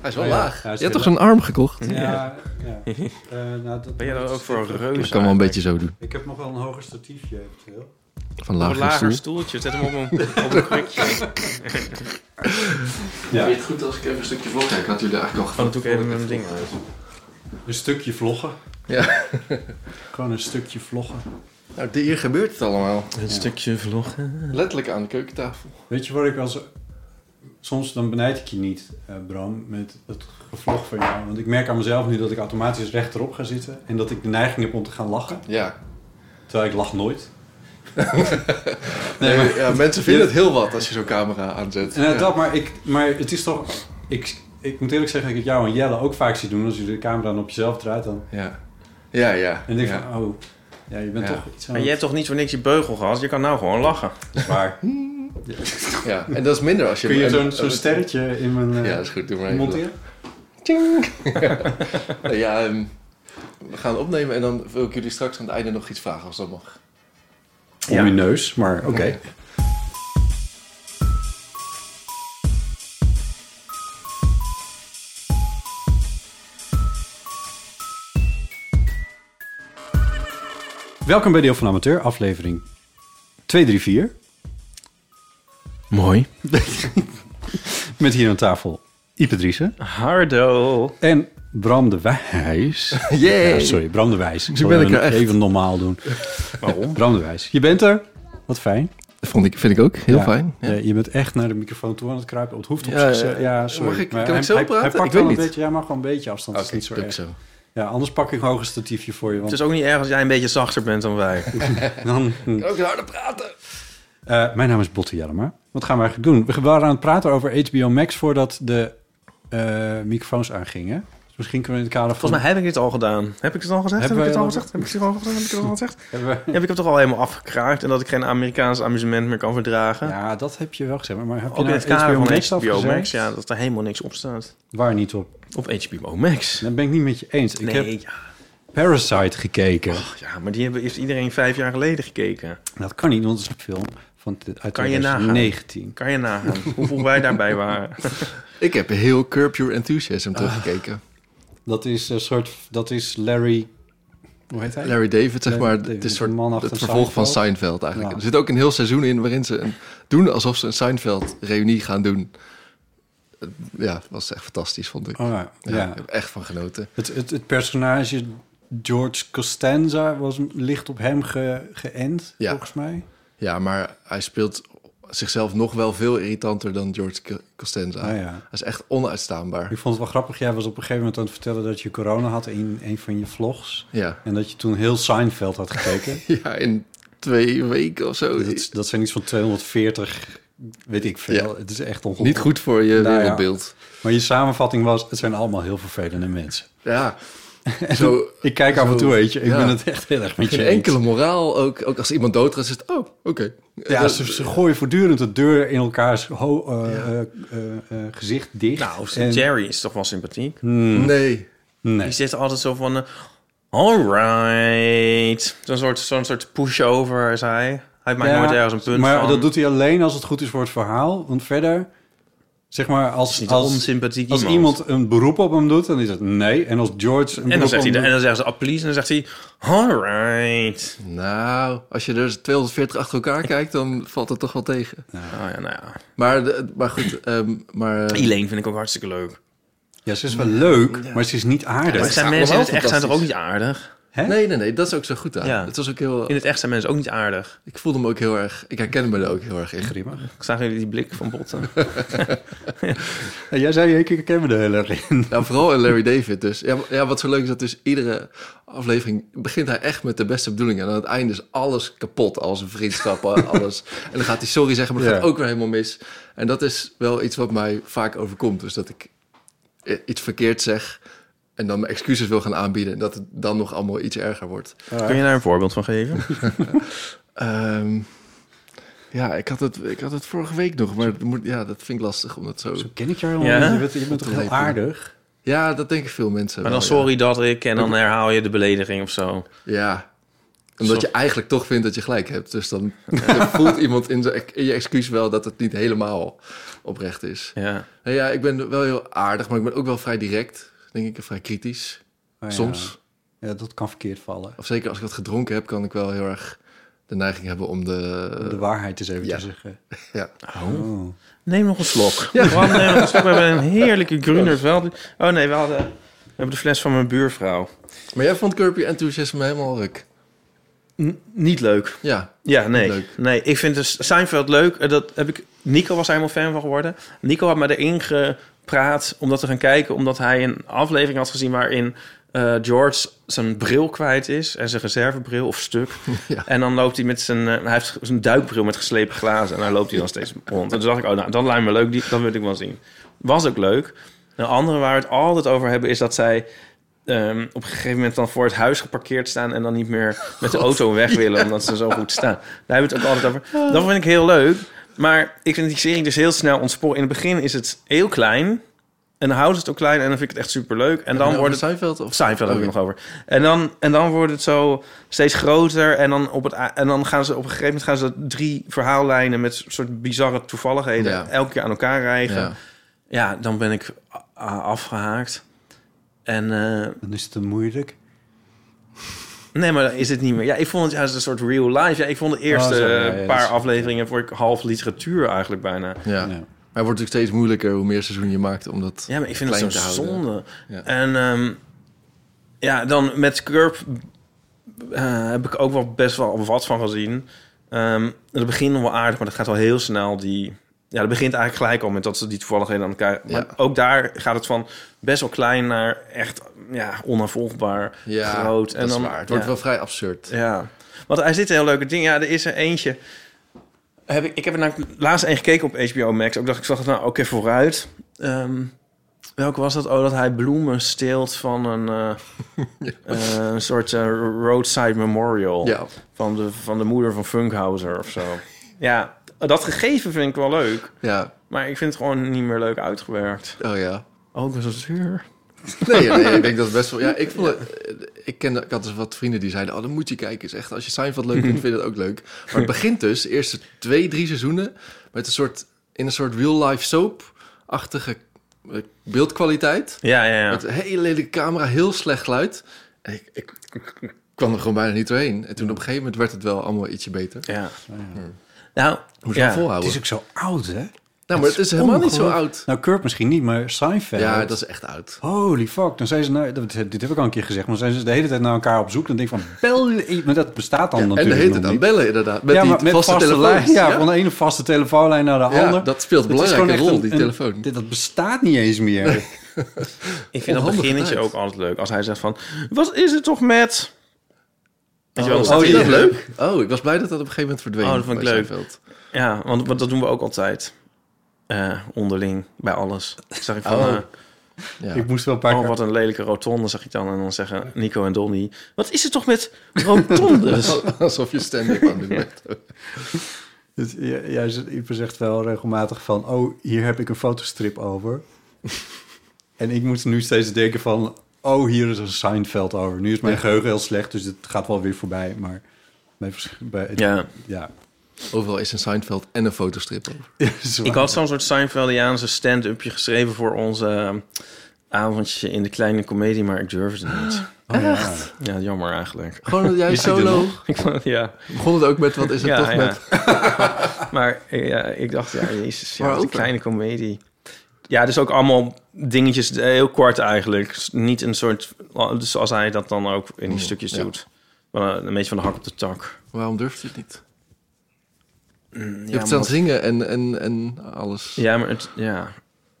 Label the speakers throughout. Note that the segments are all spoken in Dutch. Speaker 1: Hij is wel laag.
Speaker 2: Je hebt toch zo'n arm gekocht?
Speaker 3: Ja, ja. Eh, nou, dat,
Speaker 1: Ben jij dan
Speaker 3: dat
Speaker 1: ook
Speaker 3: is-
Speaker 1: voor een
Speaker 2: Ik
Speaker 1: reus?
Speaker 2: kan wel een beetje zo doen.
Speaker 3: Ik heb nog wel een hoger statiefje eventueel.
Speaker 2: Van
Speaker 1: Op een
Speaker 2: lager stoel.
Speaker 1: lager stoeltje. Zet hem op een, op een krukje.
Speaker 3: Ja.
Speaker 2: het goed als ik even een stukje vlog? ik had jullie eigenlijk al
Speaker 1: Dan doe ik even met mijn ding uit.
Speaker 3: Een stukje vloggen.
Speaker 2: Ja.
Speaker 3: Gewoon een stukje vloggen.
Speaker 2: Nou, hier gebeurt het allemaal.
Speaker 1: Een stukje vloggen.
Speaker 2: Letterlijk aan de keukentafel.
Speaker 3: Weet je wat ik wel zo... Soms dan benijd ik je niet, eh, Bram, met het gevlog van jou. Want ik merk aan mezelf nu dat ik automatisch rechterop ga zitten. En dat ik de neiging heb om te gaan lachen.
Speaker 2: Ja.
Speaker 3: Terwijl ik lach nooit.
Speaker 2: Nee, maar, ja, mensen vinden het heel wat als je zo'n camera aanzet.
Speaker 3: En, eh,
Speaker 2: Ja.
Speaker 3: dat, maar, ik, maar het is toch... Ik, ik moet eerlijk zeggen dat ik het jou en Jelle ook vaak zie doen. Als je de camera dan op jezelf draait dan...
Speaker 2: Ja. Ja, ja.
Speaker 3: En ik denk
Speaker 2: ja.
Speaker 3: van, oh... Ja, je bent
Speaker 2: Ja.
Speaker 3: toch iets aan
Speaker 1: Maar je hebt toch niet voor niks je beugel gehad? Je kan nou gewoon lachen.
Speaker 3: zwaar.
Speaker 2: Ja. En dat is minder als je...
Speaker 3: Kun je
Speaker 2: een-
Speaker 3: zo'n
Speaker 2: een-
Speaker 3: zo'n sterretje in mijn... eh,
Speaker 2: Ja, dat is goed. Doe maar even.
Speaker 3: monteren?
Speaker 2: Tjing. Nou ja, ehm, we gaan opnemen en dan wil ik jullie straks aan het einde nog iets vragen als dat mag.
Speaker 3: Om je neus, maar oké. Welkom bij Deel van Amateur, aflevering 234.
Speaker 1: Mooi.
Speaker 3: Met hier aan tafel Ipe Driessen
Speaker 1: Hardo.
Speaker 3: en Bram de Wijs.
Speaker 2: Yay!
Speaker 3: Ja, sorry, Bram de Wijs. Ik
Speaker 2: Zo
Speaker 3: zal
Speaker 2: ben ik
Speaker 3: even,
Speaker 2: er echt.
Speaker 3: even normaal doen.
Speaker 1: Waarom?
Speaker 3: Bram de Wijs, je bent er. Wat fijn.
Speaker 2: Vond ik, vind ik ook heel
Speaker 3: Ja.
Speaker 2: fijn. Ja.
Speaker 3: Ja, je bent echt naar de microfoon toe aan het kruipen. Het hoeft op
Speaker 2: Ja,
Speaker 3: zich.
Speaker 2: ja,
Speaker 3: zo-
Speaker 2: ja.
Speaker 3: Ja, sorry.
Speaker 2: Mag ik-
Speaker 3: Maar
Speaker 2: kan ik
Speaker 3: hij-
Speaker 2: zo
Speaker 3: hij-
Speaker 2: praten?
Speaker 3: Hij pakt
Speaker 2: Ik weet
Speaker 3: wel een
Speaker 2: niet.
Speaker 3: beetje. Ja, maar gewoon een beetje afstand.
Speaker 2: Oké,
Speaker 3: is niet zo
Speaker 2: doe ik
Speaker 3: erg.
Speaker 2: zo.
Speaker 3: Ja, anders pak ik een hoger statiefje voor je.
Speaker 1: Het
Speaker 3: Want
Speaker 1: is ook niet erg als jij een beetje zachter bent dan wij.
Speaker 3: dan,
Speaker 2: Kan ook harder praten.
Speaker 3: Eh, mijn naam is Botte Jellema. Wat gaan we eigenlijk doen? We waren aan het praten over HBO Max voordat de eh, microfoons aangingen. Dus misschien kunnen we in het kader van...
Speaker 1: Volgens mij heb ik dit al gedaan. Heb ik het al gezegd? Heb,
Speaker 3: Hebben
Speaker 1: ik het
Speaker 3: wij
Speaker 1: al
Speaker 3: al-
Speaker 1: gezegd? Heb ik het al gezegd? Heb ik het al gezegd?
Speaker 3: hebben we-
Speaker 1: Ja, ik heb het toch al helemaal afgekraakt en dat ik geen Amerikaans amusement meer kan verdragen.
Speaker 3: Ja, dat heb je wel gezegd. Maar heb je
Speaker 1: Ook in
Speaker 3: nou
Speaker 1: het kader
Speaker 3: HBO
Speaker 1: van
Speaker 3: Max
Speaker 1: HBO
Speaker 3: afgezegd?
Speaker 1: Max, ja, dat er helemaal niks op staat.
Speaker 3: Waar niet op?
Speaker 1: Op HBO Max.
Speaker 3: Dat ben ik niet met je eens. Ik
Speaker 1: Nee,
Speaker 3: heb
Speaker 1: ja.
Speaker 3: Parasite gekeken.
Speaker 1: Ach, ja, maar die hebben, heeft iedereen vijf jaar geleden gekeken.
Speaker 3: Dat kan niet, want het is een film van uit
Speaker 1: Kan je nagaan.
Speaker 3: 2019.
Speaker 1: Kan je nagaan hoeveel wij daarbij waren.
Speaker 2: Ik heb heel Curb Your Enthusiasm teruggekeken.
Speaker 3: Dat is een soort. Dat is Larry. Hoe heet hij?
Speaker 2: Larry David, zeg
Speaker 3: Larry
Speaker 2: maar.
Speaker 3: David,
Speaker 2: het is een
Speaker 3: de man
Speaker 2: soort
Speaker 3: achter
Speaker 2: het vervolg van
Speaker 3: Seinfeld.
Speaker 2: Seinfeld eigenlijk.
Speaker 3: Ja.
Speaker 2: Er zit ook een heel seizoen in waarin ze een- doen alsof ze een Seinfeld-reunie gaan doen. Eh, Ja, dat was echt fantastisch, vond ik.
Speaker 3: Oh, ja.
Speaker 2: Ja,
Speaker 3: ja.
Speaker 2: Ik heb echt van genoten.
Speaker 3: Het, het, het personage George Costanza was licht op hem ge, geënt,
Speaker 2: Ja.
Speaker 3: volgens mij.
Speaker 2: Ja, maar hij speelt zichzelf nog wel veel irritanter dan George C- Costanza.
Speaker 3: Ah, ja.
Speaker 2: Hij is echt onuitstaanbaar.
Speaker 3: Ik vond het wel grappig. Jij was op een gegeven moment aan het vertellen dat je corona had in een van je vlogs.
Speaker 2: Ja.
Speaker 3: En dat je toen heel Seinfeld had gekeken.
Speaker 2: ja, in twee weken of zo.
Speaker 3: dat, dat zijn iets van 240, weet ik veel.
Speaker 2: Ja.
Speaker 3: Het is echt ongelooflijk.
Speaker 2: Niet goed voor je
Speaker 3: Nou ja.
Speaker 2: wereldbeeld.
Speaker 3: Maar je samenvatting was, het zijn allemaal heel vervelende mensen.
Speaker 2: Ja. Zo,
Speaker 3: Ik kijk af en
Speaker 2: Zo,
Speaker 3: toe, weet je. Ik
Speaker 2: ja.
Speaker 3: ben het echt heel erg met je
Speaker 2: geen
Speaker 3: eens.
Speaker 2: enkele moraal. Ook, ook als iemand doodgaat, is het... Oh, oké.
Speaker 3: Ja,
Speaker 2: Dat-
Speaker 3: ze, ze gooien voortdurend de deur in elkaars ho- eh, eh, eh, eh, gezicht dicht.
Speaker 1: Nou,
Speaker 3: En-
Speaker 1: Jerry is toch wel sympathiek?
Speaker 2: Nee.
Speaker 3: Nee.
Speaker 1: Die zit altijd zo van... eh, Alright. Zo'n soort, zo'n soort pushover is hij. Hij maakt
Speaker 3: Ja,
Speaker 1: nooit ergens een punt
Speaker 3: Maar
Speaker 1: van.
Speaker 3: dat doet hij alleen als het goed is voor het verhaal. Want verder, zeg maar, als,
Speaker 1: niet een
Speaker 3: als,
Speaker 1: onsympathiek
Speaker 3: als
Speaker 1: iemand.
Speaker 3: iemand een beroep op hem doet, dan is het nee. En als George een
Speaker 1: En dan,
Speaker 3: beroep
Speaker 1: zegt
Speaker 3: op
Speaker 1: hij,
Speaker 3: hem
Speaker 1: en
Speaker 3: doet-
Speaker 1: dan zeggen ze, "Ah, please. En dan zegt hij, alright.
Speaker 2: Nou, als je er 240 achter elkaar kijkt, dan valt het toch wel tegen.
Speaker 1: Oh ja, nou ja.
Speaker 2: Maar, de- maar goed, ehm, maar... eh,
Speaker 1: Elaine vind ik ook hartstikke leuk.
Speaker 3: Ja, ze is wel leuk, maar ze is niet aardig.
Speaker 1: Maar
Speaker 2: het
Speaker 1: zijn
Speaker 2: is
Speaker 1: mensen in het
Speaker 2: allemaal
Speaker 1: echt zijn toch ook
Speaker 2: fantastisch.
Speaker 1: niet aardig?
Speaker 3: Hè?
Speaker 2: Nee, nee, nee, dat is ook zo goed aan.
Speaker 1: Ja.
Speaker 2: Het was ook heel,
Speaker 1: In het echt zijn mensen ook niet aardig.
Speaker 2: ik voelde me ook heel erg, ik herkende me er ook heel erg in.
Speaker 3: Prima.
Speaker 1: Ik zag jullie die blik van botten.
Speaker 3: Ja, jij zei, ik ik ken me er heel erg in.
Speaker 2: Ja, Nou, vooral in Larry David dus. Ja, w- ja, wat zo leuk is dat dus iedere aflevering begint hij echt met de beste bedoelingen. En aan het einde is alles kapot, al zijn vriendschappen, alles. En dan gaat hij sorry zeggen, maar dat
Speaker 3: Ja.
Speaker 2: gaat ook weer helemaal mis. En dat is wel iets wat mij vaak overkomt. Dus dat ik i- iets verkeerd zeg en dan mijn excuses wil gaan aanbieden. En dat het dan nog allemaal iets erger wordt.
Speaker 1: Kun je daar een voorbeeld van geven?
Speaker 2: Ehm, ja, ik had, het, ik had het vorige week nog, maar dat moet, ja, dat vind ik lastig om dat zo...
Speaker 3: Zo ken ik jou helemaal
Speaker 1: Ja?
Speaker 3: niet. Je bent, je bent toch heel aardig?
Speaker 2: Ja, dat denken veel mensen
Speaker 1: Maar
Speaker 2: wel,
Speaker 1: dan
Speaker 2: ja.
Speaker 1: sorry dat ik en dan herhaal je de belediging of zo.
Speaker 2: Ja. Omdat je eigenlijk toch vindt dat je gelijk hebt. Dus dan dan voelt iemand in, zijn- in je excuus wel dat het niet helemaal oprecht is.
Speaker 1: Ja.
Speaker 2: Nou ja, ik ben wel heel aardig, maar ik ben ook wel vrij direct. Denk ik, en vrij kritisch.
Speaker 3: Oh, ja.
Speaker 2: Soms.
Speaker 3: Ja, dat kan verkeerd vallen.
Speaker 2: Of zeker als ik wat gedronken heb, kan ik wel heel erg de neiging hebben om de...
Speaker 3: De waarheid is even
Speaker 2: Eh, ja.
Speaker 3: te zeggen.
Speaker 2: Ja.
Speaker 3: Oh.
Speaker 1: Neem nog een slok. Bram, neem nog een slok. We hebben een heerlijke Grünerveld. Oh nee, we hadden... We hebben de fles van mijn buurvrouw.
Speaker 2: Maar jij vond Curb Your Enthusiasm helemaal ruk.
Speaker 1: N- niet leuk.
Speaker 2: Ja.
Speaker 1: Ja, nee.
Speaker 2: Niet leuk.
Speaker 1: Nee, ik vind dus Seinfeld leuk. Eh, Dat heb ik, Nico was daar helemaal fan van geworden. Nico had me erin gepraat om dat te gaan kijken... omdat hij een aflevering had gezien waarin eh, George zijn bril kwijt is... en zijn reservebril of stuk.
Speaker 2: Ja.
Speaker 1: En dan loopt hij met zijn... eh, hij heeft zijn duikbril met geslepen glazen... en daar loopt hij dan steeds rond. En toen dacht ik, oh, nou, dat lijkt me leuk. Die, dat wil ik wel zien. Was ook leuk. Een andere waar we het altijd over hebben... is dat zij ehm, op een gegeven moment dan voor het huis geparkeerd staan... en dan niet meer met de auto weg willen... omdat ze zo goed staan. Daar hebben we het ook altijd over. Dat vind ik heel leuk. Maar ik vind die serie dus heel snel ontsporen. In het begin is het heel klein... en dan houdt het ook klein... en dan vind ik het echt superleuk. En dan wordt het...
Speaker 2: Seinfeld of... Oh,
Speaker 1: Of Seinfeld hebben
Speaker 2: Oké.
Speaker 1: we het nog over. En dan, en dan wordt het zo steeds groter. En dan, op het, a- en dan gaan ze op een gegeven moment gaan ze drie verhaallijnen met soort bizarre toevalligheden
Speaker 2: Ja.
Speaker 1: elke keer aan elkaar rijgen. Ja,
Speaker 2: Ja.
Speaker 1: dan ben ik a- a- afgehaakt. En eh,
Speaker 3: Dan is het te moeilijk.
Speaker 1: nee, maar dan is het niet meer. Ja, ik vond het juist een soort real life. Ja, ik vond de eerste
Speaker 3: Oh, zo, ja, ja,
Speaker 1: eh,
Speaker 3: dat
Speaker 1: paar
Speaker 3: is-
Speaker 1: afleveringen vond ik half literatuur eigenlijk bijna.
Speaker 2: Ja. Maar het
Speaker 3: Ja.
Speaker 2: wordt natuurlijk steeds moeilijker hoe meer seizoen je maakt om dat
Speaker 1: Ja, maar ik vind het
Speaker 2: klein
Speaker 1: zo'n
Speaker 2: te houden.
Speaker 1: zonde.
Speaker 2: Ja.
Speaker 1: En ehm, ja, dan met Curb eh, heb ik ook wel best wel wat van gezien. Ehm het begint nog wel aardig, maar dat gaat wel heel snel. Die, ja, dat begint eigenlijk gelijk al met dat ze die toevalligheden aan elkaar... Maar
Speaker 2: Ja.
Speaker 1: ook daar gaat het van best wel klein naar echt ja, onafvolgbaar
Speaker 2: Ja,
Speaker 1: groot.
Speaker 2: dat is waar. Het wordt
Speaker 1: ja.
Speaker 2: wel vrij absurd.
Speaker 1: Ja, want hij zit een heel leuke ding. Ja, er is er eentje. Heb ik, ik heb er namelijk laatst een gekeken op HBO Max. Ook dacht ik, zag nou, oké, vooruit. Ehm, welke was dat? Oh, dat hij bloemen steelt van een eh, eh, een soort eh, roadside memorial.
Speaker 2: Ja.
Speaker 1: Van, de, van de moeder van Funkhauser of zo. ja, dat gegeven vind ik wel leuk.
Speaker 2: Ja.
Speaker 1: Maar ik vind het gewoon niet meer leuk uitgewerkt.
Speaker 2: Oh ja.
Speaker 1: Ook zo zuur.
Speaker 2: Nee, nee, ik denk dat het best wel. Ja, ik, vond, het- ik, kende, ik had dus wat vrienden die zeiden: Oh, dan moet je kijken. Is echt, als je Seinfeld leuk vindt, vind je dat ook leuk. Maar het begint dus, de eerste twee, drie seizoenen. met een soort. in een soort real-life soap-achtige eh, beeldkwaliteit.
Speaker 1: Ja, ja, ja.
Speaker 2: Met een hele lelijke camera, heel slecht geluid. En ik, ik, ik kwam er gewoon bijna niet doorheen. En toen op een gegeven moment werd het wel allemaal ietsje beter.
Speaker 1: ja. Nou,
Speaker 2: Moest
Speaker 1: ja.
Speaker 2: wel
Speaker 3: Het
Speaker 2: volhouden.
Speaker 3: is ook zo oud, hè?
Speaker 2: nou, maar het is helemaal niet zo oud.
Speaker 3: Nou, Kurt misschien niet, maar Seinfeld.
Speaker 2: Ja, dat is echt oud.
Speaker 3: Holy fuck, dan zijn ze nou, dat- dit heb ik al een keer gezegd, maar dan zijn ze de hele tijd naar elkaar op zoek. Dan denk ik van, bel je- maar dat bestaat dan
Speaker 2: en
Speaker 3: natuurlijk
Speaker 2: de heet het
Speaker 3: nog
Speaker 2: dan
Speaker 3: niet.
Speaker 2: bellen, inderdaad. Met
Speaker 3: ja, maar
Speaker 2: die vaste, telefoon.
Speaker 3: lijn, ja, van de ene vaste telefoonlijn naar de
Speaker 2: Ja,
Speaker 3: andere.
Speaker 2: dat speelt een
Speaker 3: Het is
Speaker 2: belangrijke
Speaker 3: gewoon
Speaker 2: rol,
Speaker 3: echt
Speaker 2: die
Speaker 3: een- een-
Speaker 2: telefoon.
Speaker 3: dit- dat bestaat niet eens meer.
Speaker 1: Ik vind dat
Speaker 2: Onhandig
Speaker 1: beginnetje
Speaker 2: tijd.
Speaker 1: ook altijd leuk. Als hij zegt van, wat is het toch met... Weet je wel, dan staat
Speaker 2: Oh,
Speaker 1: hij
Speaker 2: is dat
Speaker 1: hier.
Speaker 2: leuk? Oh, ik was blij dat dat op een gegeven moment verdween.
Speaker 1: Oh, dat vond ik
Speaker 2: bij
Speaker 1: leuk.
Speaker 2: Seinfeld.
Speaker 1: Ja, want, want dat doen we ook altijd. Eh, onderling, bij alles. Zeg ik van,
Speaker 2: Oh.
Speaker 1: eh,
Speaker 2: Ja.
Speaker 3: Ik moest wel een paar
Speaker 1: oh,
Speaker 3: keer-
Speaker 1: wat een lelijke rotonde, zeg ik dan. En dan zeggen Nico en Donnie, wat is het toch met rotondes?
Speaker 2: Alsof je stand-up aan het doen bent.
Speaker 3: Dus j- jij z- Ieper zegt wel regelmatig van... oh, hier heb ik een fotostrip over. en ik moet nu steeds denken van... oh, hier is een Seinfeld over. Nu is mijn geheugen heel slecht, dus het gaat wel weer voorbij. Maar bij, vers- bij,
Speaker 1: ja,
Speaker 3: ja.
Speaker 2: Overal is een Seinfeld en een fotostrip over.
Speaker 3: Zo.
Speaker 1: ik had zo'n soort Seinfeldiaanse stand-upje geschreven... voor onze eh, avondje in de kleine komedie, maar ik durfde het niet.
Speaker 3: Oh, ja.
Speaker 1: Ja, jammer eigenlijk.
Speaker 2: Gewoon jij
Speaker 3: Is die er
Speaker 2: solo.
Speaker 1: Ik vond- ja.
Speaker 2: Begon het ook met wat is het toch met...
Speaker 1: Maar eh, ja, ik dacht, ja, jezus, ja,
Speaker 2: Maar
Speaker 1: wat een
Speaker 2: ook wel.
Speaker 1: kleine komedie. Ja, dus ook allemaal dingetjes eh, heel kort eigenlijk. S- Niet een soort, dus zoals hij dat dan ook in die stukjes
Speaker 2: Mm, ja.
Speaker 1: doet. Maar eh, een beetje van de hak op de tak.
Speaker 2: Waarom durft hij het niet?
Speaker 1: Ja,
Speaker 2: Je hebt het aan het zingen en, en, en alles.
Speaker 1: Ja, maar het, ja.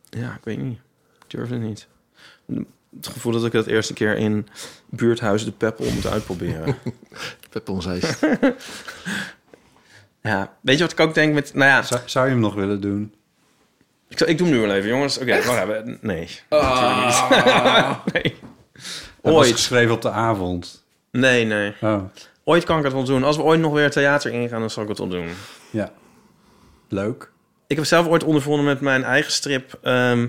Speaker 1: ja, ik weet niet. Ik durf het niet. Het gevoel dat ik dat eerste keer in buurthuis de Peppel moet uitproberen.
Speaker 2: Pepon zei het.
Speaker 1: ja, weet je wat ik ook denk met... Nou ja,
Speaker 3: Zou, zou je hem nog willen doen?
Speaker 1: ik, zal- ik doe hem nu wel even, jongens. Oké, wacht even. Nee.
Speaker 2: Ah. Oh.
Speaker 1: nee.
Speaker 3: Het was
Speaker 1: Ooit.
Speaker 3: geschreven op de avond.
Speaker 1: Nee, nee.
Speaker 3: Oh,
Speaker 1: Ooit kan ik het wel doen. Als we ooit nog weer theater ingaan, dan zal ik het wel doen.
Speaker 3: ja. Leuk.
Speaker 1: Ik heb zelf ooit ondervonden met mijn eigen strip. ehm,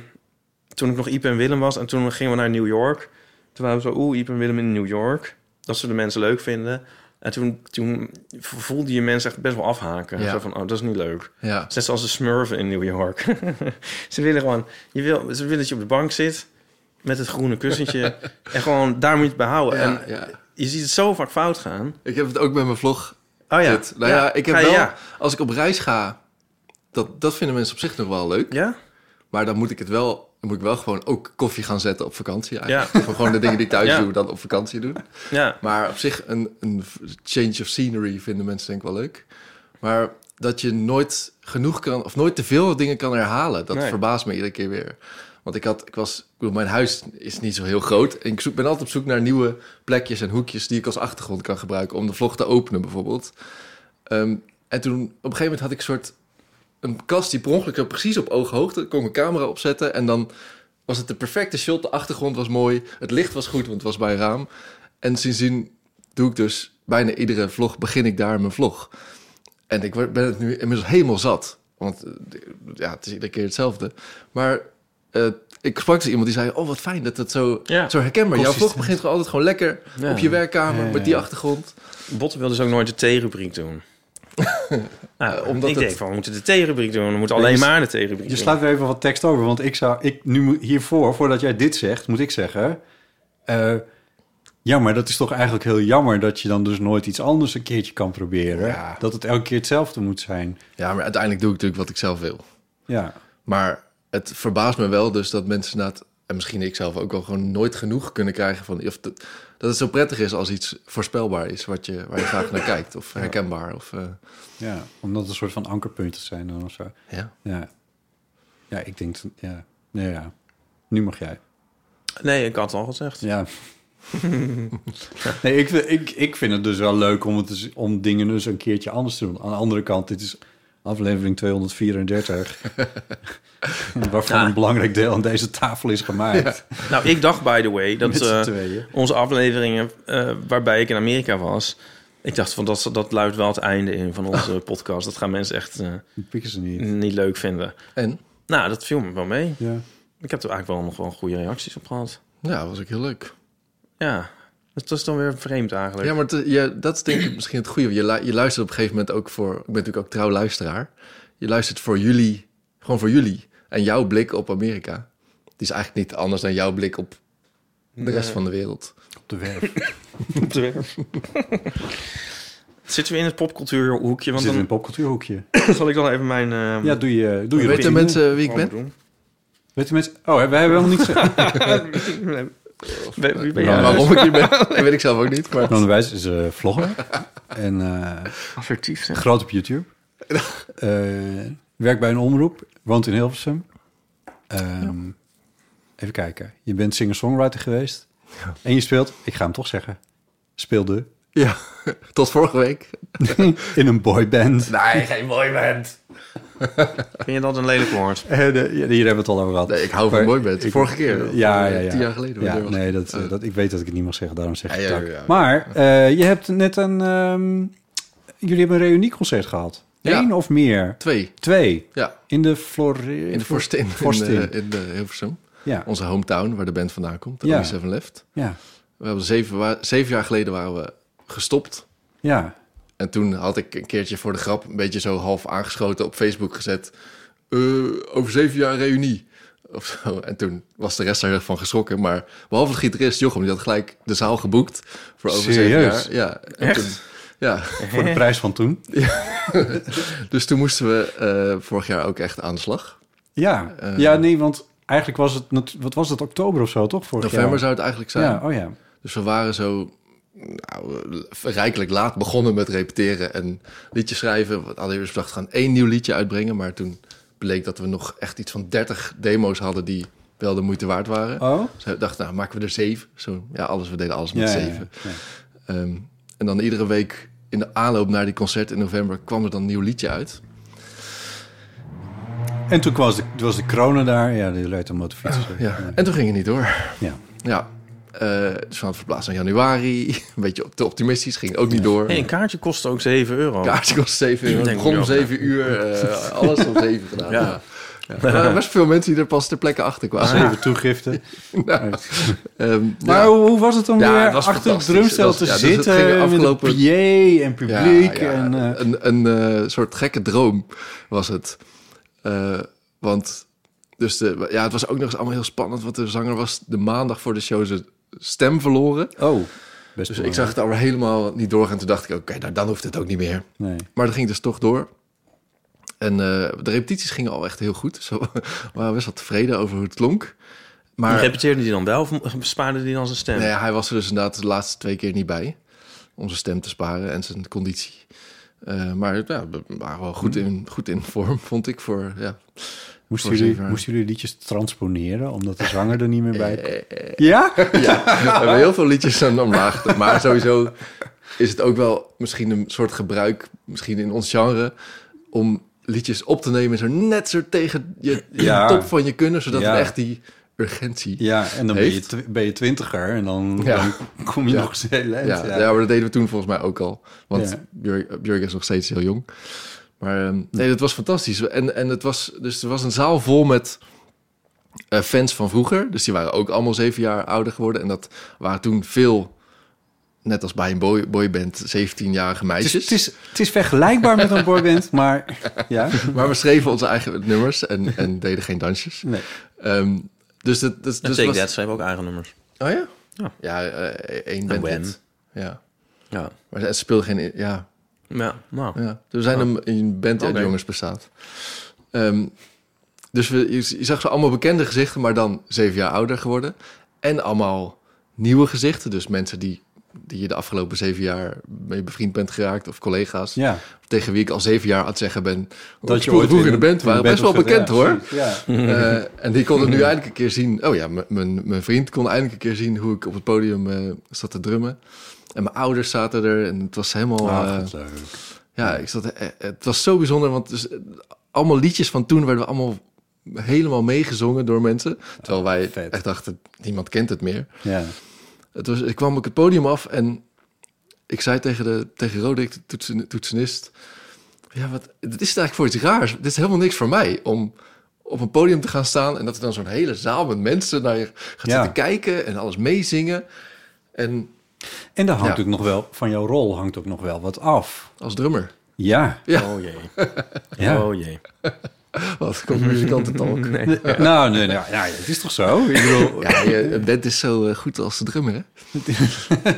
Speaker 1: toen ik nog Iep en Willem was. En toen gingen we naar New York. Toen waren we zo, oeh, Iep en Willem in New York. Dat zullen de mensen leuk vinden. En toen, toen voelde je mensen echt best wel afhaken.
Speaker 2: Ja.
Speaker 1: Zo van, oh, dat is niet leuk.
Speaker 2: Ja.
Speaker 1: Net zoals de smurven in New York. ze willen gewoon, je wil, ze willen dat je op de bank zit. Met het groene kussentje. en gewoon, daar moet je het bij houden.
Speaker 2: Ja,
Speaker 1: en
Speaker 2: ja.
Speaker 1: je ziet het zo vaak fout gaan.
Speaker 2: Ik heb het ook met mijn vlog.
Speaker 1: Oh ja.
Speaker 2: Dit. Nou ja, ik heb
Speaker 1: ga je-
Speaker 2: wel...
Speaker 1: Ja?
Speaker 2: Als ik op reis ga, dat, dat vinden mensen op zich nog wel leuk.
Speaker 1: ja?
Speaker 2: Maar dan moet ik het wel... Dan moet ik wel gewoon ook koffie gaan zetten op vakantie eigenlijk.
Speaker 1: Ja.
Speaker 2: Of gewoon de dingen die ik thuis
Speaker 1: Ja.
Speaker 2: doe, dan op vakantie doen.
Speaker 1: Ja.
Speaker 2: Maar op zich, een, een change of scenery vinden mensen denk ik wel leuk. Maar dat je nooit genoeg kan, of nooit te veel dingen kan herhalen, dat
Speaker 1: Nee.
Speaker 2: verbaast me iedere keer weer. Want ik had, ik was, ik bedoel, mijn huis is niet zo heel groot. En ik zoek, ben altijd op zoek naar nieuwe plekjes en hoekjes die ik als achtergrond kan gebruiken om de vlog te openen, bijvoorbeeld. Ehm, en toen, op een gegeven moment had ik een soort een kast die per ongeluk precies op ooghoogte kon ik mijn camera opzetten en dan was het de perfecte shot. De achtergrond was mooi, het licht was goed, want het was bij een raam. En sindsdien doe ik dus bijna iedere vlog, begin ik daar mijn vlog. En ik word- ben het nu inmiddels helemaal zat. Want eh, ja, het is iedere keer hetzelfde. Maar eh, ik sprak dus iemand die zei... oh, wat fijn dat het zo,
Speaker 1: Ja.
Speaker 2: zo herkenbaar is. Jouw vlog
Speaker 3: Consistent.
Speaker 2: begint gewoon altijd gewoon lekker
Speaker 1: Ja.
Speaker 2: op je werkkamer...
Speaker 3: Ja, ja,
Speaker 2: met die
Speaker 3: ja.
Speaker 2: achtergrond.
Speaker 1: Botten wil dus ook nooit de T-rubriek doen. Nou,
Speaker 2: Eh, omdat
Speaker 1: ik
Speaker 2: het-
Speaker 1: denk van, we moeten de T-rubriek doen. We moeten alleen
Speaker 3: je s-
Speaker 1: maar de T-rubriek
Speaker 3: Je
Speaker 1: doen.
Speaker 3: slaat weer even wat tekst over, want ik zou... Ik, nu moet- hiervoor, voordat jij dit zegt, moet ik zeggen... eh, ja, maar dat is toch eigenlijk heel jammer... dat je dan dus nooit iets anders een keertje kan proberen.
Speaker 2: Ja.
Speaker 3: Dat het elke keer hetzelfde moet zijn.
Speaker 2: Ja, maar uiteindelijk doe ik natuurlijk wat ik zelf wil.
Speaker 3: Ja.
Speaker 2: Maar het verbaast me wel dus dat mensen na het... en misschien ik zelf ook wel gewoon nooit genoeg kunnen krijgen van... Of dat, dat het zo prettig is als iets voorspelbaar is... Wat je, waar je graag naar kijkt of herkenbaar. Of, eh,
Speaker 3: Ja, omdat het een soort van ankerpunten zijn dan of zo.
Speaker 2: ja.
Speaker 3: Ja. Ja, ik denk... Ja. Nee, ja. Nu mag jij.
Speaker 1: Nee, ik had het al gezegd.
Speaker 3: Ja. nee, ik, vind- ik, ik vind het dus wel leuk om, het dus, om dingen dus een keertje anders te doen. Aan de andere kant, dit is aflevering 234. waarvan
Speaker 1: Ja.
Speaker 3: een belangrijk deel aan deze tafel is gemaakt.
Speaker 1: Nou, ik dacht, by the way, dat
Speaker 3: Met z'n
Speaker 1: eh,
Speaker 3: tweeën.
Speaker 1: onze afleveringen eh, waarbij ik in Amerika was... Ik dacht van, dat, dat luidt wel het einde in van onze podcast. Dat gaan mensen echt eh,
Speaker 3: Die pikken ze niet.
Speaker 1: niet leuk vinden.
Speaker 2: En?
Speaker 1: Nou, dat viel me wel mee.
Speaker 3: Ja.
Speaker 1: Ik heb er eigenlijk wel nog wel goede reacties op gehad.
Speaker 2: Ja, dat was ook heel leuk.
Speaker 1: Ja, dat is dan weer vreemd eigenlijk.
Speaker 2: Ja, maar het- eh, ja, dat is denk ik misschien het goede. Je, lu- je luistert op een gegeven moment ook voor... Ik ben natuurlijk ook trouw luisteraar. Je luistert voor jullie, gewoon voor jullie. En jouw blik op Amerika... die is eigenlijk niet anders dan jouw blik op de rest van de wereld.
Speaker 3: Op de werf.
Speaker 1: op de werf. Zitten we in het popcultuurhoekje?
Speaker 3: We
Speaker 1: Want
Speaker 3: zitten in
Speaker 1: dan
Speaker 3: een popcultuurhoekje.
Speaker 1: zal ik dan even mijn... eh,
Speaker 3: Ja, doe je doe
Speaker 2: Weten
Speaker 3: je
Speaker 1: Weet
Speaker 3: routine.
Speaker 2: mensen wie ik ben?
Speaker 1: overdoen.
Speaker 3: Weten mensen... Oh, hè, wij hebben helemaal niet gezegd.
Speaker 1: Wie- wie ben
Speaker 3: Ja.
Speaker 1: jij?
Speaker 2: Waarom ik hier ben, dat weet ik zelf ook niet. Maar
Speaker 3: Ron de Wijs is eh, vlogger. En... eh,
Speaker 1: Assertief zeg.
Speaker 3: Groot op YouTube. Eh, werkt bij een omroep. Woont in Hilversum. Ehm, Even kijken. Je bent singer-songwriter geweest. En je speelt, ik ga hem toch zeggen, speelde
Speaker 2: ja, tot vorige week.
Speaker 3: in een boyband.
Speaker 2: Nee, geen boyband.
Speaker 1: Vind je dat een lelijk woord?
Speaker 3: En, eh, hier hebben we het al over gehad.
Speaker 2: Nee, ik hou van
Speaker 3: Maar
Speaker 2: boyband.
Speaker 3: ik-
Speaker 2: Vorige keer. eh,
Speaker 3: Ja, ja, ja.
Speaker 2: Tien jaar geleden.
Speaker 3: Ja,
Speaker 2: wanneer was
Speaker 3: nee,
Speaker 2: het?
Speaker 3: dat, eh,
Speaker 2: Eh,
Speaker 3: dat, ik weet dat ik het niet mag zeggen, daarom zeg ik
Speaker 2: Ja,
Speaker 3: het
Speaker 2: ja,
Speaker 3: ook.
Speaker 2: ja.
Speaker 3: Maar eh, je hebt net een... ehm, jullie hebben een reunieconcert gehad.
Speaker 2: Ja.
Speaker 3: Eén of meer?
Speaker 2: Twee,
Speaker 3: Twee.
Speaker 2: ja.
Speaker 3: In de Flore...
Speaker 2: In de Forstin.
Speaker 3: Forstin.
Speaker 2: In, eh, in eh, Hilversum.
Speaker 3: Ja,
Speaker 2: Onze hometown, waar de band vandaan komt. De
Speaker 3: Ja.
Speaker 2: ja. Seven Left.
Speaker 3: ja,
Speaker 2: We hebben zeven, wa- zeven jaar geleden waren we gestopt.
Speaker 3: ja.
Speaker 2: En toen had ik een keertje voor de grap een beetje zo half aangeschoten op Facebook gezet. eh, over zeven jaar reunie. Of zo. En toen was de rest daar heel erg van geschrokken. Maar behalve de gitarist Jochem, die had gelijk de zaal geboekt voor over
Speaker 3: Serieus?
Speaker 2: zeven jaar. Ja, en
Speaker 1: Echt?
Speaker 2: toen- ja,
Speaker 3: Voor de prijs van toen.
Speaker 2: dus toen moesten we eh, vorig jaar ook echt aan de slag.
Speaker 3: Ja,
Speaker 2: Eh,
Speaker 3: ja nee, want Eigenlijk was het, nat- wat was het, oktober of zo, toch? Vorig
Speaker 2: November
Speaker 3: jaar?
Speaker 2: zou het eigenlijk zijn.
Speaker 3: Ja, oh ja.
Speaker 2: Dus we waren zo nou, rijkelijk laat begonnen met repeteren en liedjes schrijven. We hadden eerst bedacht, we gaan één nieuw liedje uitbrengen. Maar toen bleek dat we nog echt iets van 30 demo's hadden die wel de moeite waard waren.
Speaker 3: Oh?
Speaker 2: Dus we dachten, nou, maken we er zeven. Zo, ja, alles, we deden alles
Speaker 3: Ja,
Speaker 2: met
Speaker 3: ja, ja.
Speaker 2: zeven. Ehm, en dan iedere week in de aanloop naar die concert in november kwam er dan een nieuw liedje uit.
Speaker 3: En toen was de, was de corona daar. Ja, die rijdt een motorfiets.
Speaker 2: Oh, Ja. En toen ging het niet door.
Speaker 3: ja.
Speaker 2: Ja. Eh dus we hadden verplaatst naar januari. Een beetje op te optimistisch, ging ook niet door.
Speaker 1: Hey, een kaartje kostte ook 7 euro.
Speaker 2: Kaartje kost 7
Speaker 1: Ik
Speaker 2: euro.
Speaker 1: denk
Speaker 2: Begon om
Speaker 1: ook, ja.
Speaker 2: 7 uur. eh, alles om 7 gedaan.
Speaker 1: Ja.
Speaker 2: Ja. Ja. Er waren best veel mensen die er pas ter plekke achter kwamen.
Speaker 3: Zeven toegiften.
Speaker 2: Nou, ehm,
Speaker 3: Ah, Maar
Speaker 2: ja.
Speaker 3: hoe, hoe was het om
Speaker 2: Ja,
Speaker 3: weer
Speaker 2: het was
Speaker 3: achter het
Speaker 2: fantastisch.
Speaker 3: drumstel
Speaker 2: Dat-
Speaker 3: te
Speaker 2: ja, dus het
Speaker 3: zitten?
Speaker 2: ging
Speaker 3: met een
Speaker 2: afgelopen-
Speaker 3: PA en publiek.
Speaker 2: Ja, ja,
Speaker 3: en, eh,
Speaker 2: een, een eh, soort gekke droom was het. Eh, want dus de, ja, het was ook nog eens allemaal heel spannend. Want de zanger was de maandag voor de show zijn stem verloren.
Speaker 3: oh, best
Speaker 2: Dus ik zag het allemaal helemaal niet doorgaan. Toen dacht ik, oké, nou, dan hoeft het ook niet meer.
Speaker 3: Nee.
Speaker 2: Maar dat ging dus toch door. En eh, de repetities gingen al echt heel goed. Zo we waren best wel tevreden over hoe het klonk. Maar
Speaker 1: Repeteerde die dan wel of bespaarde die dan zijn stem?
Speaker 2: nee, hij was er dus inderdaad de laatste twee keer niet bij. Om zijn stem te sparen en zijn conditie. Eh, maar ja, we waren wel goed in, goed in vorm, vond ik. Voor, ja.
Speaker 3: Moesten
Speaker 2: Voor
Speaker 3: jullie,
Speaker 2: zeven. Eh,
Speaker 3: moesten jullie liedjes transponeren omdat de zanger er niet meer bij Ja?
Speaker 2: We hebben heel veel liedjes aan omlaag. Maar sowieso is het ook wel misschien een soort gebruik, misschien in ons genre, om liedjes op te nemen zo net zo tegen je, je
Speaker 3: Ja.
Speaker 2: top van je kunnen, zodat
Speaker 3: Ja.
Speaker 2: het echt die urgentie
Speaker 3: Ja, en dan ben je,
Speaker 2: Heeft.
Speaker 3: tw- ben je twintiger en dan,
Speaker 2: Ja.
Speaker 3: dan kom je
Speaker 2: Ja.
Speaker 3: nog eens heel eind.
Speaker 2: Ja,
Speaker 3: Ja,
Speaker 2: ja. maar dat deden we toen volgens mij ook al. Want
Speaker 3: Ja.
Speaker 2: Björk, Björk is nog steeds heel jong. Maar ehm, nee, dat was fantastisch. En, en het was, dus er was een zaal vol met eh, fans van vroeger. Dus die waren ook allemaal zeven jaar ouder geworden. En dat waren toen veel, net als bij een boy, boyband, 17-jarige
Speaker 3: Het, is,
Speaker 2: meisjes.
Speaker 3: het, is, het is vergelijkbaar met een boyband, maar ja.
Speaker 2: Maar we schreven onze eigen nummers en, en deden geen dansjes.
Speaker 3: Nee.
Speaker 2: Ehm, dus dat, dat,
Speaker 1: En
Speaker 2: dus
Speaker 1: Take
Speaker 2: was-
Speaker 1: That schreef ook eigen nummers.
Speaker 2: Oh ja?
Speaker 1: Ja.
Speaker 2: Ja, eh, één band.
Speaker 1: Wham.
Speaker 2: dit. Ja.
Speaker 1: Ja.
Speaker 2: Maar ze speelden geen... Ja,
Speaker 1: Ja, nou.
Speaker 2: Ja, er zijn een, een band die uit
Speaker 1: Oké.
Speaker 2: jongens bestaat. Ehm, dus we, je, je zag ze allemaal bekende gezichten, maar dan zeven jaar ouder geworden. En allemaal nieuwe gezichten. Dus mensen die, die je de afgelopen zeven jaar mee bevriend bent geraakt. Of collega's.
Speaker 3: ja.
Speaker 2: Tegen wie ik al zeven jaar aan het zeggen ben. Dat je
Speaker 3: ooit
Speaker 2: vroeger in de band
Speaker 3: een
Speaker 2: waren. Best wel
Speaker 3: was
Speaker 2: bekend
Speaker 3: gezeten.
Speaker 2: hoor.
Speaker 3: Ja, precies, ja.
Speaker 2: Eh, en die konden nu eindelijk een keer zien. Oh ja, m- mijn mijn vriend kon eindelijk een keer zien hoe ik op het podium eh, zat te drummen. En mijn ouders zaten er. En het was helemaal.
Speaker 3: Ah,
Speaker 2: eh,
Speaker 3: goed, leuk.
Speaker 2: ja, ik zat, eh, eh, het was zo bijzonder, want dus, eh, allemaal liedjes van toen werden we allemaal helemaal meegezongen door mensen. Terwijl wij
Speaker 3: Ah, vet.
Speaker 2: echt dachten, niemand kent het meer.
Speaker 3: Ja.
Speaker 2: Het was, ik kwam ook het podium af en ik zei tegen, de, tegen Roderick, de toetsen, toetsenist... Ja, wat, dit is eigenlijk voor iets raars. Dit is helemaal niks voor mij om op een podium te gaan staan... en dat er dan zo'n hele zaal met mensen naar je gaat
Speaker 3: Ja.
Speaker 2: zitten kijken... en alles meezingen. En
Speaker 3: En daar hangt
Speaker 2: Ja.
Speaker 3: ook nog wel, van jouw rol hangt ook nog wel wat af.
Speaker 2: als drummer.
Speaker 3: Ja.
Speaker 1: Oh jee.
Speaker 3: ja.
Speaker 1: Oh jee.
Speaker 2: Wat komt muzikantentalk.
Speaker 3: Nou, nee, nou, nou, het is toch zo? Ik bedoel,
Speaker 2: Ja, je, een band is zo eh, goed als de drummer, hè?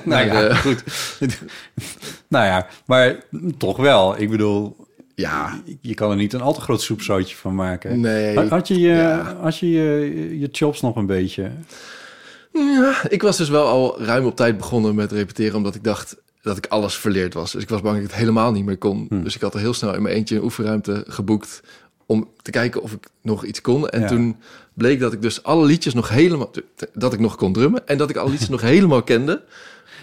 Speaker 3: nou ja,
Speaker 2: eh,
Speaker 3: goed. nou ja, maar toch wel. Ik bedoel,
Speaker 2: Ja,
Speaker 3: je kan er niet een al te groot soepzootje van maken.
Speaker 2: Nee.
Speaker 3: Had- Had je je,
Speaker 2: Ja.
Speaker 3: had je, je, je chops nog een beetje?
Speaker 2: Ja, ik was dus wel al ruim op tijd begonnen met repeteren, omdat ik dacht dat ik alles verleerd was. Dus ik was bang dat ik het helemaal niet meer kon. Dus ik had al heel snel in mijn eentje een oefenruimte geboekt om te kijken of ik nog iets kon. En
Speaker 3: Ja.
Speaker 2: toen bleek dat ik dus alle liedjes nog helemaal... dat ik nog kon drummen en dat ik alle liedjes nog helemaal kende.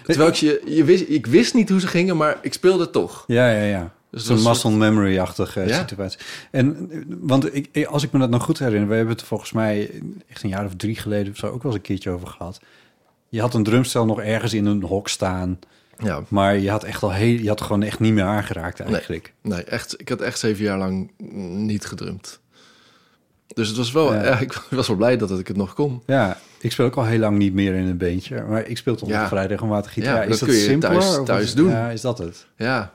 Speaker 2: Terwijl ik, je, je wist, ik wist niet hoe ze gingen, maar ik speelde toch.
Speaker 3: Ja, ja, ja.
Speaker 2: Dus
Speaker 3: Zo'n
Speaker 2: dat was
Speaker 3: muscle memory-achtige eh,
Speaker 2: Ja.
Speaker 3: situatie. En, eh, want ik, eh, als ik me dat nog goed herinner... we hebben het er volgens mij echt een jaar of drie geleden... of zo ook wel eens een keertje over gehad. Je had een drumstel nog ergens in een hok staan...
Speaker 2: Ja,
Speaker 3: maar je had, echt al heel, je had gewoon echt niet meer aangeraakt eigenlijk.
Speaker 2: nee, echt, ik had echt zeven jaar lang niet gedrumd. Dus het was wel,
Speaker 3: Ja.
Speaker 2: ja, ik was wel blij dat ik het nog kon.
Speaker 3: Ja, ik speel ook al heel lang niet meer in een beentje... maar ik speel toch
Speaker 2: Ja.
Speaker 3: nog vrij regelmatig gitaar.
Speaker 2: Ja,
Speaker 3: is
Speaker 2: dat
Speaker 3: dat
Speaker 2: kun je
Speaker 3: simpeler?
Speaker 2: thuis-
Speaker 3: of
Speaker 2: thuis
Speaker 3: is-
Speaker 2: doen.
Speaker 3: Ja, is dat het?
Speaker 2: Ja,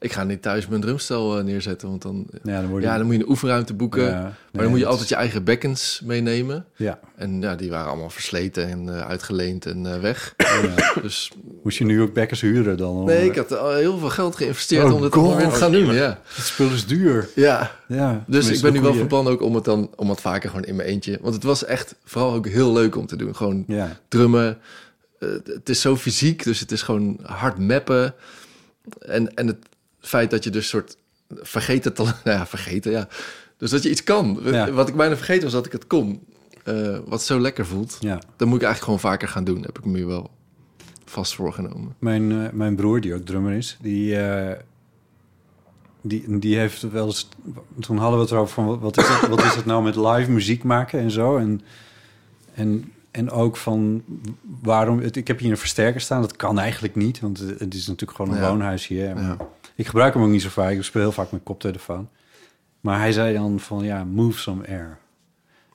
Speaker 2: Ik ga niet thuis mijn drumstel eh, neerzetten, want dan,
Speaker 3: Ja, dan word je...
Speaker 2: ja, dan moet je een oefenruimte boeken.
Speaker 3: Ja,
Speaker 2: maar
Speaker 3: nee,
Speaker 2: dan moet je
Speaker 3: dat-
Speaker 2: altijd je eigen bekkens meenemen.
Speaker 3: Ja,
Speaker 2: En ja, die waren allemaal versleten en eh, uitgeleend en eh, weg.
Speaker 3: ja.
Speaker 2: Dus
Speaker 3: Moest je nu ook bekkers huren dan? om- eh,
Speaker 2: nee, ik had al heel veel geld geïnvesteerd
Speaker 3: Oh,
Speaker 2: om dit
Speaker 3: God.
Speaker 2: allemaal weer te gaan doen. Ja.
Speaker 3: Het spul is duur.
Speaker 2: ja,
Speaker 3: Ja,
Speaker 2: Dus
Speaker 3: tenminste,
Speaker 2: ik ben nu
Speaker 3: de
Speaker 2: wel
Speaker 3: koeien.
Speaker 2: van plan ook om het dan om het vaker gewoon in mijn eentje. Want het was echt vooral ook heel leuk om te doen. Gewoon
Speaker 3: Ja,
Speaker 2: drummen. Eh, het is zo fysiek, dus het is gewoon hard mappen. En, en het feit dat je dus soort vergeten talent... Nou ja, vergeten, ja. Dus dat je iets kan.
Speaker 3: Ja.
Speaker 2: Wat ik bijna vergeten was dat ik het kon. Eh, wat zo lekker voelt.
Speaker 3: ja.
Speaker 2: Dat moet ik eigenlijk gewoon vaker gaan doen. Heb ik me nu wel vast voorgenomen.
Speaker 3: Mijn, eh, mijn broer, die ook drummer is, die, eh, die, die heeft wel eens... Toen hadden we het erover van, wat- wat is het, wat is het nou met live muziek maken en zo. En, en, en ook van, waarom... Het, ik heb hier een versterker staan, dat kan eigenlijk niet. Want het, het is natuurlijk gewoon een
Speaker 2: Ja.
Speaker 3: woonhuis hier. Maar
Speaker 2: Ja.
Speaker 3: Ik gebruik hem ook niet zo vaak, ik speel heel vaak met koptelefoon. Maar hij zei dan van, ja, move some air.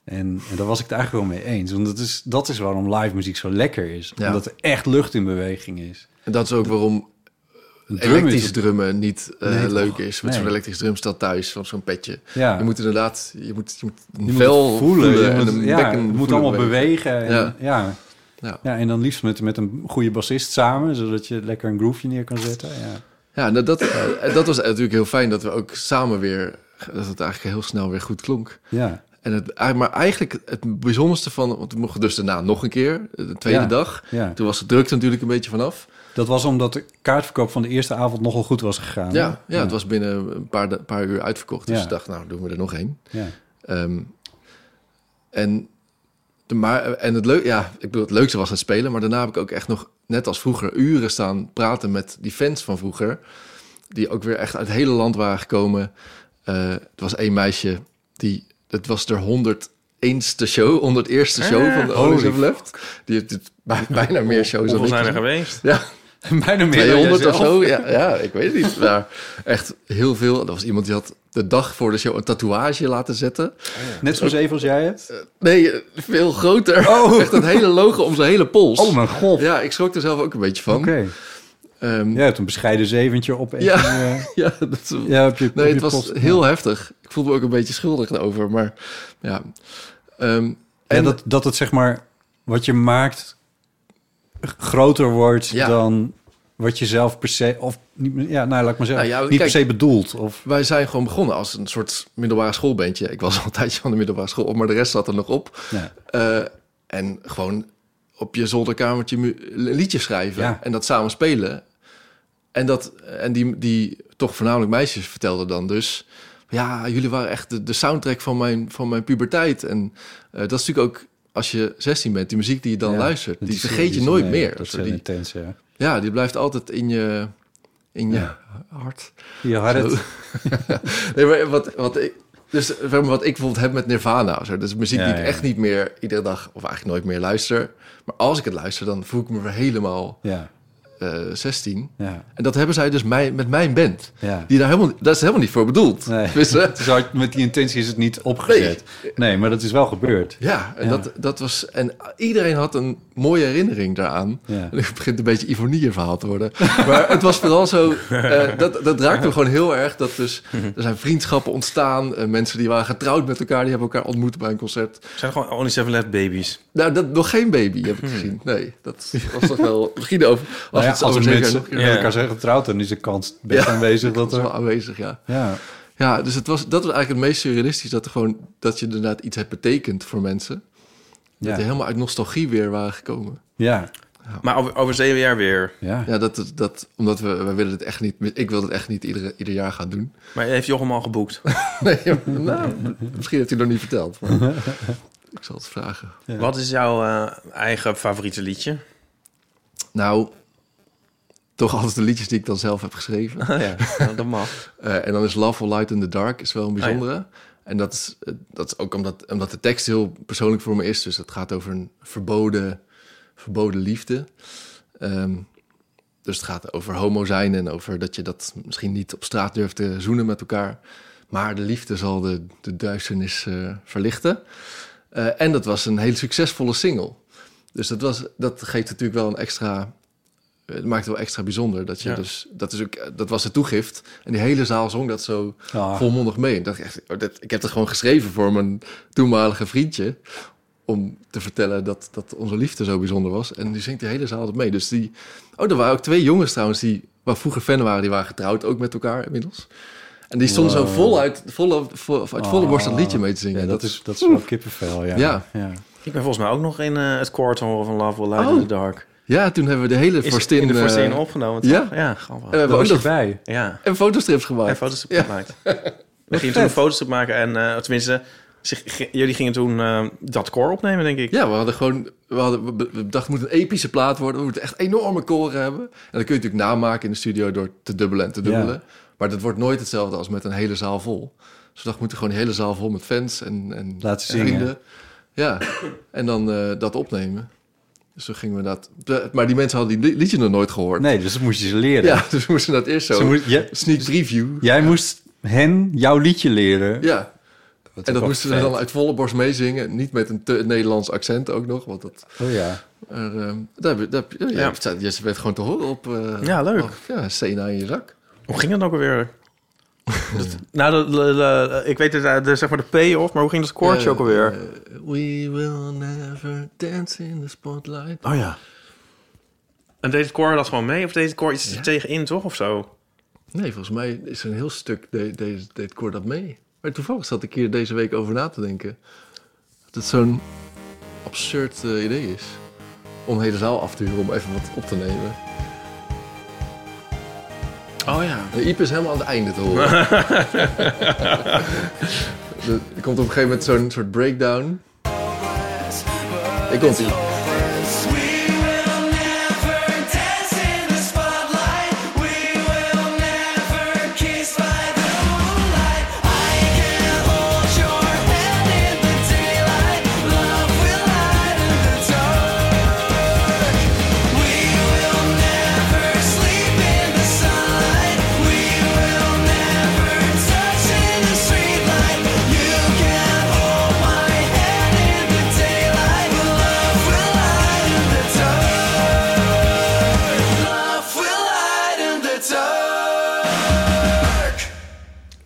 Speaker 3: En, en daar was ik het eigenlijk wel mee eens. Want dat is, dat is waarom live muziek zo lekker is.
Speaker 2: Ja.
Speaker 3: Omdat er echt lucht in beweging is.
Speaker 2: En dat is ook waarom
Speaker 3: Een drum is
Speaker 2: elektrisch
Speaker 3: het-
Speaker 2: drummen niet eh,
Speaker 3: Nee, toch?
Speaker 2: leuk is. Met zo'n
Speaker 3: Nee.
Speaker 2: elektrisch drumstel thuis, van zo'n petje.
Speaker 3: Ja.
Speaker 2: Je moet inderdaad, je moet, je moet een
Speaker 3: Je moet
Speaker 2: vel
Speaker 3: het
Speaker 2: voelen,
Speaker 3: je
Speaker 2: en
Speaker 3: moet-
Speaker 2: een
Speaker 3: ja,
Speaker 2: bekken
Speaker 3: het moet
Speaker 2: voelen
Speaker 3: allemaal
Speaker 2: een beetje.
Speaker 3: bewegen. En,
Speaker 2: Ja.
Speaker 3: ja. Ja.
Speaker 2: Ja.
Speaker 3: en dan liefst met, met een goede bassist samen, zodat je lekker een groefje neer kan zetten. Ja,
Speaker 2: Ja, nou, dat, eh, dat was natuurlijk heel fijn dat we ook samen weer, dat het eigenlijk heel snel weer goed klonk.
Speaker 3: ja.
Speaker 2: En het, eh, maar eigenlijk het bijzonderste van, want we mochten dus daarna nog een keer, eh, de tweede
Speaker 3: Ja.
Speaker 2: dag.
Speaker 3: ja.
Speaker 2: Toen was de drukte natuurlijk een beetje vanaf.
Speaker 3: Dat was omdat de kaartverkoop van de eerste avond nogal goed was gegaan.
Speaker 2: Ja,
Speaker 3: hè?
Speaker 2: ja, het was binnen een paar, da- paar uur uitverkocht. Dus
Speaker 3: Ja.
Speaker 2: ik dacht, nou doen we er nog één.
Speaker 3: Ja.
Speaker 2: Ehm, en, de, maar, en het, leuk, ja, ik bedoel, het leukste was het spelen, maar daarna heb ik ook echt nog, net als vroeger, uren staan praten met die fans van vroeger. Die ook weer echt uit het hele land waren gekomen. Eh het was één meisje, die, het was haar 101ste show, 101ste show van de Olis of Left. Die heeft het bij- bijna meer shows dan
Speaker 1: Ah, Hoeveel
Speaker 2: ik.
Speaker 1: zijn er
Speaker 2: gezien.
Speaker 1: geweest?
Speaker 2: Ja,
Speaker 3: Bijna meer
Speaker 2: 200 of zo. Ja, ja, ik weet het niet. Maar echt heel veel. Er was iemand die had de dag voor de show een tatoeage laten zetten.
Speaker 3: Net zo zeven als jij hebt.
Speaker 2: Nee, eh, veel groter. Echt dat hele logo om zijn hele pols.
Speaker 3: Oh mijn god.
Speaker 2: Ja, ik schrok er zelf ook een beetje van.
Speaker 3: Oké.
Speaker 2: Ehm,
Speaker 3: Jij hebt een bescheiden zeventje op.
Speaker 2: Ja.
Speaker 3: en, eh,
Speaker 2: ja, dat is-
Speaker 3: ja, op je, op
Speaker 2: nee,
Speaker 3: je
Speaker 2: het was
Speaker 3: post.
Speaker 2: heel heftig. Ik voelde me ook een beetje schuldig over, maar ja. Ehm,
Speaker 3: Ja,
Speaker 2: en
Speaker 3: dat, dat het zeg maar wat je maakt g- groter wordt
Speaker 2: Ja.
Speaker 3: dan wat je zelf per se of niet, meer- ja, nou laat ik maar zeggen,
Speaker 2: Nou ja,
Speaker 3: niet
Speaker 2: kijk-
Speaker 3: per se bedoelt of
Speaker 2: wij zijn gewoon begonnen als een soort middelbare schoolbandje. Ik was al een tijdje van de middelbare school op, maar de rest zat er nog op.
Speaker 3: ja,
Speaker 2: Eh, en gewoon op je zolderkamertje mu- liedjes schrijven
Speaker 3: Ja.
Speaker 2: en dat samen spelen. En, dat, en die, die toch voornamelijk meisjes vertelden dan dus... Ja, jullie waren echt de, de soundtrack van mijn, van mijn puberteit. En eh, dat is natuurlijk ook als je 16 bent, die muziek die je dan
Speaker 3: Ja,
Speaker 2: luistert, die
Speaker 3: dat is-
Speaker 2: vergeet je
Speaker 3: die-
Speaker 2: nooit
Speaker 3: nee,
Speaker 2: meer.
Speaker 3: Dat
Speaker 2: Zo,
Speaker 3: zijn
Speaker 2: die-
Speaker 3: intens, ja.
Speaker 2: ja, die blijft altijd in je, in je
Speaker 3: Ja.
Speaker 2: hart.
Speaker 3: Je had
Speaker 2: Zo.
Speaker 3: het,
Speaker 2: Nee, maar wat, wat ik... Dus zeg maar, wat ik bijvoorbeeld heb met Nirvana. of Zo. Dat is muziek
Speaker 3: Ja,
Speaker 2: die ik
Speaker 3: ja,
Speaker 2: echt
Speaker 3: ja.
Speaker 2: niet meer iedere dag... of eigenlijk nooit meer luister. Maar als ik het luister, dan voel ik me weer helemaal
Speaker 3: ja,
Speaker 2: eh 16.
Speaker 3: ja,
Speaker 2: En dat hebben zij dus mij, met mijn band.
Speaker 3: ja.
Speaker 2: Die daar helemaal, dat is helemaal niet voor bedoeld.
Speaker 3: Nee.
Speaker 2: Tenminste,
Speaker 3: Zo, met die intentie is het niet opgezet. Nee, maar dat is wel gebeurd.
Speaker 2: ja, en
Speaker 3: Ja.
Speaker 2: Dat, dat was... En iedereen had een mooie herinnering daaraan.
Speaker 3: Ja.
Speaker 2: En het begint een beetje Ivonie verhaal te worden. Maar het was vooral zo... eh, dat, dat raakte me gewoon heel erg. Dat dus, er zijn vriendschappen ontstaan. eh, mensen die waren getrouwd met elkaar. Die hebben elkaar ontmoet bij een concert.
Speaker 1: Zijn er gewoon Only Seven Left Babies?
Speaker 2: Nou, dat, nog geen baby heb ik gezien. Nee, dat was toch wel... Misschien over... Als,
Speaker 3: Hmm. Nou ja,
Speaker 2: het zo
Speaker 3: als er
Speaker 2: zeker
Speaker 3: mensen
Speaker 2: nog-
Speaker 3: met
Speaker 1: Ja.
Speaker 3: elkaar zijn getrouwd, dan is de kans best
Speaker 2: Ja.
Speaker 3: aanwezig
Speaker 2: Dat
Speaker 3: dat
Speaker 2: was wel
Speaker 3: er...
Speaker 2: aanwezig, ja.
Speaker 3: Ja,
Speaker 2: Ja, dus het was, dat was eigenlijk het meest surrealistisch. Dat, er gewoon, dat je inderdaad iets hebt betekend voor mensen. Dat die
Speaker 3: ja,
Speaker 2: helemaal uit nostalgie weer waren gekomen.
Speaker 3: ja,
Speaker 1: Maar over, over zeven jaar weer.
Speaker 3: ja.
Speaker 2: Ja, dat, dat, omdat we, we willen het echt niet... Ik wil het echt niet iedere, ieder jaar gaan doen.
Speaker 1: Maar heeft Jochem al geboekt?
Speaker 2: Nee, nou, misschien heeft hij het nog niet verteld. Maar ik zal het vragen.
Speaker 1: Wat is jouw eh, eigen favoriete liedje?
Speaker 2: Nou, toch altijd de liedjes die ik dan zelf heb geschreven.
Speaker 1: Oh ja, nou, dat mag.
Speaker 2: Eh, en dan is Love or Light in the Dark is wel een bijzondere. En dat is, eh, dat is ook omdat, omdat de tekst heel persoonlijk voor me is. Dus het gaat over een verboden, verboden liefde. Ehm, dus het gaat over homo zijn en over dat je dat misschien niet op straat durft te zoenen met elkaar. Maar de liefde zal de, de duisternis eh, verlichten. Eh, en dat was een hele succesvolle single. Dus dat, was, dat geeft natuurlijk wel een extra het maakt het wel extra bijzonder. Dat, je
Speaker 1: Ja.
Speaker 2: dus, dat, is ook, dat was de toegift. En die hele zaal zong dat zo
Speaker 3: Ah.
Speaker 2: volmondig mee. Ik dacht echt, oh, dat, ik heb dat gewoon geschreven voor mijn toenmalige vriendje. Om te vertellen dat, dat onze liefde zo bijzonder was. En die zingt de hele zaal dat mee. Dus die. Oh, er waren ook twee jongens trouwens die. waar vroeger fan waren. die waren getrouwd ook met elkaar inmiddels. En die stonden zo
Speaker 3: Wow. Ah.
Speaker 2: vol uit, vol, vol- uit volle borst dat liedje mee te zingen.
Speaker 3: Ja, dat is, dat is wel kippenvel, ja.
Speaker 2: Ja.
Speaker 1: Ik ben volgens mij ook nog in eh, het koor te horen van Love Will Light
Speaker 2: Oh.
Speaker 1: in the Dark.
Speaker 2: Ja, toen hebben we de hele
Speaker 1: Is
Speaker 2: voorstin...
Speaker 1: in de
Speaker 2: eh,
Speaker 1: voorstin opgenomen, toch?
Speaker 2: ja.
Speaker 1: Ja,
Speaker 2: En we
Speaker 1: grappig.
Speaker 3: Daar
Speaker 2: hebben ook
Speaker 3: was je
Speaker 2: nog
Speaker 3: bij.
Speaker 1: Ja,
Speaker 2: en fotostrips gemaakt.
Speaker 1: en foto's
Speaker 2: Ja.
Speaker 1: gemaakt. We gingen toen een fotostrip maken en, eh, tenminste, zich, g- jullie gingen toen eh, dat koor opnemen, denk ik.
Speaker 2: Ja, we hadden gewoon... We, hadden, we be- we dachten, het moet een epische plaat worden. We moeten echt enorme koren hebben. En dat kun je natuurlijk namaken in de studio door te dubbelen en te dubbelen. Maar dat wordt nooit hetzelfde als met een hele zaal vol. Dus we dachten, we moeten gewoon een hele zaal vol met fans en, en,
Speaker 3: Laten
Speaker 2: en
Speaker 3: zingen.
Speaker 2: vrienden. Ja, en dan eh, dat opnemen. Dus toen gingen we dat... de- Maar die mensen hadden die li- liedje nog nooit gehoord.
Speaker 3: Nee, dus dat moest je ze leren.
Speaker 2: Ja, dus we moesten dat eerst zo...
Speaker 3: Ze moest- je-
Speaker 2: Sneak preview.
Speaker 3: Jij moest hen jouw liedje leren.
Speaker 2: ja.
Speaker 3: Wat
Speaker 2: En
Speaker 3: ook
Speaker 2: dat
Speaker 3: wel
Speaker 2: moesten we
Speaker 3: vet.
Speaker 2: dan uit volle borst meezingen. Niet met een te Nederlands accent ook nog. Want dat,
Speaker 3: Oh ja.
Speaker 2: er, ehm, daar, heb- daar, heb- ja,
Speaker 1: Ja.
Speaker 2: ja. Je bent gewoon te horen op... eh,
Speaker 1: Ja, leuk.
Speaker 2: op- ja, Sena in je zak.
Speaker 1: Hoe ging dat ook alweer? Dat- nou, dat- de- de- ik weet het, eh, de, zeg maar de payoff, maar hoe ging dat koortje
Speaker 2: Eh,
Speaker 1: ook alweer?
Speaker 2: eh, we will never dance in the spotlight.
Speaker 1: oh ja. En deed het koor dat gewoon mee? Of deed het koor iets
Speaker 2: Ja.
Speaker 1: tegenin, toch? Of zo?
Speaker 2: Nee, volgens mij is er een heel stuk... de- deze deed Cor dat mee. Maar toevallig zat ik hier deze week over na te denken. Dat het zo'n absurd eh, idee is. Om de hele zaal af te huren om even wat op te nemen.
Speaker 1: Oh ja.
Speaker 2: De Iep is helemaal aan het einde te horen. Er er komt op een gegeven moment zo'n soort breakdown. Ik komt ie.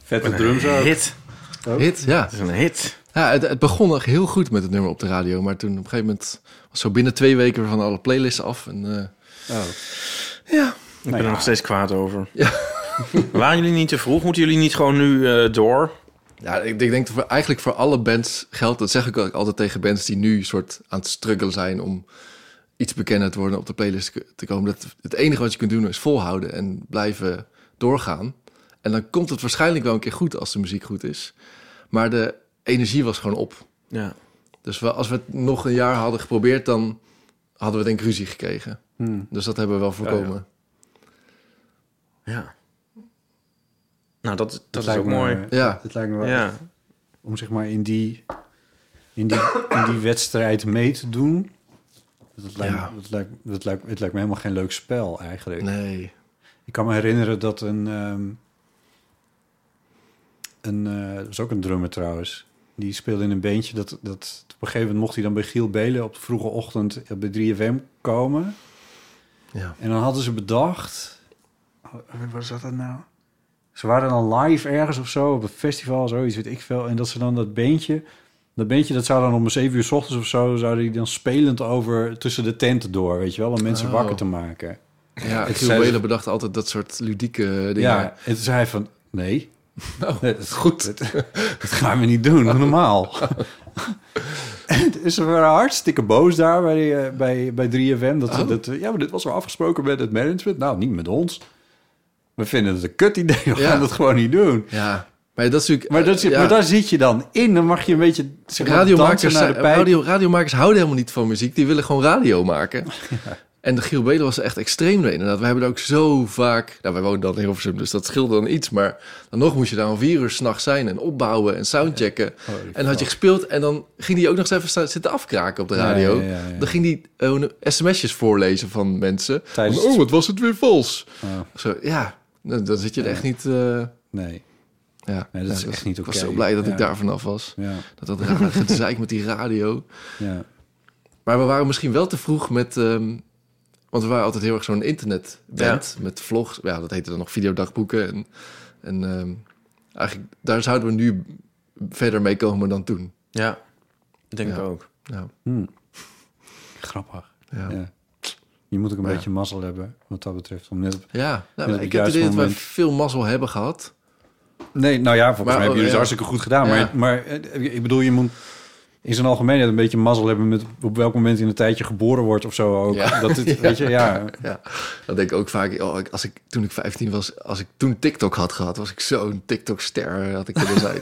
Speaker 3: Vette drums ook.
Speaker 1: Hit.
Speaker 2: Hit, ja.
Speaker 1: Het is een hit.
Speaker 2: ja het, het begon nog heel goed met het nummer op de radio. Maar toen op een gegeven moment was zo binnen twee weken weer van alle playlists af. En, eh,
Speaker 3: Oh.
Speaker 2: ja.
Speaker 1: Ik
Speaker 3: Nou
Speaker 1: ben er nog steeds kwaad over.
Speaker 2: Ja.
Speaker 1: Waren jullie niet te vroeg? Moeten jullie niet gewoon nu eh, door?
Speaker 2: ja, ik, ik denk dat voor, eigenlijk voor alle bands geldt. Dat zeg ik ook altijd tegen bands die nu soort aan het struggelen zijn om iets bekender te worden op de playlist te- te komen. Dat het enige wat je kunt doen is volhouden en blijven doorgaan. En dan komt het waarschijnlijk wel een keer goed als de muziek goed is. Maar de energie was gewoon op.
Speaker 1: Ja.
Speaker 2: Dus we, als we het nog een jaar hadden geprobeerd, dan hadden we denk ik ruzie gekregen.
Speaker 3: Hmm.
Speaker 2: Dus dat hebben we wel voorkomen.
Speaker 1: Ja. Nou, dat, dat, is
Speaker 3: lijkt
Speaker 1: ook
Speaker 3: me-
Speaker 1: mooi.
Speaker 2: Ja.
Speaker 3: Het lijkt me wel
Speaker 1: Ja.
Speaker 3: om zeg maar in die, in die, in die wedstrijd mee te doen. Dat lijkt, me-
Speaker 2: Ja.
Speaker 3: dat lijkt, dat lijkt, het lijkt me helemaal geen leuk spel eigenlijk.
Speaker 2: Nee.
Speaker 3: Ik kan me herinneren dat een... ehm, een eh, dat was ook een drummer trouwens. Die speelde in een beentje. Dat, dat, op een gegeven moment mocht hij dan bij Giel Belen... op de vroege ochtend bij 3FM komen.
Speaker 2: Ja.
Speaker 3: En dan hadden ze bedacht... Wat was dat dan nou? Ze waren dan live ergens of zo, op een festival, zoiets weet ik veel. En dat ze dan dat beentje... Dat beentje, dat zou dan om 7 uur s ochtends of zo... zouden die dan spelend over tussen de tenten door, weet je wel? Om mensen
Speaker 2: Oh.
Speaker 3: wakker te maken.
Speaker 2: Ja,
Speaker 3: Het
Speaker 2: Giel
Speaker 3: zijn-
Speaker 2: Belen bedacht altijd dat soort ludieke dingen. Oh.
Speaker 3: Ja, en toen zei hij van... Nee, dat is goed. Dat, dat gaan we niet doen, doe normaal.
Speaker 2: Oh.
Speaker 3: En dus ze waren hartstikke boos daar bij, eh, bij, bij 3FM. Dat,
Speaker 2: Oh.
Speaker 3: dat, eh, ja, maar dit was wel afgesproken met het management. Nou, niet met ons. We vinden het een kut idee, we
Speaker 2: Ja.
Speaker 3: gaan dat gewoon niet doen.
Speaker 2: Ja. Maar dat is natuurlijk...
Speaker 3: Maar, dat zit,
Speaker 2: ja.
Speaker 3: maar daar zit je dan in. Dan mag je een beetje zeg maar,
Speaker 2: radiomakers,
Speaker 3: dansen naar de
Speaker 2: zijn-
Speaker 3: pijp.
Speaker 2: radio, radiomakers houden helemaal niet van muziek. Die willen gewoon radio maken. En de Giel Belen was er echt extreem mee. Inderdaad, we hebben er ook zo vaak... Nou, wij wonen dan in Hilversum, dus dat scheelde dan iets. Maar dan nog moest je daar om vier uur s'nachts zijn... en opbouwen en soundchecken.
Speaker 3: Oh,
Speaker 2: en had je gespeeld en dan ging hij ook nog eens even sta- zitten afkraken op de radio.
Speaker 3: Ja, ja, ja, ja.
Speaker 2: Dan ging hij eh, hoe noem- sms'jes voorlezen van mensen.
Speaker 3: Tijdens
Speaker 2: Van,
Speaker 3: het-
Speaker 2: oh, wat was het weer vals.
Speaker 3: Oh.
Speaker 2: Zo, ja, dan, dan zit je er echt niet... eh,
Speaker 3: Nee,
Speaker 2: ja.
Speaker 3: Nee, dat
Speaker 2: Ja,
Speaker 3: is echt niet
Speaker 2: Ik was
Speaker 3: oké.
Speaker 2: zo blij dat
Speaker 3: Ja.
Speaker 2: ik daar vanaf was.
Speaker 3: ja,
Speaker 2: Dat dat raar gezeik met die radio.
Speaker 3: ja.
Speaker 2: Maar we waren misschien wel te vroeg met ehm, Want we waren altijd heel erg zo'n internetband met vlogs. Ja, dat heette dan nog videodagboeken. En, en ehm, eigenlijk, daar zouden we nu verder mee komen dan toen.
Speaker 1: Ja, ik denk
Speaker 2: Ja.
Speaker 1: ik ook.
Speaker 2: Ja,
Speaker 3: Hmm. Grappig.
Speaker 2: ja. ja.
Speaker 3: Ja. Je moet ook een
Speaker 2: Ja.
Speaker 3: beetje mazzel hebben, wat dat betreft. Om net op...
Speaker 2: nou,
Speaker 3: op het
Speaker 2: ik heb het
Speaker 3: juiste
Speaker 2: idee dat wij
Speaker 3: moment.
Speaker 2: veel mazzel hebben gehad.
Speaker 3: Nee, nou ja, volgens
Speaker 2: Maar,
Speaker 3: mij hebben
Speaker 2: oh,
Speaker 3: jullie het
Speaker 2: ja.
Speaker 3: hartstikke goed gedaan.
Speaker 2: Ja.
Speaker 3: Maar, maar eh, ik bedoel, je moet in zijn algemeenheid een beetje mazzel hebben... met op welk moment in een tijdje geboren wordt of zo ook.
Speaker 2: Ja.
Speaker 3: Dat het, Weet je, ja.
Speaker 2: Ja, dat denk ik ook vaak. Oh, ik- als ik, toen ik 15 was, als ik toen TikTok had gehad, was ik zo'n TikTok-ster, had ik kunnen zijn.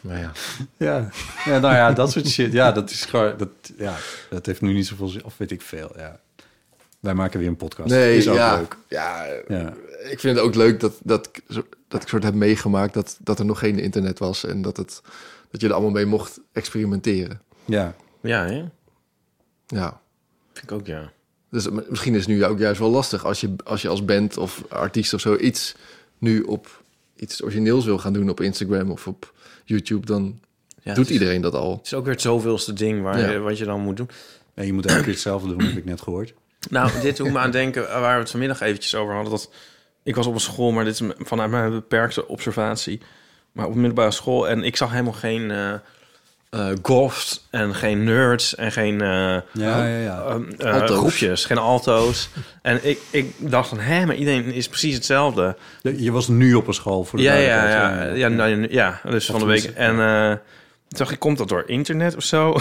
Speaker 2: maar ja,
Speaker 3: Ja. ja, nou ja, dat soort shit. Ja, dat is gewoon... Dat, ja, dat heeft nu niet zoveel zin. Of weet ik veel, ja. Wij maken weer een podcast.
Speaker 2: nee,
Speaker 3: is ook
Speaker 2: ja,
Speaker 3: leuk.
Speaker 2: ja,
Speaker 3: Ja.
Speaker 2: ik vind het ook leuk dat, dat, ik zo- dat ik soort heb meegemaakt dat, dat er nog geen internet was en dat, het, dat je er allemaal mee mocht experimenteren.
Speaker 3: ja.
Speaker 1: Ja, hè?
Speaker 2: Ja.
Speaker 1: Vind ik ook, ja.
Speaker 2: Dus m- misschien is het nu ook juist wel lastig als je als, je als band of artiest of zo iets nu op iets origineels wil gaan doen op Instagram of op YouTube, dan
Speaker 1: ja
Speaker 2: doet
Speaker 1: het is-
Speaker 2: iedereen dat al.
Speaker 1: Het is ook weer het zoveelste ding waar
Speaker 2: Ja.
Speaker 1: je, wat je dan moet doen.
Speaker 3: En je moet elke keer hetzelfde doen, heb ik net gehoord.
Speaker 1: Nou, dit doet me aan denken eh, waar we het vanmiddag eventjes over hadden. Dat ik was op een school, maar dit is m- vanuit mijn beperkte observatie. Maar op een middelbare school en ik zag helemaal geen eh eh, goths en geen nerds en geen eh,
Speaker 3: Ja, ja, ja.
Speaker 1: ehm, eh,
Speaker 2: Alto's.
Speaker 1: groepjes, geen alto's. en ik, ik dacht van, hè, maar iedereen is precies hetzelfde.
Speaker 3: Je je was nu op een school voor de
Speaker 1: Ja, ja, ja,
Speaker 3: duidelijkheid.
Speaker 1: ja, nou, ja, dus van de week. En eh, toen dacht ik, komt dat door internet of zo?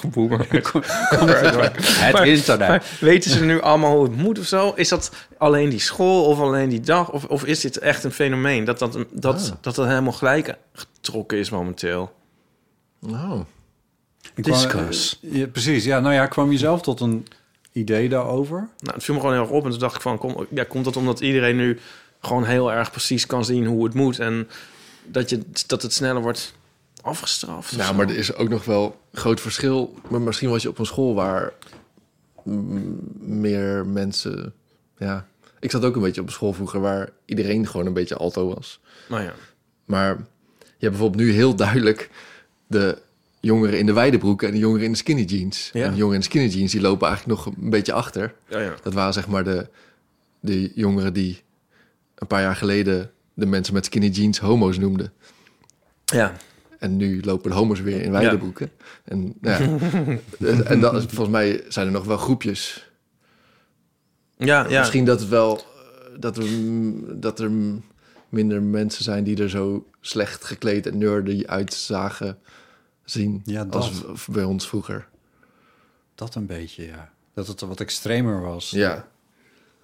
Speaker 1: Geboemer.
Speaker 3: Het
Speaker 1: Maar-
Speaker 3: internet.
Speaker 1: Maar weten ze nu allemaal hoe het moet of zo? Is dat alleen die school of alleen die dag? Of, of is dit echt een fenomeen dat dat, dat,
Speaker 3: Ah.
Speaker 1: dat dat helemaal gelijk getrokken is momenteel?
Speaker 2: Nou,
Speaker 3: Ik kwam-
Speaker 1: Discuss.
Speaker 3: eh, ja, precies, ja. Nou ja, kwam je zelf tot een idee daarover?
Speaker 1: Nou, het viel me gewoon heel erg op. En toen dacht ik van, kom, ja, komt dat omdat iedereen nu gewoon heel erg precies kan zien hoe het moet? En dat, je, dat het sneller wordt afgestraft? of
Speaker 2: Nou,
Speaker 1: zo?
Speaker 2: maar er is ook nog wel een groot verschil. Maar misschien was je op een school waar mm, meer mensen. Ja, ik zat ook een beetje op een school vroeger waar iedereen gewoon een beetje alto was.
Speaker 1: Nou ja.
Speaker 2: Maar je hebt bijvoorbeeld nu heel duidelijk de jongeren in de wijde broeken en de jongeren in de skinny jeans.
Speaker 1: Ja.
Speaker 2: En de jongeren in de skinny jeans die lopen eigenlijk nog een beetje achter.
Speaker 1: Ja, ja.
Speaker 2: Dat waren zeg maar de, de jongeren die een paar jaar geleden de mensen met skinny jeans homo's noemden.
Speaker 1: ja.
Speaker 2: En nu lopen de homo's weer in wijde
Speaker 1: Ja.
Speaker 2: broeken. En, nou ja. en dan, volgens mij zijn er nog wel groepjes.
Speaker 1: Ja, ja.
Speaker 2: Misschien dat het wel eh, dat er, mm, dat er mm, minder mensen zijn die er zo slecht gekleed en nerdy uitzagen zien
Speaker 3: Ja, dat.
Speaker 2: als v- bij ons vroeger.
Speaker 3: Dat een beetje, ja. Dat het wat extremer was.
Speaker 2: Ja.
Speaker 1: Ja,
Speaker 3: Het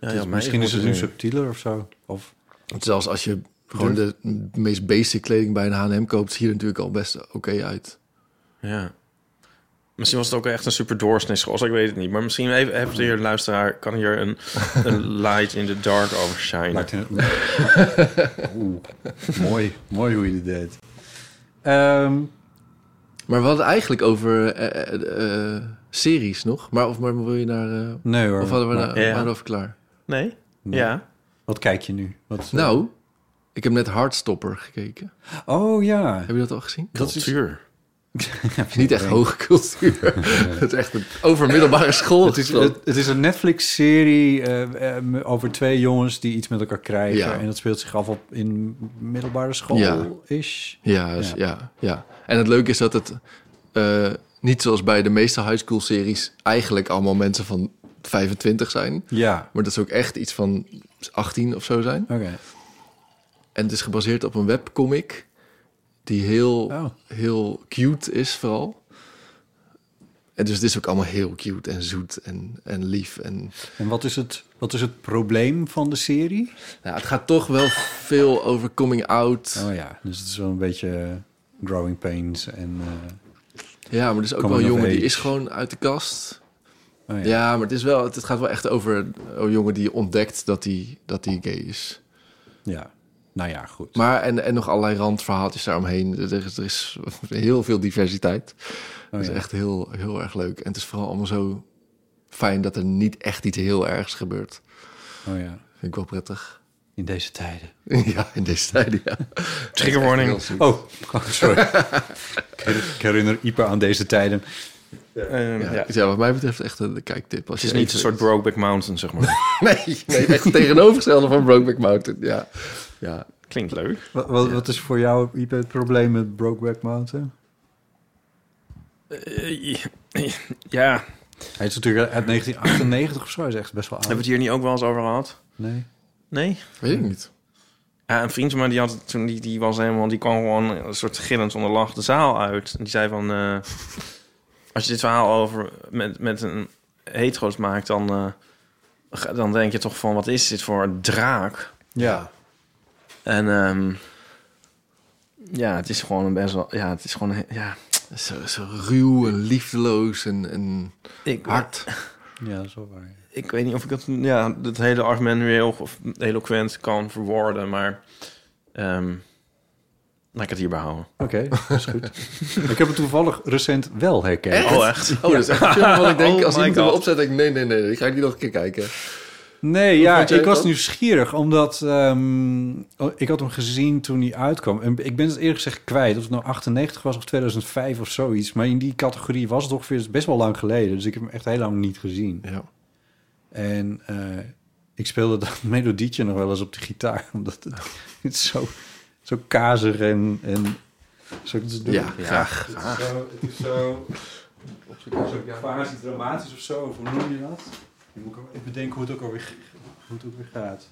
Speaker 1: ja,
Speaker 3: is-
Speaker 1: maar
Speaker 3: misschien
Speaker 1: ik
Speaker 3: is het nu
Speaker 1: word er
Speaker 3: subtieler of zo. Of,
Speaker 2: Want zelfs als je gewoon de meest basic kleding bij een H&M koopt, ziet er natuurlijk al best oké uit.
Speaker 1: Ja. Misschien was het ook echt een super doorsnee school, ik weet het niet. Maar misschien even, heeft de heer luisteraar, kan hier een, een light in the dark over shinen.
Speaker 3: Lijkt een- Oeh, mooi, mooi hoe je dit deed. Ehm,
Speaker 2: Maar we hadden eigenlijk over eh, eh, eh, series nog. Maar of maar wil je naar... eh,
Speaker 3: nee hoor.
Speaker 2: of hadden we,
Speaker 3: maar-
Speaker 2: daar
Speaker 1: ja.
Speaker 2: waren we over klaar?
Speaker 1: Nee?
Speaker 3: Nee.
Speaker 1: Ja.
Speaker 3: Wat kijk je nu? Wat,
Speaker 2: Nou, ik heb net Hardstopper gekeken.
Speaker 3: Oh ja.
Speaker 2: Heb je dat al gezien?
Speaker 3: Dat is
Speaker 1: Cultuur.
Speaker 2: Niet echt hoge cultuur. Het is echt een overmiddelbare school.
Speaker 3: Het is, het, het is een Netflix-serie eh, eh, over twee jongens die iets met elkaar krijgen.
Speaker 2: Ja.
Speaker 3: En dat speelt zich af op in middelbare school-ish.
Speaker 2: ja, is- ja, ja. En het leuke is dat het eh, niet zoals bij de meeste high school series eigenlijk allemaal mensen van 25 zijn.
Speaker 3: Ja,
Speaker 2: Maar dat ze ook echt iets van 18 of zo zijn.
Speaker 3: oké.
Speaker 2: En het is gebaseerd op een webcomic die heel,
Speaker 3: Oh.
Speaker 2: heel cute is vooral. En dus het is ook allemaal heel cute en zoet en, en lief en
Speaker 3: En wat is, het, wat is het probleem van de serie?
Speaker 2: Ja, het gaat toch wel veel over coming out.
Speaker 3: Oh ja, dus het is wel een beetje eh, growing pains en... eh,
Speaker 2: Ja, maar er is ook
Speaker 3: Coming
Speaker 2: wel een
Speaker 3: of
Speaker 2: jongen die
Speaker 3: age.
Speaker 2: is gewoon uit de kast.
Speaker 3: oh
Speaker 2: Ja,
Speaker 3: ja.
Speaker 2: maar het, is wel, het, het gaat wel echt over een jongen die ontdekt dat hij dat hij gay is.
Speaker 3: ja. Nou ja, goed.
Speaker 2: Maar en, en nog allerlei randverhaaltjes daaromheen. Er is, er is heel veel diversiteit.
Speaker 3: Oh
Speaker 2: dat is
Speaker 3: ja.
Speaker 2: echt heel, heel erg leuk. En het is vooral allemaal zo fijn dat er niet echt iets heel ergs gebeurt.
Speaker 3: Oh ja,
Speaker 2: Vind ik wel prettig.
Speaker 3: in deze tijden.
Speaker 2: ja, in deze tijd, ja.
Speaker 1: Trigger warning.
Speaker 2: Heel zoet.
Speaker 3: Oh, sorry. ik herinner Ieper aan deze tijden.
Speaker 1: Ehm,
Speaker 2: Ja,
Speaker 1: ja.
Speaker 2: ja. wat mij betreft echt een kijktip. Als
Speaker 1: Het is
Speaker 2: je
Speaker 1: niet een
Speaker 2: even-
Speaker 1: soort Brokeback Mountain, zeg maar.
Speaker 2: Nee, nee, echt het tegenovergestelde van Brokeback Mountain. Ja, ja.
Speaker 1: Klinkt leuk.
Speaker 3: Wat, wat, wat is voor jou Ipe, het probleem met Brokeback Mountain?
Speaker 1: Eh, ja,
Speaker 3: Hij is natuurlijk uit 1998 of zo. Hij is echt best wel
Speaker 1: hebben we
Speaker 3: oud.
Speaker 1: het hier niet ook wel eens over gehad?
Speaker 3: Nee.
Speaker 1: Nee?
Speaker 2: weet ik niet.
Speaker 1: Ja, een vriend van mij die had toen die, die was helemaal die kwam gewoon een soort gillend onder lach de zaal uit. En die zei van eh, als je dit verhaal over met, met een hetero's maakt, dan, eh, ga- dan denk je toch van wat is dit voor een draak?
Speaker 3: Ja.
Speaker 1: En ehm, ja, het is gewoon een best wel. Ja, het is gewoon een- ja.
Speaker 2: Zo, zo ruw en liefdeloos en, en
Speaker 1: Ik,
Speaker 2: hard.
Speaker 3: Ja, dat is wel waar. ja.
Speaker 1: ik weet niet of ik dat ja dat hele argument weer heel of eloquent kan verwoorden, maar ehm, laat ik het hierbij houden.
Speaker 3: Oké, dat is goed. ik heb het toevallig recent wel herkend.
Speaker 1: Oh echt?
Speaker 2: Oh, dat is echt een film wat ik denk,
Speaker 1: Oh
Speaker 2: als
Speaker 1: my
Speaker 2: iemand hem
Speaker 1: God.
Speaker 2: opzet, denk ik, nee, nee, nee, die ga ik niet nog een keer kijken.
Speaker 3: Nee, ja,
Speaker 2: vond jij
Speaker 3: ik was
Speaker 2: dat?
Speaker 3: nieuwsgierig, omdat ehm, oh, ik had hem gezien toen hij uitkwam. En ik ben het eerlijk gezegd kwijt, of het nou 98 was of 2005 of zoiets. Maar in die categorie was het ongeveer het is best wel lang geleden. Dus ik heb hem echt heel lang niet gezien.
Speaker 2: Ja.
Speaker 3: En eh, ik speelde dat melodietje nog wel eens op de gitaar. Omdat het, het is zo, zo kazig en... en zo te doen.
Speaker 2: Ja, graag.
Speaker 3: Het is zo... Het is zo zo quasi-dramatisch of zo, of hoe noem je dat? Ik moet ook even bedenken hoe het ook alweer, hoe het ook weer gaat.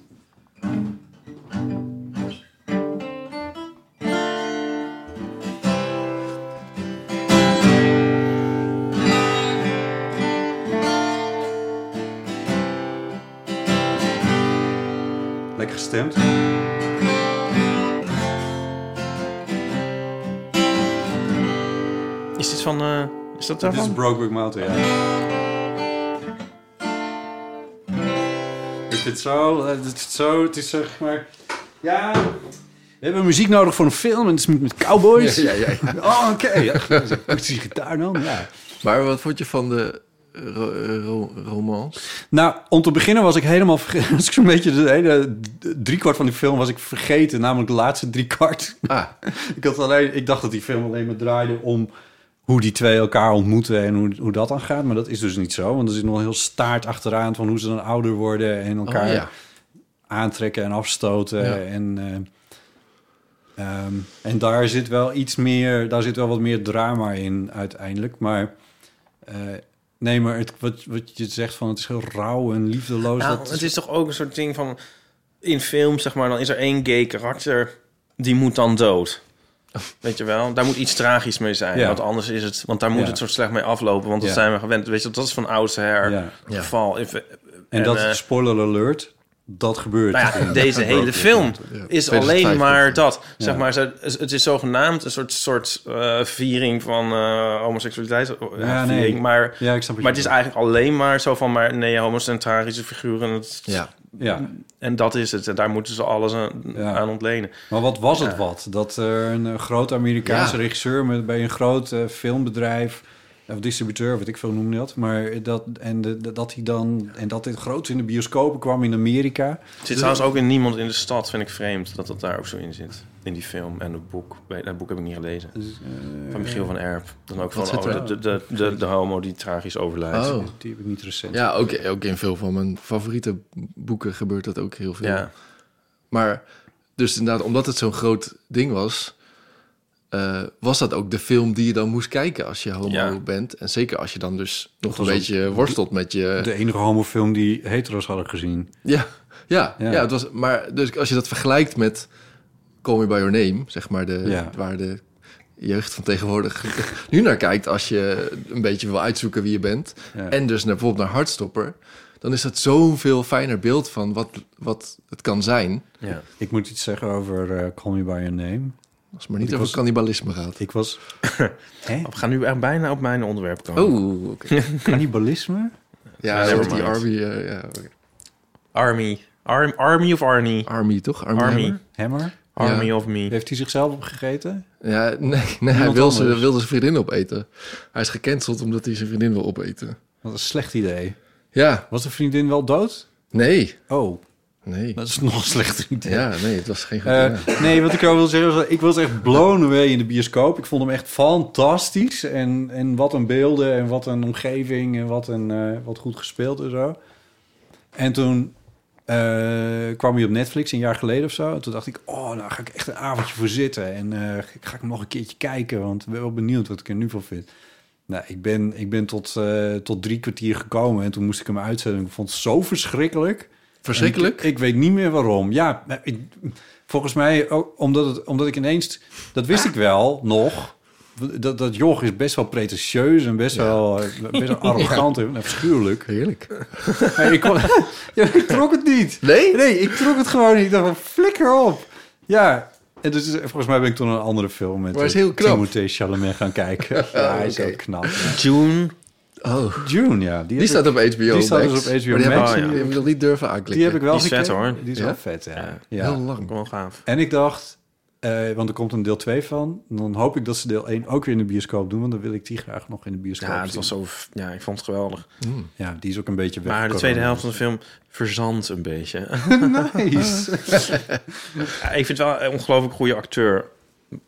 Speaker 3: Lekker gestemd.
Speaker 1: Is dit van? eh, is dat
Speaker 3: Dit is
Speaker 1: daarvan?
Speaker 3: Brokeback Mountain, ja. Ik vind het zo, eh, het is zo, het is zeg maar... Ja, we hebben muziek nodig voor een film en het is met, met cowboys.
Speaker 2: Ja, ja, ja, ja.
Speaker 3: Oh, oké. Ja, Moet je die gitaar dan? Ja.
Speaker 2: Maar wat vond je van de ro- eh, ro- romance?
Speaker 3: Nou, om te beginnen was ik helemaal vergeten. Was ik zo'n beetje de hele driekwart van die film was ik vergeten. Namelijk de laatste driekwart.
Speaker 2: Ah,
Speaker 3: Ik, had alleen, ik dacht dat die film alleen maar draaide om hoe die twee elkaar ontmoeten en hoe, hoe dat dan gaat. Maar dat is dus niet zo. Want er zit nog een heel staart achteraan van hoe ze dan ouder worden en
Speaker 2: oh,
Speaker 3: elkaar
Speaker 2: ja.
Speaker 3: aantrekken en afstoten.
Speaker 2: Ja.
Speaker 3: En, eh, ehm, en daar zit wel iets meer, daar zit wel wat meer drama in uiteindelijk. Maar eh, nee, maar het, wat, wat je zegt van het is heel rauw en liefdeloos.
Speaker 1: Nou,
Speaker 3: dat
Speaker 1: het is toch ook een soort ding van... In films, zeg maar, dan is er één gay karakter... die moet dan dood. Weet je wel? Daar moet iets tragisch mee zijn.
Speaker 3: Ja.
Speaker 1: Want anders is het... Want daar moet
Speaker 3: Ja.
Speaker 1: het soort slecht mee aflopen. Want dat
Speaker 3: Ja.
Speaker 1: zijn we gewend. Weet je, dat is van oudsher
Speaker 3: Ja.
Speaker 1: het geval. If-
Speaker 3: en, dat,
Speaker 1: eh,
Speaker 3: spoiler alert, dat gebeurt.
Speaker 1: nou ja,
Speaker 3: in
Speaker 1: deze hele film is
Speaker 2: 2005
Speaker 1: alleen maar
Speaker 2: ja.
Speaker 1: dat. Zeg
Speaker 3: Ja.
Speaker 1: maar, ze- het is zogenaamd een soort, soort eh, viering van eh, homoseksualiteit. Ja,
Speaker 3: nee.
Speaker 1: viering, maar,
Speaker 3: Ja, ik snap wat je
Speaker 1: maar het is
Speaker 3: bedoelt.
Speaker 1: eigenlijk alleen maar zo van... maar nee, homocentrarische figuren... Het,
Speaker 2: Ja.
Speaker 3: Ja,
Speaker 1: En dat is het. En daar moeten ze alles aan,
Speaker 3: Ja.
Speaker 1: aan ontlenen.
Speaker 3: maar wat was het wat? Dat er een eh, groot Amerikaanse
Speaker 2: Ja.
Speaker 3: regisseur met, bij een groot eh, filmbedrijf... of distributeur, wat ik veel noemde dat... maar dat, en de, de- dat hij dan... en dat dit groot in de bioscopen kwam in Amerika...
Speaker 1: Het zit trouwens ook in Niemand in de Stad, vind ik vreemd. Dat dat daar ook zo in zit. In die film en het boek. Bij- Dat boek heb ik niet gelezen.
Speaker 3: Dus, eh,
Speaker 1: Van Michiel van Erp. Dan ook van
Speaker 2: zit
Speaker 1: oh,
Speaker 2: er?
Speaker 1: de, de, de, de homo die tragisch overlijdt.
Speaker 2: Oh.
Speaker 3: Die heb ik niet recent.
Speaker 2: Ja, ook, ook in veel van mijn favoriete boeken gebeurt dat ook heel veel.
Speaker 1: Ja.
Speaker 2: Maar dus inderdaad, omdat het zo'n groot ding was, eh, was dat ook de film die je dan moest kijken als je homo
Speaker 1: Ja.
Speaker 2: bent. En zeker als je dan dus nog een
Speaker 3: was ook
Speaker 2: beetje worstelt met je.
Speaker 3: De enige homofilm die hetero's hadden gezien.
Speaker 2: Ja, ja,
Speaker 3: Ja.
Speaker 2: ja. het was, maar dus als je dat vergelijkt met Call Me By Your Name, zeg maar, de,
Speaker 3: Ja.
Speaker 2: waar de jeugd van tegenwoordig nu naar kijkt... als je een beetje wil uitzoeken wie je bent.
Speaker 3: Ja.
Speaker 2: En dus naar, bijvoorbeeld naar Hartstopper. Dan is dat zoveel fijner beeld van wat, wat het kan zijn.
Speaker 1: ja.
Speaker 3: Ik moet iets zeggen over eh, Call Me By Your Name.
Speaker 2: Als het maar niet
Speaker 3: Ik
Speaker 2: over
Speaker 3: was-
Speaker 2: cannibalisme gaat.
Speaker 3: Ik was... Hè?
Speaker 1: We gaan nu echt bijna op mijn onderwerp komen.
Speaker 2: Oh, oké.
Speaker 3: Cannibalisme?
Speaker 2: Ja,
Speaker 1: Ja,
Speaker 2: dat
Speaker 1: never
Speaker 2: is die
Speaker 1: mind.
Speaker 2: Army, eh, ja, oké.
Speaker 1: Army. Arm, army of Arnie?
Speaker 2: Army toch? Army.
Speaker 1: Army.
Speaker 2: Hammer?
Speaker 3: Hammer?
Speaker 1: Army
Speaker 2: Ja.
Speaker 1: of me.
Speaker 3: Heeft hij zichzelf opgegeten?
Speaker 2: Ja, nee, nee hij wil
Speaker 3: anders.
Speaker 2: zijn, wilde zijn vriendin opeten. Hij is gecanceld omdat hij zijn vriendin wil opeten.
Speaker 3: Wat een slecht idee.
Speaker 2: Ja,
Speaker 3: Was de vriendin wel dood?
Speaker 2: nee.
Speaker 3: Oh.
Speaker 2: Nee.
Speaker 3: Dat is nog slechter idee.
Speaker 2: Ja, nee, het was geen goed idee.
Speaker 3: Eh, nee, wat ik over wil zeggen is, ik was echt blown away in de bioscoop. Ik vond hem echt fantastisch. En, en wat een beelden en wat een omgeving en wat, een, eh, wat goed gespeeld en zo. En toen eh, kwam hij op Netflix een jaar geleden of zo. En toen dacht ik, oh, nou ga ik echt een avondje voor zitten. En eh, ga ik hem nog een keertje kijken, want ik ben wel benieuwd wat ik er nu van vind. Nou, ik ben, ik ben tot, eh, tot drie kwartier gekomen en toen moest ik hem uitzetten. Ik vond het zo verschrikkelijk.
Speaker 2: Verschrikkelijk.
Speaker 3: En Ik, ik weet niet meer waarom. Ja, maar ik- volgens mij ook omdat, het, omdat ik ineens... Dat wist ik wel nog. Dat, dat joch is best wel pretentieus en best wel, eh, best wel arrogant en afschuwelijk.
Speaker 2: Heerlijk.
Speaker 3: Maar ik, kon- ja, ik trok het niet.
Speaker 2: Nee?
Speaker 3: Nee, ik trok het gewoon niet. Ik dacht van, flikker op. Ja, en dus volgens mij ben ik toen een andere film met
Speaker 2: Maar hij is
Speaker 3: eh,
Speaker 2: heel knap.
Speaker 3: Timothée Chalamet gaan kijken. Ja, hij is
Speaker 2: Oké.
Speaker 3: ook knap.
Speaker 1: June.
Speaker 2: Oh,
Speaker 3: June, ja.
Speaker 2: die staat op HBO
Speaker 3: Die staat dus
Speaker 2: Max.
Speaker 3: op HBO
Speaker 2: Maar die heb
Speaker 3: Max.
Speaker 2: ik-
Speaker 1: Oh, ja.
Speaker 2: Die heb ik nog niet durven
Speaker 3: Die
Speaker 2: aanklikken.
Speaker 3: heb ik wel
Speaker 1: Die is vet,
Speaker 3: gekeken.
Speaker 1: hoor.
Speaker 3: Die is
Speaker 2: Ja?
Speaker 3: wel vet, ja.
Speaker 1: Ja.
Speaker 3: ja.
Speaker 2: Heel lang.
Speaker 1: Kom wel gaaf.
Speaker 3: En ik dacht, eh, want er komt een deel 2 van. En dan hoop ik dat ze deel 1 ook weer in de bioscoop doen. Want dan wil ik die graag nog in de bioscoop
Speaker 1: Ja, het
Speaker 3: zien.
Speaker 1: was zo, ja, ik vond het geweldig.
Speaker 3: Ja, die is ook een beetje weg.
Speaker 1: Maar de tweede helft van de film verzandt een beetje.
Speaker 3: Nice.
Speaker 1: Ja, ik vind het wel een ongelooflijk goede acteur.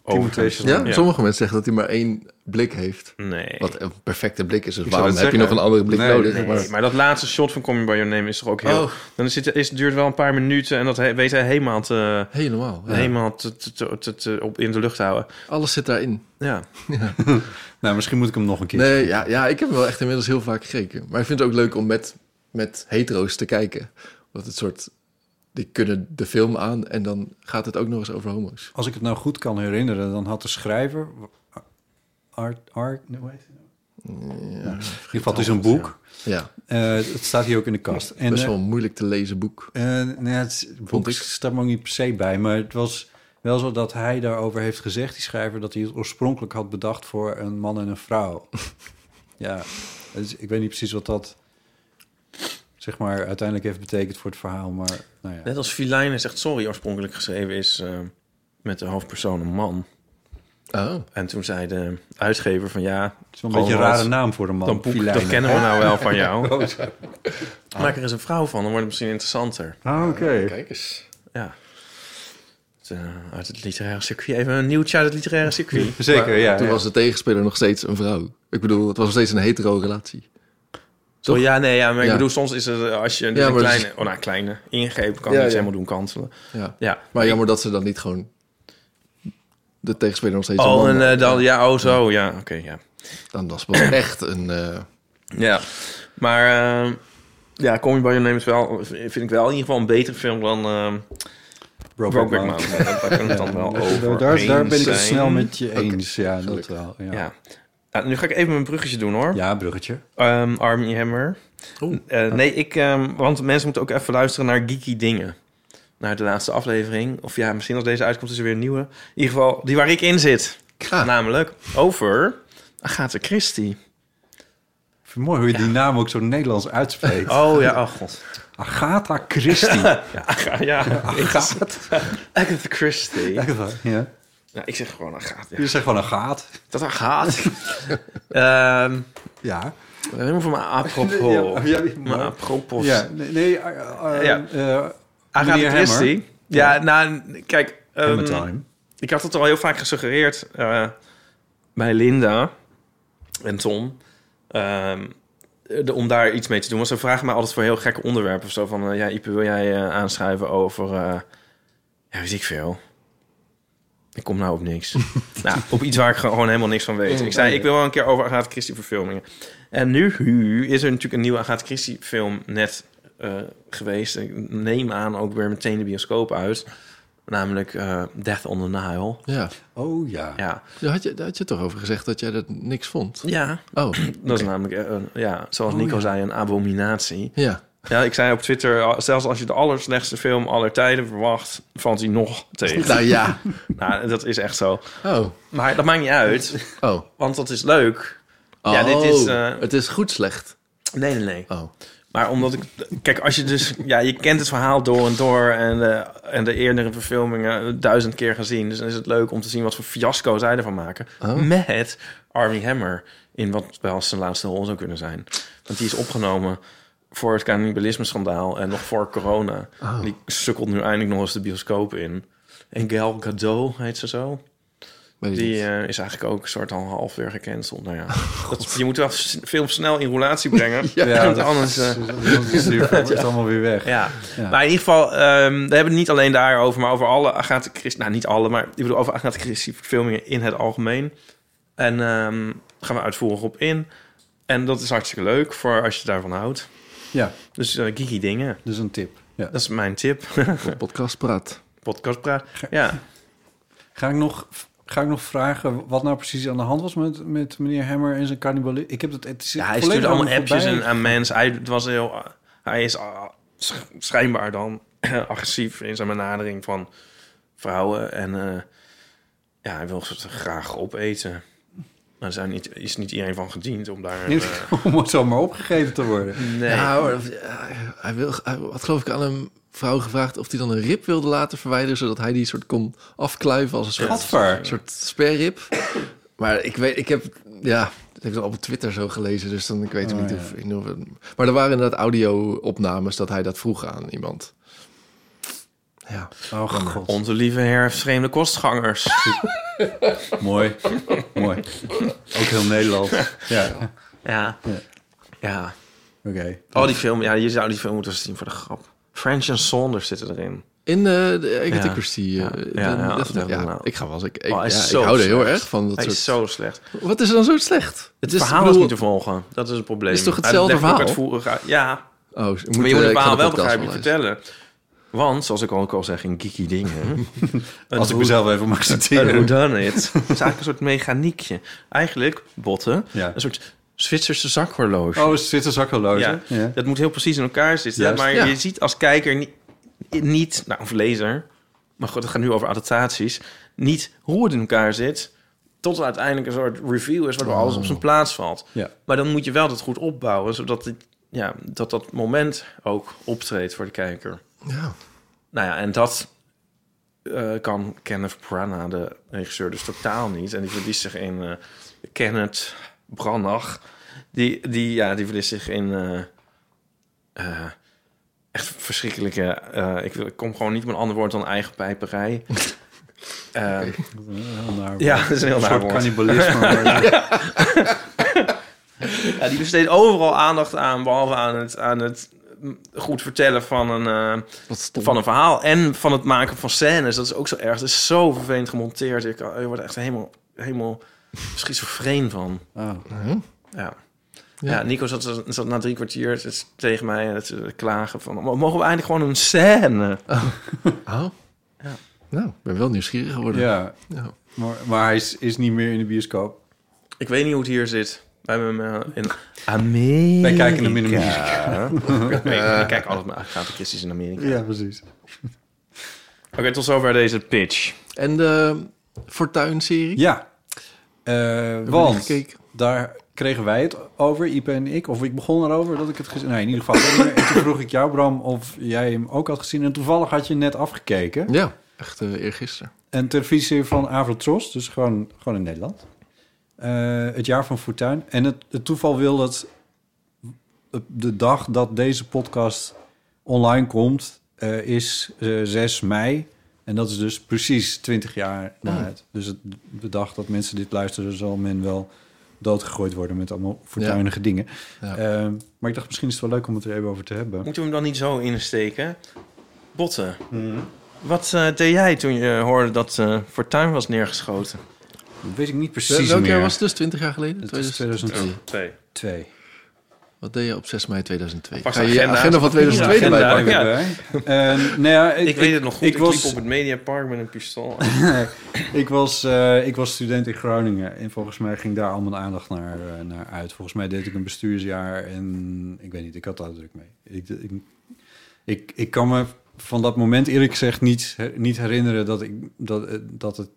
Speaker 1: Overigens.
Speaker 2: Ja?
Speaker 1: Ja.
Speaker 2: sommige mensen zeggen dat hij maar één blik heeft.
Speaker 1: Nee.
Speaker 2: Wat een perfecte blik is. Dus
Speaker 3: Ik zou
Speaker 2: waarom heb
Speaker 3: het
Speaker 2: je nog
Speaker 3: zeggen.
Speaker 2: een andere blik
Speaker 3: Nee,
Speaker 2: nodig?
Speaker 3: nee.
Speaker 2: Maar-
Speaker 1: Nee, maar dat laatste shot van Call Me By Your Name is toch ook heel...
Speaker 2: Oh.
Speaker 1: Dan zit, is, duurt wel een paar minuten en dat he- weet hij helemaal, te,
Speaker 2: Helemaal. ja.
Speaker 1: helemaal te, te, te, te- te- op, in de lucht te houden.
Speaker 2: Alles zit daarin.
Speaker 1: Ja.
Speaker 3: nou, misschien moet ik hem nog een keer.
Speaker 2: Nee, ja, ja, ik heb hem wel echt inmiddels heel vaak gekeken. Maar ik vind het ook leuk om met, met hetero's te kijken. Want het soort... Die kunnen de film aan en dan gaat het ook nog eens over homo's.
Speaker 3: Als ik het nou goed kan herinneren, dan had de schrijver... Art, Art, nee, hoe heet hij nou? Nou, in ieder geval, het is een boek.
Speaker 2: Ja,
Speaker 3: Eh, het staat hier ook in de kast. En,
Speaker 2: best
Speaker 3: eh,
Speaker 2: wel een moeilijk te lezen boek.
Speaker 3: Eh, nou ja, het
Speaker 2: Vond
Speaker 3: boek
Speaker 2: ik.
Speaker 3: staat me ook niet per se bij, maar het was wel zo dat hij daarover heeft gezegd, die schrijver, dat hij het oorspronkelijk had bedacht voor een man en een vrouw. ja, dus ik weet niet precies wat dat zeg maar uiteindelijk heeft betekend voor het verhaal, maar nou ja.
Speaker 1: Net als Feline is echt sorry oorspronkelijk geschreven is eh, met de hoofdpersoon een man.
Speaker 2: Oh,
Speaker 1: En toen zei de uitgever van ja,
Speaker 3: Het is wel een
Speaker 1: Gewoon
Speaker 3: beetje een rare
Speaker 1: als-
Speaker 3: naam voor een man.
Speaker 1: dat boek
Speaker 3: Filijnen.
Speaker 1: dat kennen we nou wel van jou.
Speaker 3: Oh, zo.
Speaker 1: Maak er eens een vrouw van, dan wordt het misschien interessanter.
Speaker 3: Ah, oké.
Speaker 2: kijk eens.
Speaker 1: Ja. Het, eh, uit het literaire circuit. Even een nieuwtje uit het literaire circuit.
Speaker 3: Zeker, ja.
Speaker 2: Toen
Speaker 3: ja.
Speaker 2: was de tegenspeler nog steeds een vrouw. Ik bedoel, het was nog steeds een hetero-relatie. Toch?
Speaker 1: Oh, ja, nee, ja, maar ik
Speaker 2: Ja.
Speaker 1: bedoel, soms is het eh, als je een
Speaker 2: Ja, maar dat is-
Speaker 3: dus-
Speaker 1: kleine, oh, nou, kleine ingreep kan
Speaker 2: Ja,
Speaker 1: je iets
Speaker 2: ja.
Speaker 1: helemaal doen kanselen.
Speaker 2: Ja.
Speaker 1: Ja.
Speaker 2: Maar jammer dat ze dan niet gewoon de tegenspeler nog steeds een
Speaker 1: Oh,
Speaker 2: man
Speaker 1: en eh,
Speaker 2: maakt.
Speaker 1: dan, ja, oh zo, ja, oké, ja.
Speaker 2: Dan was het wel echt een... eh,
Speaker 1: Ja, maar eh, ja, Call Me By Your Name is wel, vind ik wel in ieder geval een betere film dan eh
Speaker 3: Brokeback
Speaker 1: Brokeback
Speaker 3: Mountain.
Speaker 1: Mountain. Daar kunnen we het dan wel over
Speaker 3: Daar, daar, daar
Speaker 1: eens
Speaker 3: ben ik het
Speaker 1: zijn.
Speaker 3: snel met je eens. Ja, dat
Speaker 2: gelukkig.
Speaker 3: wel. Ja, ja.
Speaker 1: Ja. Nou, nu ga ik even mijn bruggetje doen, hoor.
Speaker 3: bruggetje.
Speaker 1: Ehm, Army Hammer.
Speaker 2: Oeh.
Speaker 1: Eh, nee, ik, ehm, want mensen moeten ook even luisteren naar Geeky Dingen. Naar de laatste aflevering. Of ja, misschien als deze uitkomt is er weer een nieuwe. In ieder geval, die waar ik in zit.
Speaker 2: Ah.
Speaker 1: Namelijk over Agatha Christie.
Speaker 3: Ik vind het mooi hoe je die naam ook zo Nederlands uitspreekt.
Speaker 1: Oh ja, oh god.
Speaker 3: Agatha Christie.
Speaker 1: Ja, Aga- ja.
Speaker 3: Agatha.
Speaker 1: Agatha Christie.
Speaker 3: Ja.
Speaker 1: Nou, ik zeg gewoon Agatha.
Speaker 3: Je
Speaker 1: Ja.
Speaker 3: zegt gewoon Agatha.
Speaker 1: Dat Agatha. Ehm
Speaker 3: Ja.
Speaker 1: helemaal van mijn
Speaker 3: Ja, ja,
Speaker 1: apropos.
Speaker 3: ja,
Speaker 1: Mijn apropos.
Speaker 3: Ja, nee, nee eh, eh,
Speaker 1: Ja.
Speaker 3: eh,
Speaker 1: Agatha
Speaker 3: meneer
Speaker 1: Christie. Ja, nou, kijk. ehm,
Speaker 3: Hammer. Hammertime.
Speaker 1: Ik had het al heel vaak gesuggereerd eh, bij Linda en Tom. ehm, de- om daar iets mee te doen. Want ze vragen mij altijd voor heel gekke onderwerpen of zo. Van, eh, ja, Ipe, wil jij eh, aanschrijven over... eh, ja, weet ik veel. Ik kom nou op niks. nou, op iets waar ik gewoon helemaal niks van weet. Ik zei, ik wil wel een keer over Agatha Christie verfilmingen. En nu hu, is er natuurlijk een nieuwe Agatha Christie film net eh, geweest. Ik neem aan ook weer meteen de bioscoop uit. Namelijk eh, Death on the Nile.
Speaker 2: ja,
Speaker 3: Oh ja.
Speaker 1: Ja,
Speaker 2: daar had je, daar had je toch over gezegd dat jij dat niks vond?
Speaker 1: ja
Speaker 2: Oh,
Speaker 1: dat is namelijk, eh, een- ja, zoals Nico zei, een abominatie.
Speaker 2: ja.
Speaker 1: Ja, ik zei op Twitter, al- zelfs als je de allerslechtste film aller tijden verwacht, valt hij nog tegen.
Speaker 2: Nou ja.
Speaker 1: nou, dat is echt zo.
Speaker 2: Oh,
Speaker 1: Maar dat maakt niet uit,
Speaker 2: oh.
Speaker 1: want dat is leuk.
Speaker 2: oh.
Speaker 1: Ja, dit is, eh,
Speaker 2: Het is goed slecht.
Speaker 1: Nee, nee, nee.
Speaker 2: Oh,
Speaker 1: Maar omdat ik... Kijk, als je dus... Ja, je kent het verhaal door en door. En, eh, en de eerdere verfilmingen duizend keer gezien. Dus dan is het leuk om te zien wat voor fiasco zij ervan maken.
Speaker 3: Oh.
Speaker 1: Met Army Hammer. In wat wel zijn laatste rol zou kunnen zijn. Want die is opgenomen voor het cannibalisme-schandaal en nog voor corona.
Speaker 3: Oh.
Speaker 1: Die sukkelt nu eindelijk nog eens de bioscoop in. En Gal Gadot heet ze zo.
Speaker 2: Weet ik
Speaker 1: Die
Speaker 2: niet.
Speaker 1: eh, is eigenlijk ook een soort al half weer gecanceld. Nou ja, dat, je moet wel s- film snel in roulatie brengen. want
Speaker 3: dat
Speaker 1: anders... eh,
Speaker 3: is het wordt allemaal weer weg.
Speaker 1: ja. maar in ieder geval, ehm, we hebben het niet alleen daarover, maar over alle Agatha Christie... Nou, niet alle, maar ik bedoel over Agatha Christie verfilmingen in het algemeen. En ehm gaan we uitvoerig op in. En dat is hartstikke leuk voor als je daarvan houdt.
Speaker 3: Ja,
Speaker 1: Dus eh geeky dingen,
Speaker 3: dus een tip. Ja.
Speaker 1: dat is mijn tip.
Speaker 2: Podcast praat.
Speaker 1: Podcast praat. Ja,
Speaker 3: Ga ik nog... Ga ik nog vragen wat nou precies aan de hand was met, met meneer Hammer en zijn cannibalisme? Ik heb dat het is
Speaker 1: ja hij
Speaker 3: volledig
Speaker 1: stuurde
Speaker 3: aan me
Speaker 1: allemaal appjes
Speaker 3: voorbij.
Speaker 1: en, aan mensen. Hij, het was heel, hij is ah, sch- schijnbaar dan agressief in zijn benadering van vrouwen. En eh, ja, hij wil ze graag opeten. Maar er zijn niet, is niet iedereen van gediend om daar...
Speaker 3: Niet
Speaker 1: eh,
Speaker 3: om het zomaar opgegeten te worden.
Speaker 1: nee.
Speaker 2: Ja, hoor, dat- ja, hij wil, hij had geloof ik aan een vrouw gevraagd of hij dan een rib wilde laten verwijderen, zodat hij die soort kon afkluiven als een soort,
Speaker 3: Gadver.
Speaker 2: soort sperrib. Maar ik weet, ik heb, ja, ik heb het op Twitter zo gelezen, dus dan ik weet
Speaker 3: Oh,
Speaker 2: niet
Speaker 3: ja.
Speaker 2: of, in hoeverre- Maar er waren inderdaad audio-opnames dat hij dat vroeg aan iemand. Ja,
Speaker 3: Oh god.
Speaker 1: Onze lieve herfst, vreemde kostgangers.
Speaker 3: Mooi. Mooi. Ook heel Nederlands. Ja. Oké.
Speaker 1: ja.
Speaker 3: Ja.
Speaker 1: Ja. Oh, die film. Ja, je zou die film moeten zien voor de grap. French en Saunders zitten erin.
Speaker 2: in eh de Agatha
Speaker 1: Ja.
Speaker 2: Christie. eh, de-
Speaker 1: Ja, ja,
Speaker 2: de-
Speaker 1: dat
Speaker 2: ja,
Speaker 1: wel.
Speaker 2: ik ga wel eens. Ik, ik,
Speaker 1: Oh, hij is
Speaker 2: ja,
Speaker 1: zo
Speaker 2: ik hou er heel
Speaker 1: slecht.
Speaker 2: erg van. Dat
Speaker 1: Hij
Speaker 2: soort...
Speaker 1: is zo slecht.
Speaker 2: Wat is er dan zo slecht?
Speaker 1: Het verhaal is niet te volgen. Dat is het probleem.
Speaker 2: Het Dus is toch
Speaker 1: Hij
Speaker 2: hetzelfde
Speaker 1: legt ook
Speaker 2: verhaal?
Speaker 1: uitvoerig uit- Ja,
Speaker 2: Oh, moet,
Speaker 1: maar je moet
Speaker 2: eh,
Speaker 1: het
Speaker 2: ik ga
Speaker 1: verhaal
Speaker 2: de
Speaker 1: wel
Speaker 2: podcast
Speaker 1: begrijpelijk
Speaker 2: luisteren.
Speaker 1: vertellen. Want, zoals ik ook al zeg, in geeky dingen... een
Speaker 3: Als ik
Speaker 1: hoe-
Speaker 3: mezelf even mag
Speaker 1: Een
Speaker 3: citeren.
Speaker 1: whodunit. Het is eigenlijk een soort mechaniekje. Eigenlijk, botten,
Speaker 3: Ja.
Speaker 1: een soort Zwitserse zakhorloge.
Speaker 3: Oh, zit een zakhorloge.
Speaker 1: ja. Dat moet heel precies in elkaar zitten.
Speaker 3: Juist.
Speaker 1: maar
Speaker 2: Ja.
Speaker 1: je ziet als kijker niet, niet... Nou, of lezer. Maar goed, het gaat nu over adaptaties. Niet hoe het in elkaar zit... Tot er uiteindelijk een soort review is... waardoor alles op zijn plaats valt.
Speaker 3: Ja.
Speaker 1: Maar dan moet je wel dat goed opbouwen, zodat het, ja, dat, dat moment ook optreedt voor de kijker.
Speaker 2: Ja.
Speaker 1: Nou ja, en dat eh, kan Kenneth Branagh, de regisseur, dus totaal niet. En die verliest zich in eh, Kenneth Branagh. Die, die, ja, die verliest zich in eh, eh, echt verschrikkelijke... eh, ik, wil- ik kom gewoon niet met een ander woord dan eigen pijperij. Eh, Ja, dat is een
Speaker 3: nou, Een
Speaker 1: heel naar
Speaker 3: soort
Speaker 1: woord.
Speaker 3: cannibalisme. maar-
Speaker 1: Ja, die besteedt overal aandacht aan, behalve aan het, aan het goed vertellen van een, eh,
Speaker 2: Wat stom.
Speaker 1: van een verhaal. En van het maken van scènes. Dat is ook zo erg. Het is zo vervelend gemonteerd. Ik, eh, je wordt er echt helemaal, helemaal schizofreen van.
Speaker 3: Oh.
Speaker 1: Ja. Ja. Nico zat, zat na drie kwartier t- tegen mij eh, te klagen van... Mogen we eindelijk gewoon een scène?
Speaker 2: Oh. Nou, ik ben wel nieuwsgierig geworden.
Speaker 3: Ja.
Speaker 2: Ja.
Speaker 3: Maar, maar hij is, is niet meer in de bioscoop.
Speaker 1: Ik weet niet hoe het hier zit. We hebben hem eh, in
Speaker 3: Wij kijken hem in de muziek.
Speaker 1: Amerika. Ik kijk altijd maar Agatha Christie's in Amerika.
Speaker 3: Ja, precies.
Speaker 1: Oké, tot zover deze pitch.
Speaker 2: En de Fortuin-serie?
Speaker 3: Ja. Eh
Speaker 2: niet
Speaker 3: want
Speaker 2: gekeken.
Speaker 3: daar kregen wij het over, Ipe en ik. Of ik begon erover dat ik het gezien... Nee, in ieder geval. en toen vroeg ik jou, Bram, of jij hem ook had gezien. En toevallig had je net afgekeken.
Speaker 2: Ja, echt eh eergisteren.
Speaker 3: En televisie van Avrotros, dus gewoon, gewoon in Nederland. Eh, het jaar van Fortuin. En het, het toeval wil dat op de dag dat deze podcast online komt, eh, is eh, 6 mei. En dat is dus precies 20 jaar
Speaker 2: Oh.
Speaker 3: na het. Dus het, de dag dat mensen dit luisteren, zal men wel doodgegooid worden met allemaal fortuinige dingen.
Speaker 2: Ja.
Speaker 3: Eh, maar ik dacht, misschien is het wel leuk om het er even over te hebben.
Speaker 1: Moeten we hem dan niet zo insteken? Botten,
Speaker 3: Mhm.
Speaker 1: wat eh, deed jij toen je hoorde dat eh Fortuin was neergeschoten?
Speaker 3: Dat weet ik niet
Speaker 2: Wel-
Speaker 3: precies
Speaker 2: Welk
Speaker 3: meer.
Speaker 2: jaar was het dus? 20 jaar geleden?
Speaker 3: Het is
Speaker 2: 2002.
Speaker 3: 2002.
Speaker 1: Oh, Twee.
Speaker 2: Wat deed je op 6 mei 2002?
Speaker 1: Pak
Speaker 2: Ga
Speaker 1: de
Speaker 2: je je
Speaker 1: agenda.
Speaker 2: agenda van 2002
Speaker 1: Ja,
Speaker 2: erbij
Speaker 1: agenda.
Speaker 2: pakken?
Speaker 1: Ja.
Speaker 3: Eh, nou ja, ik,
Speaker 1: Ik, weet het nog goed, ik,
Speaker 3: Ik, was,
Speaker 1: liep op het Mediapark met een pistool.
Speaker 3: ik, was, eh, ik was student in Groningen en volgens mij ging daar al mijn aandacht naar, eh, naar uit. Volgens mij deed ik een bestuursjaar en ik weet niet, ik had daar druk mee. Ik, ik, ik, ik kan me van dat moment eerlijk gezegd niet, niet herinneren dat ik dat, eh, dat het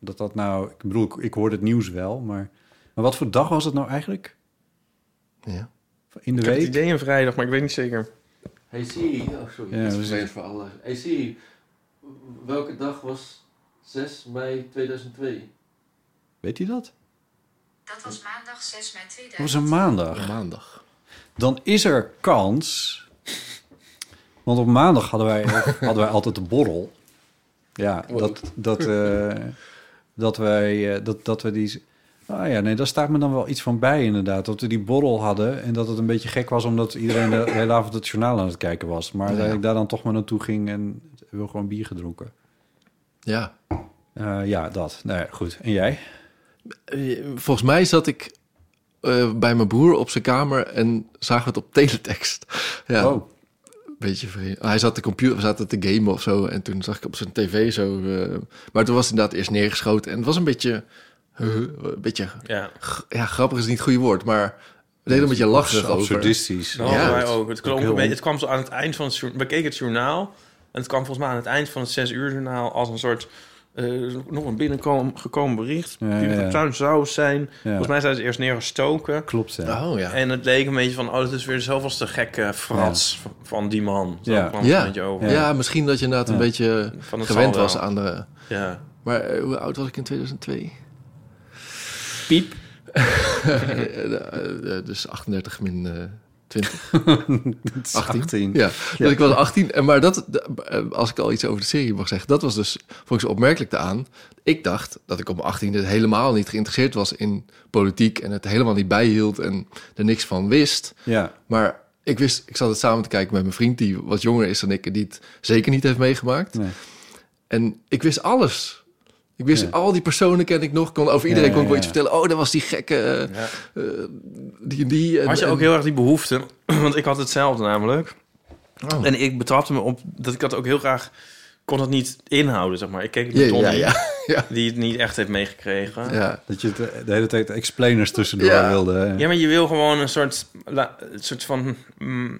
Speaker 3: dat dat nou. Ik bedoel, ik, ik hoorde het nieuws wel, maar, maar wat voor dag was het nou eigenlijk?
Speaker 2: Ja.
Speaker 3: In de
Speaker 1: ik heb het
Speaker 3: week?
Speaker 1: idee een vrijdag, maar ik weet niet zeker.
Speaker 4: Hey Siri, oh sorry,
Speaker 3: Ja,
Speaker 4: ja, dat
Speaker 3: precies.
Speaker 4: is vervelend voor alle. Hey Siri, welke dag was 6 mei 2002?
Speaker 3: Weet je dat?
Speaker 5: Dat was maandag 6 mei
Speaker 3: Dat was
Speaker 5: 2000.
Speaker 3: een maandag.
Speaker 2: Maandag.
Speaker 3: dan is er kans. Want op maandag hadden wij, hadden wij altijd de borrel. Ja, dat, dat, eh, dat, wij, eh, dat, dat we die... Ah ja, nee, daar staat me dan wel iets van bij inderdaad. Dat we die borrel hadden en dat het een beetje gek was... omdat iedereen de hele avond het journaal aan het kijken was. Maar dat ik daar dan toch maar naartoe ging en wil gewoon bier gedronken.
Speaker 2: Ja.
Speaker 3: Eh, ja, dat. Nou ja, goed. En jij?
Speaker 2: Eh, Volgens mij zat ik eh, bij mijn broer op zijn kamer en zagen we het op teletext. Ja,
Speaker 3: Oh,
Speaker 2: beetje vreemd. Hij zat de computer, we zaten te gamen of zo. En toen zag ik op zijn tv zo. eh, maar toen was het inderdaad eerst neergeschoten. En het was een beetje. huh, een beetje.
Speaker 1: Ja,
Speaker 2: Ja, grappig is niet het goede woord. Maar we deden een beetje lachen. Over.
Speaker 3: absurdistisch.
Speaker 1: dat
Speaker 2: Ja,
Speaker 1: hadden wij
Speaker 2: het-
Speaker 1: ook. Het, klonk
Speaker 3: heel
Speaker 1: een beetje- het kwam zo aan het eind van het journaal. We keken het journaal. En het kwam volgens mij aan het eind van het zes uur journaal als een soort... eh, nog een binnengekomen bericht.
Speaker 3: Ja,
Speaker 1: die
Speaker 3: ja, ja.
Speaker 1: tuin zou zijn. Volgens
Speaker 3: Ja,
Speaker 1: mij zijn ze eerst neergestoken.
Speaker 3: klopt, hè.
Speaker 2: Oh ja.
Speaker 1: En het leek een beetje van, oh, dat is weer zoveelste gekke frats van- van die man. Zo
Speaker 3: Ja.
Speaker 1: kwam het een
Speaker 2: Ja.
Speaker 1: beetje
Speaker 2: Ja.
Speaker 1: over.
Speaker 2: misschien dat je inderdaad een
Speaker 3: Ja.
Speaker 2: beetje
Speaker 1: Van het
Speaker 2: gewend
Speaker 1: zal wel.
Speaker 2: was aan de.
Speaker 1: Ja.
Speaker 2: Maar eh, hoe oud was ik in 2002?
Speaker 1: Piep.
Speaker 2: Eh, eh, eh, dus 38 min eh, 20.
Speaker 3: Het is
Speaker 2: 18.
Speaker 3: 18.
Speaker 2: Ja, dus ik was 18. En maar dat, d- eh, als ik al iets over de serie mag zeggen, dat was dus volgens opmerkelijk aan. Ik dacht dat ik op mijn 18e helemaal niet geïnteresseerd was in politiek en het helemaal niet bijhield en er niks van wist.
Speaker 3: Ja,
Speaker 2: Maar ik wist, ik zat het samen te kijken met mijn vriend die wat jonger is dan ik en die het zeker niet heeft meegemaakt.
Speaker 3: nee.
Speaker 2: En ik wist alles. Ik wist
Speaker 3: Ja.
Speaker 2: al die personen ken ik nog. Kon, over iedereen
Speaker 3: Ja,
Speaker 2: kon ik wel
Speaker 3: ja,
Speaker 2: iets
Speaker 3: ja.
Speaker 2: vertellen. Oh, dat was die gekke. eh,
Speaker 1: Ja.
Speaker 2: eh, die, die. en-
Speaker 1: Had je
Speaker 2: en-
Speaker 1: ook heel erg die behoefte? Want ik had hetzelfde namelijk.
Speaker 2: Oh.
Speaker 1: En ik betrapte me op dat ik dat ook heel graag kon dat niet inhouden, zeg maar. Ik keek
Speaker 2: Ja,
Speaker 1: naar Tommy,
Speaker 2: ja, ja.
Speaker 1: die het niet echt heeft meegekregen. Ja.
Speaker 2: ja.
Speaker 3: Dat je eh, de, de hele tijd explainers tussendoor
Speaker 2: Ja.
Speaker 3: wilde. hè?
Speaker 1: maar je wil gewoon een soort, la- een soort van... mm,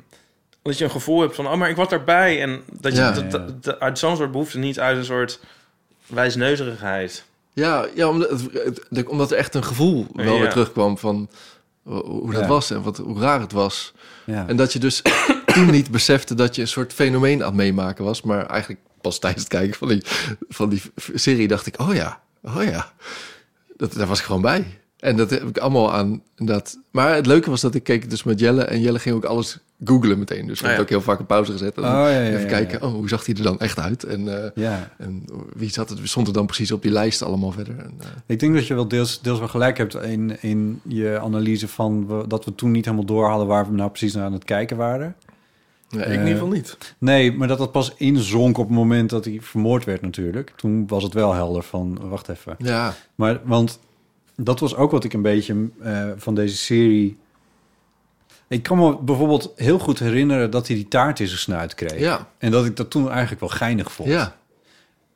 Speaker 1: dat je een gevoel hebt van, oh, maar ik was daarbij. En dat je
Speaker 2: Ja.
Speaker 1: dat- dat- dat- uit zo'n soort behoefte niet uit een soort wijsneuzerigheid.
Speaker 2: Ja, ja omdat, het- het- de- omdat er echt een gevoel wel
Speaker 1: Ja.
Speaker 2: weer terugkwam van ho- hoe dat
Speaker 3: Ja.
Speaker 2: was en wat, hoe raar het was.
Speaker 3: Ja.
Speaker 2: En dat je dus toen niet besefte dat je een soort fenomeen aan het meemaken was. Maar eigenlijk pas tijdens het kijken van die, van die f- serie dacht ik, oh ja, oh ja. Dat, daar was ik gewoon bij. En dat heb ik allemaal aan. Dat. Maar het leuke was dat ik keek dus met Jelle. En Jelle ging ook alles googlen meteen. Dus ik
Speaker 1: Ah,
Speaker 2: heb
Speaker 1: ja.
Speaker 2: ook heel vaak een pauze gezet. En
Speaker 3: Oh, ja, ja,
Speaker 2: even
Speaker 3: ja,
Speaker 2: kijken, oh, hoe zag hij er dan echt uit? En, eh,
Speaker 3: Ja.
Speaker 2: en wie zat het, stond er dan precies op die lijst allemaal verder? En, eh,
Speaker 3: Ik denk dat je wel deels, deels wel gelijk hebt in, in je analyse van we- dat we toen niet helemaal door hadden waar we nou precies naar aan het kijken waren.
Speaker 2: Ja, ik
Speaker 3: Eh,
Speaker 2: in ieder geval niet.
Speaker 3: Nee, maar dat dat pas inzonk op het moment dat hij vermoord werd natuurlijk. Toen was het wel helder van, wacht even.
Speaker 2: Ja,
Speaker 3: Maar, want dat was ook wat ik een beetje eh, van deze serie... Ik kan me bijvoorbeeld heel goed herinneren dat hij die taart in zijn snuit kreeg.
Speaker 2: ja,
Speaker 3: En dat ik dat toen eigenlijk wel geinig vond.
Speaker 2: ja.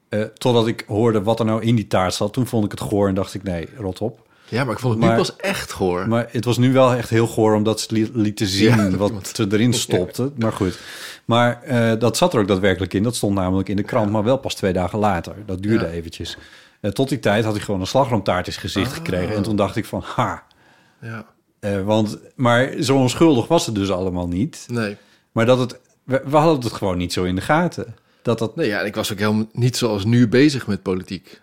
Speaker 3: Eh, totdat ik hoorde wat er nou in die taart zat. Toen vond ik het goor en dacht ik, nee, rot op.
Speaker 2: Ja, maar ik vond het
Speaker 3: Maar-
Speaker 2: nu pas echt goor.
Speaker 3: Maar het was nu wel echt heel goor omdat ze het li- lieten zien
Speaker 2: Ja, dat
Speaker 3: wat
Speaker 2: iemand-
Speaker 3: ze erin stopte. Maar goed. Maar eh, dat zat er ook daadwerkelijk in. Dat stond namelijk in de krant, maar wel pas twee dagen later. Dat duurde
Speaker 2: Ja.
Speaker 3: eventjes. Eh, tot die tijd had ik gewoon een slagroomtaart in zijn gezicht
Speaker 2: Ah.
Speaker 3: gekregen. En toen dacht ik van, ha.
Speaker 2: ja.
Speaker 3: Eh, want, maar zo onschuldig was het dus allemaal niet.
Speaker 2: Nee.
Speaker 3: Maar dat het, we, we hadden het gewoon niet zo in de gaten. Dat dat,
Speaker 2: nee, ja, en ik was ook helemaal niet zoals nu bezig met politiek.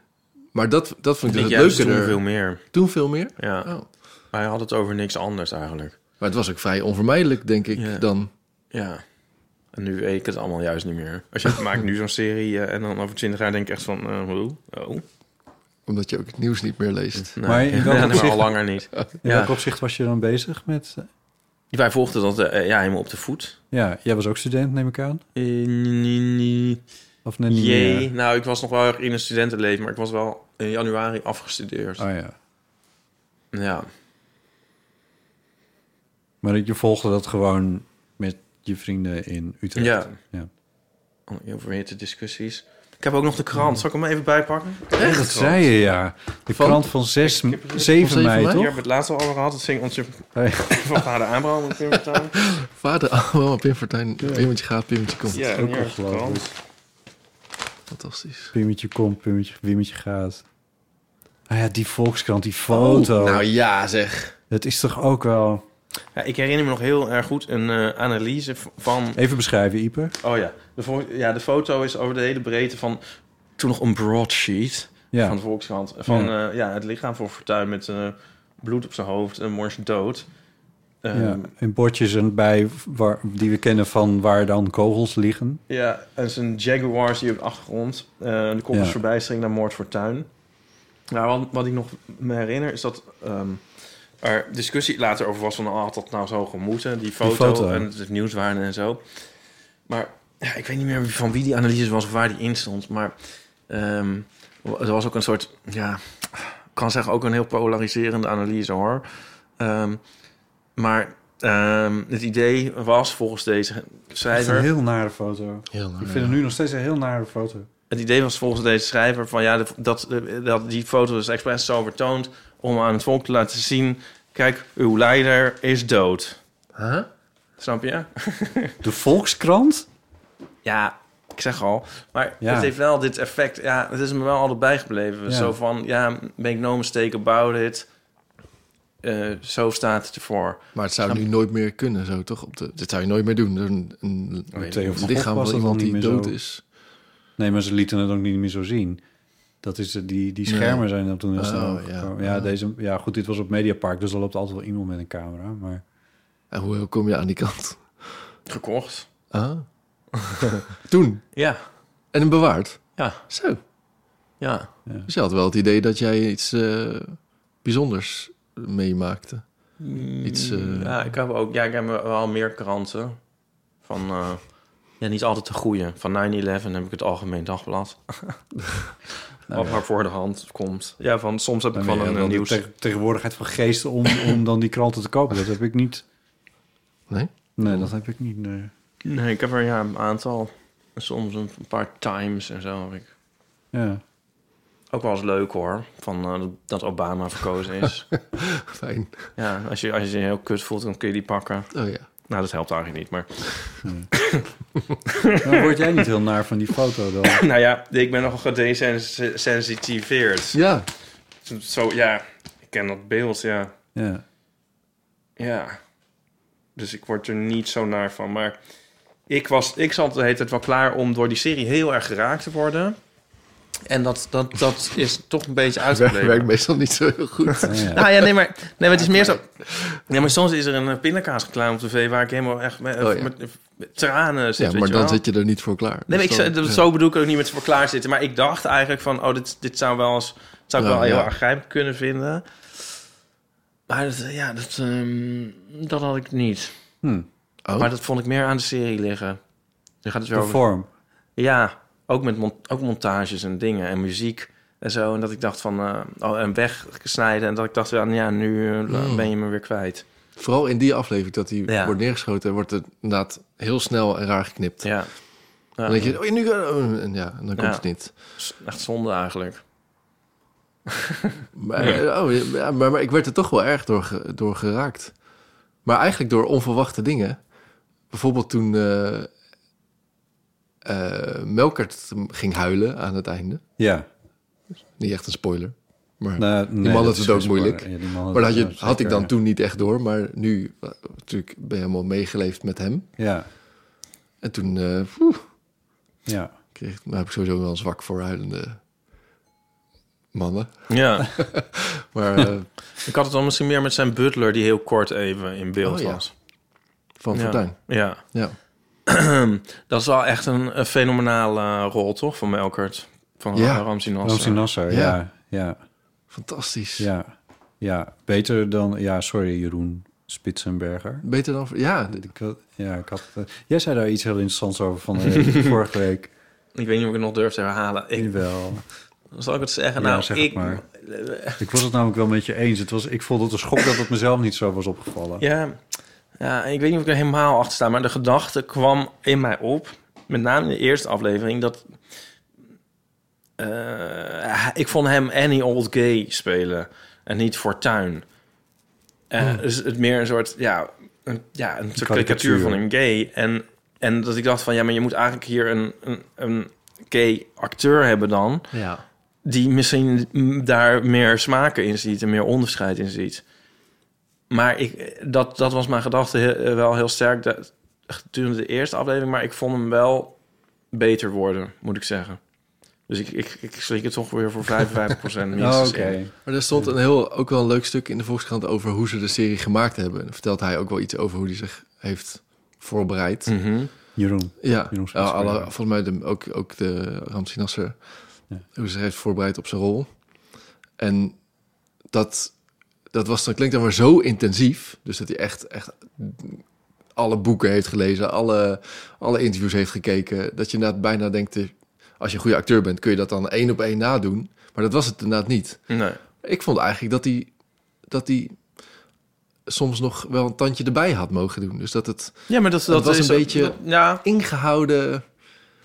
Speaker 2: Maar dat, dat vond ik
Speaker 1: ik
Speaker 2: dus het
Speaker 1: juist
Speaker 2: leuke
Speaker 1: toen
Speaker 2: er.
Speaker 1: veel meer.
Speaker 2: Toen veel meer?
Speaker 1: Ja.
Speaker 2: Oh.
Speaker 1: Maar hij had het over niks anders eigenlijk.
Speaker 2: Maar het was ook vrij onvermijdelijk, denk ik,
Speaker 1: Ja.
Speaker 2: dan.
Speaker 1: Ja. En nu weet ik het allemaal juist niet meer. Als je maakt nu zo'n serie eh, en dan over 20 jaar denk ik echt van... eh, hoe? oh,
Speaker 2: Omdat je ook het nieuws niet meer leest.
Speaker 1: nee.
Speaker 3: Maar in welk
Speaker 1: Ja, nee,
Speaker 3: opzicht-
Speaker 1: al langer niet.
Speaker 3: in
Speaker 1: Ja.
Speaker 3: welk opzicht was je dan bezig met... eh,
Speaker 1: Wij volgden dat eh, ja, helemaal op de voet.
Speaker 3: ja, jij was ook student, neem ik aan?
Speaker 1: Eh, nie, nie.
Speaker 3: Of net niet
Speaker 1: Jee.
Speaker 3: meer?
Speaker 1: Nou, ik was nog wel erg in een studentenleven, maar ik was wel in januari afgestudeerd.
Speaker 3: Oh ja.
Speaker 1: Ja.
Speaker 3: Maar je volgde dat gewoon met je vrienden in Utrecht.
Speaker 1: Ja.
Speaker 3: Ja.
Speaker 1: Oh, Heel verhitte discussies. Ik heb ook nog de krant. Zal ik hem even bijpakken?
Speaker 3: Echt? Dat zei je, ja. De
Speaker 2: Van-
Speaker 3: krant van 6,
Speaker 1: heb-
Speaker 3: 7
Speaker 2: van
Speaker 3: mei,
Speaker 2: zeven
Speaker 1: Hier
Speaker 3: toch?
Speaker 1: hebben we het laatst al over gehad. Dat zing onze
Speaker 3: Hey.
Speaker 1: van vader Abraham. in Pimpertown.
Speaker 2: Vader, allemaal Pim Fortuyn. Pimmetje gaat, Pimmetje komt.
Speaker 1: Ja,
Speaker 3: ook
Speaker 1: hier is de
Speaker 3: ongelooflijk.
Speaker 1: krant.
Speaker 2: Fantastisch.
Speaker 3: Pimmetje komt, pimmetje, wimmetje gaat. Ah ja, die Volkskrant, die foto.
Speaker 2: Oh, nou ja, zeg.
Speaker 3: Dat is toch ook wel...
Speaker 1: Ja, ik herinner me nog heel erg goed een eh, analyse v- van...
Speaker 3: Even beschrijven, Ieper.
Speaker 1: Oh ja de, vo- ja, de foto is over de hele breedte van... Toen nog een broadsheet
Speaker 3: Ja.
Speaker 1: van de Volkskrant. Van eh, ja. het lichaam voor Fortuyn met eh, bloed op zijn hoofd en mors dood. Eh,
Speaker 3: ja. En bordjes en bij waar, die we kennen van waar dan kogels liggen.
Speaker 1: Ja, en zijn Jaguars die op de achtergrond. Eh, de kop is
Speaker 3: Ja.
Speaker 1: verbijstering naar Moord voor Tuin. Nou, wat, wat ik nog me herinner is dat ehm, er discussie later over was van... ah, had dat nou zo gemoeten, die foto,
Speaker 3: foto.
Speaker 1: en het nieuwswaarde en zo. Maar ja, ik weet niet meer van wie die analyse was of waar die in stond. Maar ehm, er was ook een soort... Ja, ik kan zeggen ook een heel polariserende analyse hoor. Ehm, maar ehm, het idee was volgens deze
Speaker 3: Dat is een
Speaker 1: schrijver...
Speaker 3: heel nare foto.
Speaker 2: Heel
Speaker 3: Ik vind het nu nog steeds een heel nare foto.
Speaker 1: Het idee was volgens deze schrijver van ja, de- dat, eh, dat die foto is expres zo vertoond om aan het volk te laten zien: kijk, uw leider is dood.
Speaker 2: Huh?
Speaker 1: Snap je?
Speaker 3: De Volkskrant?
Speaker 1: Ja, ik zeg al. Maar
Speaker 3: Ja.
Speaker 1: het heeft wel dit effect. Ja, het is me wel altijd bijgebleven.
Speaker 3: Ja.
Speaker 1: Zo van ja, nou make no mistake about it. Eh, zo staat het ervoor.
Speaker 2: Maar het zou nu nooit meer kunnen, zo toch? Op de, dit zou je nooit meer doen. Een, een,
Speaker 1: Weet
Speaker 3: Theo
Speaker 2: het
Speaker 3: van Gogh
Speaker 2: lichaam
Speaker 3: was
Speaker 2: van iemand
Speaker 3: dat al niet
Speaker 2: die
Speaker 3: meer
Speaker 2: dood
Speaker 3: zo.
Speaker 2: is.
Speaker 3: Nee, maar ze lieten het ook niet meer zo zien. Dat is de- die, die
Speaker 2: Nee.
Speaker 3: schermen zijn er toen heel snel
Speaker 2: Oh,
Speaker 3: overgekomen.
Speaker 2: ja.
Speaker 3: Ja, deze, ja, goed, dit was op Mediapark, dus er loopt altijd wel iemand met een camera. Maar
Speaker 2: En hoe, hoe kom je aan die kant?
Speaker 1: Gekocht.
Speaker 2: Ah. Toen.
Speaker 1: Ja,
Speaker 2: En hem bewaard.
Speaker 1: ja,
Speaker 2: Zo.
Speaker 1: ja.
Speaker 2: Dus je had wel het idee dat jij iets eh, bijzonders meemaakte. Iets, eh,
Speaker 1: Mm. Ja, ik heb ook. Ja, ik heb wel meer kranten van. eh, ja, niet altijd de goede. Van 9-11 heb ik het Algemeen Dagblad. Wat maar voor de hand komt. Ja, van soms heb ik
Speaker 3: daarmee
Speaker 1: van een
Speaker 3: wel
Speaker 1: eh,
Speaker 3: de
Speaker 1: nieuws.
Speaker 3: teg- tegenwoordigheid van geesten om, om dan die kranten te kopen. Dat heb ik niet.
Speaker 2: Nee?
Speaker 3: Nee, dat heb ik niet. nee.
Speaker 1: Nee, ik heb er ja, een aantal. Soms een paar times en zo heb ik.
Speaker 3: Ja.
Speaker 1: Ook wel eens leuk hoor. Van eh, dat Obama verkozen is.
Speaker 2: Fijn.
Speaker 1: ja, als je, als je je heel kut voelt, dan kun je die pakken.
Speaker 2: Oh ja.
Speaker 1: Nou, dat helpt eigenlijk niet. Maar
Speaker 3: Nou, word jij niet heel naar van die foto dan?
Speaker 1: nou ja, ik ben nogal gedesensitiveerd.
Speaker 2: Ja.
Speaker 1: Zo, ja, ik ken dat beeld, ja.
Speaker 3: Ja.
Speaker 1: Ja. Dus ik word er niet zo naar van. Maar ik, was, ik zat de hele tijd wel klaar om door die serie heel erg geraakt te worden. En dat, dat, dat is toch een beetje
Speaker 2: Werkt,
Speaker 1: uitgebleven.
Speaker 2: werkt meestal niet zo heel goed.
Speaker 3: Ah, ja.
Speaker 1: Nou ja, nee, maar, nee, maar het is meer zo... Nee, maar soms is er een eh, pindakaasreclame op tv... waar ik helemaal echt met,
Speaker 2: Oh, ja.
Speaker 1: met, met tranen zit,
Speaker 2: Ja,
Speaker 1: weet
Speaker 2: maar
Speaker 1: je
Speaker 2: dan
Speaker 1: wel.
Speaker 2: zit je er niet voor klaar.
Speaker 1: Nee, maar
Speaker 2: Dus
Speaker 1: ik, zo-
Speaker 2: dan-
Speaker 1: dat-
Speaker 2: ja.
Speaker 1: zo bedoel ik ook niet met voor klaar zitten. Maar ik dacht eigenlijk van, oh, dit, dit zou wel eens, zou ik
Speaker 2: Ja,
Speaker 1: wel heel
Speaker 2: ja.
Speaker 1: aangrijpend kunnen vinden. Maar dat, eh, ja, dat, ehm, dat had ik niet.
Speaker 3: Hm,
Speaker 2: Oh.
Speaker 1: Maar dat vond ik meer aan de serie liggen. Nu gaat het weer
Speaker 3: de
Speaker 1: over.
Speaker 3: vorm.
Speaker 1: Ja, ook met mon- ook montages en dingen en muziek en zo. En dat ik dacht van, eh, oh, en weggesnijden. En dat ik dacht, ja, nou ja nu eh,
Speaker 2: Hmm.
Speaker 1: ben je me weer kwijt.
Speaker 2: Vooral in die aflevering dat hij
Speaker 1: Ja.
Speaker 2: wordt neergeschoten... en wordt het inderdaad heel snel en raar geknipt.
Speaker 1: Ja. Ja.
Speaker 2: Dan denk je, oh, nu gaat oh, en ja, en dan komt
Speaker 1: Ja.
Speaker 2: het niet.
Speaker 1: Echt zonde eigenlijk.
Speaker 2: Maar, oh, ja, maar, maar ik werd er toch wel erg door, ge- door geraakt. Maar eigenlijk door onverwachte dingen. Bijvoorbeeld toen eh eh, Melkert ging huilen aan het einde.
Speaker 3: Ja.
Speaker 2: Niet echt een spoiler. Maar,
Speaker 3: Nou, nee,
Speaker 2: man had
Speaker 3: dat
Speaker 2: het
Speaker 3: is geen
Speaker 2: ook moeilijk.
Speaker 3: spoiler. Ja, die man
Speaker 2: maar dat had, je,
Speaker 3: het
Speaker 2: had ik
Speaker 3: zeker,
Speaker 2: dan toen niet echt door. Maar nu eh, natuurlijk ben je helemaal meegeleefd met hem.
Speaker 3: Ja.
Speaker 2: En toen eh, poeh,
Speaker 3: Ja.
Speaker 2: kreeg, nou heb ik sowieso wel een zwak voor huilende mannen.
Speaker 1: Ja,
Speaker 2: Maar eh,
Speaker 1: ik had het dan misschien meer met zijn butler... die heel kort even in beeld
Speaker 2: Oh, ja.
Speaker 1: was.
Speaker 2: van
Speaker 1: Ja.
Speaker 2: Fortuin.
Speaker 1: Ja.
Speaker 2: Ja.
Speaker 1: dat is wel echt een, een fenomenale eh, rol, toch? Van Melkert. Van eh,
Speaker 2: Ja.
Speaker 1: ja. Ramsey Nasser.
Speaker 3: Ramsey Nasser,
Speaker 2: Ja.
Speaker 3: ja. Ja.
Speaker 2: Fantastisch.
Speaker 3: Ja. Ja. Beter dan... Ja, sorry Jeroen Spitsenberger.
Speaker 2: Beter dan... Ja,
Speaker 3: Ik wil- ja, ik had, eh, jij zei daar iets heel interessants over van eh, vorige week.
Speaker 1: eh. Ik weet niet of ik het nog durf te herhalen. Ik,
Speaker 3: Jawel.
Speaker 1: zal ik het zeggen?
Speaker 3: Ja,
Speaker 1: nou,
Speaker 3: zeg het
Speaker 1: ik...
Speaker 3: maar. Ik was het namelijk wel met je eens. Het was, ik vond het een schok dat het mezelf niet zo was opgevallen.
Speaker 1: Ja, ja, ik weet niet of ik er helemaal achter sta... maar de gedachte kwam in mij op... met name in de eerste aflevering... dat... eh, ik vond hem Any Old Gay spelen... en niet Fortuin. Eh, Dus het meer een soort... Ja, een, ja, een soort
Speaker 3: Karikatuur.
Speaker 1: karikatuur van een gay. En, en dat ik dacht van... ja, maar je moet eigenlijk hier een, een, een gay acteur hebben dan...
Speaker 2: Ja.
Speaker 1: die misschien mm, daar meer smaken in ziet en meer onderscheid in ziet. Maar ik, dat, dat was mijn gedachte he- eh, wel heel sterk dat- gedurende de eerste aflevering. Maar ik vond hem wel beter worden, moet ik zeggen. Dus ik, ik, ik slik het ongeveer voor 55% minstens
Speaker 3: Oh,
Speaker 1: in.
Speaker 3: Oké.
Speaker 2: Maar er stond een heel, ook wel een leuk stuk in de Volkskrant over hoe ze de serie gemaakt hebben. En daar vertelt hij ook wel iets over hoe hij zich heeft voorbereid.
Speaker 1: Mhm.
Speaker 3: Jeroen.
Speaker 2: Ja, ja,
Speaker 3: Jeroen Spitsbergen.
Speaker 2: alle, volgens mij de, ook, ook de Ramsi Nasser.
Speaker 3: Ja.
Speaker 2: Hoe ze zich heeft voorbereid op zijn rol. En dat, dat was dan, klinkt dan maar zo intensief. Dus dat hij echt, echt alle boeken heeft gelezen, alle, alle interviews heeft gekeken. Dat je inderdaad bijna denkt, eh, als je een goede acteur bent, kun je dat dan één op één nadoen. Maar dat was het inderdaad niet.
Speaker 1: Nee.
Speaker 2: Ik vond eigenlijk dat hij, dat hij soms nog wel een tandje erbij had mogen doen. Dus dat het
Speaker 1: Ja, maar dat, dat,
Speaker 2: was
Speaker 1: is
Speaker 2: een beetje-
Speaker 1: dat- ja,
Speaker 2: ingehouden...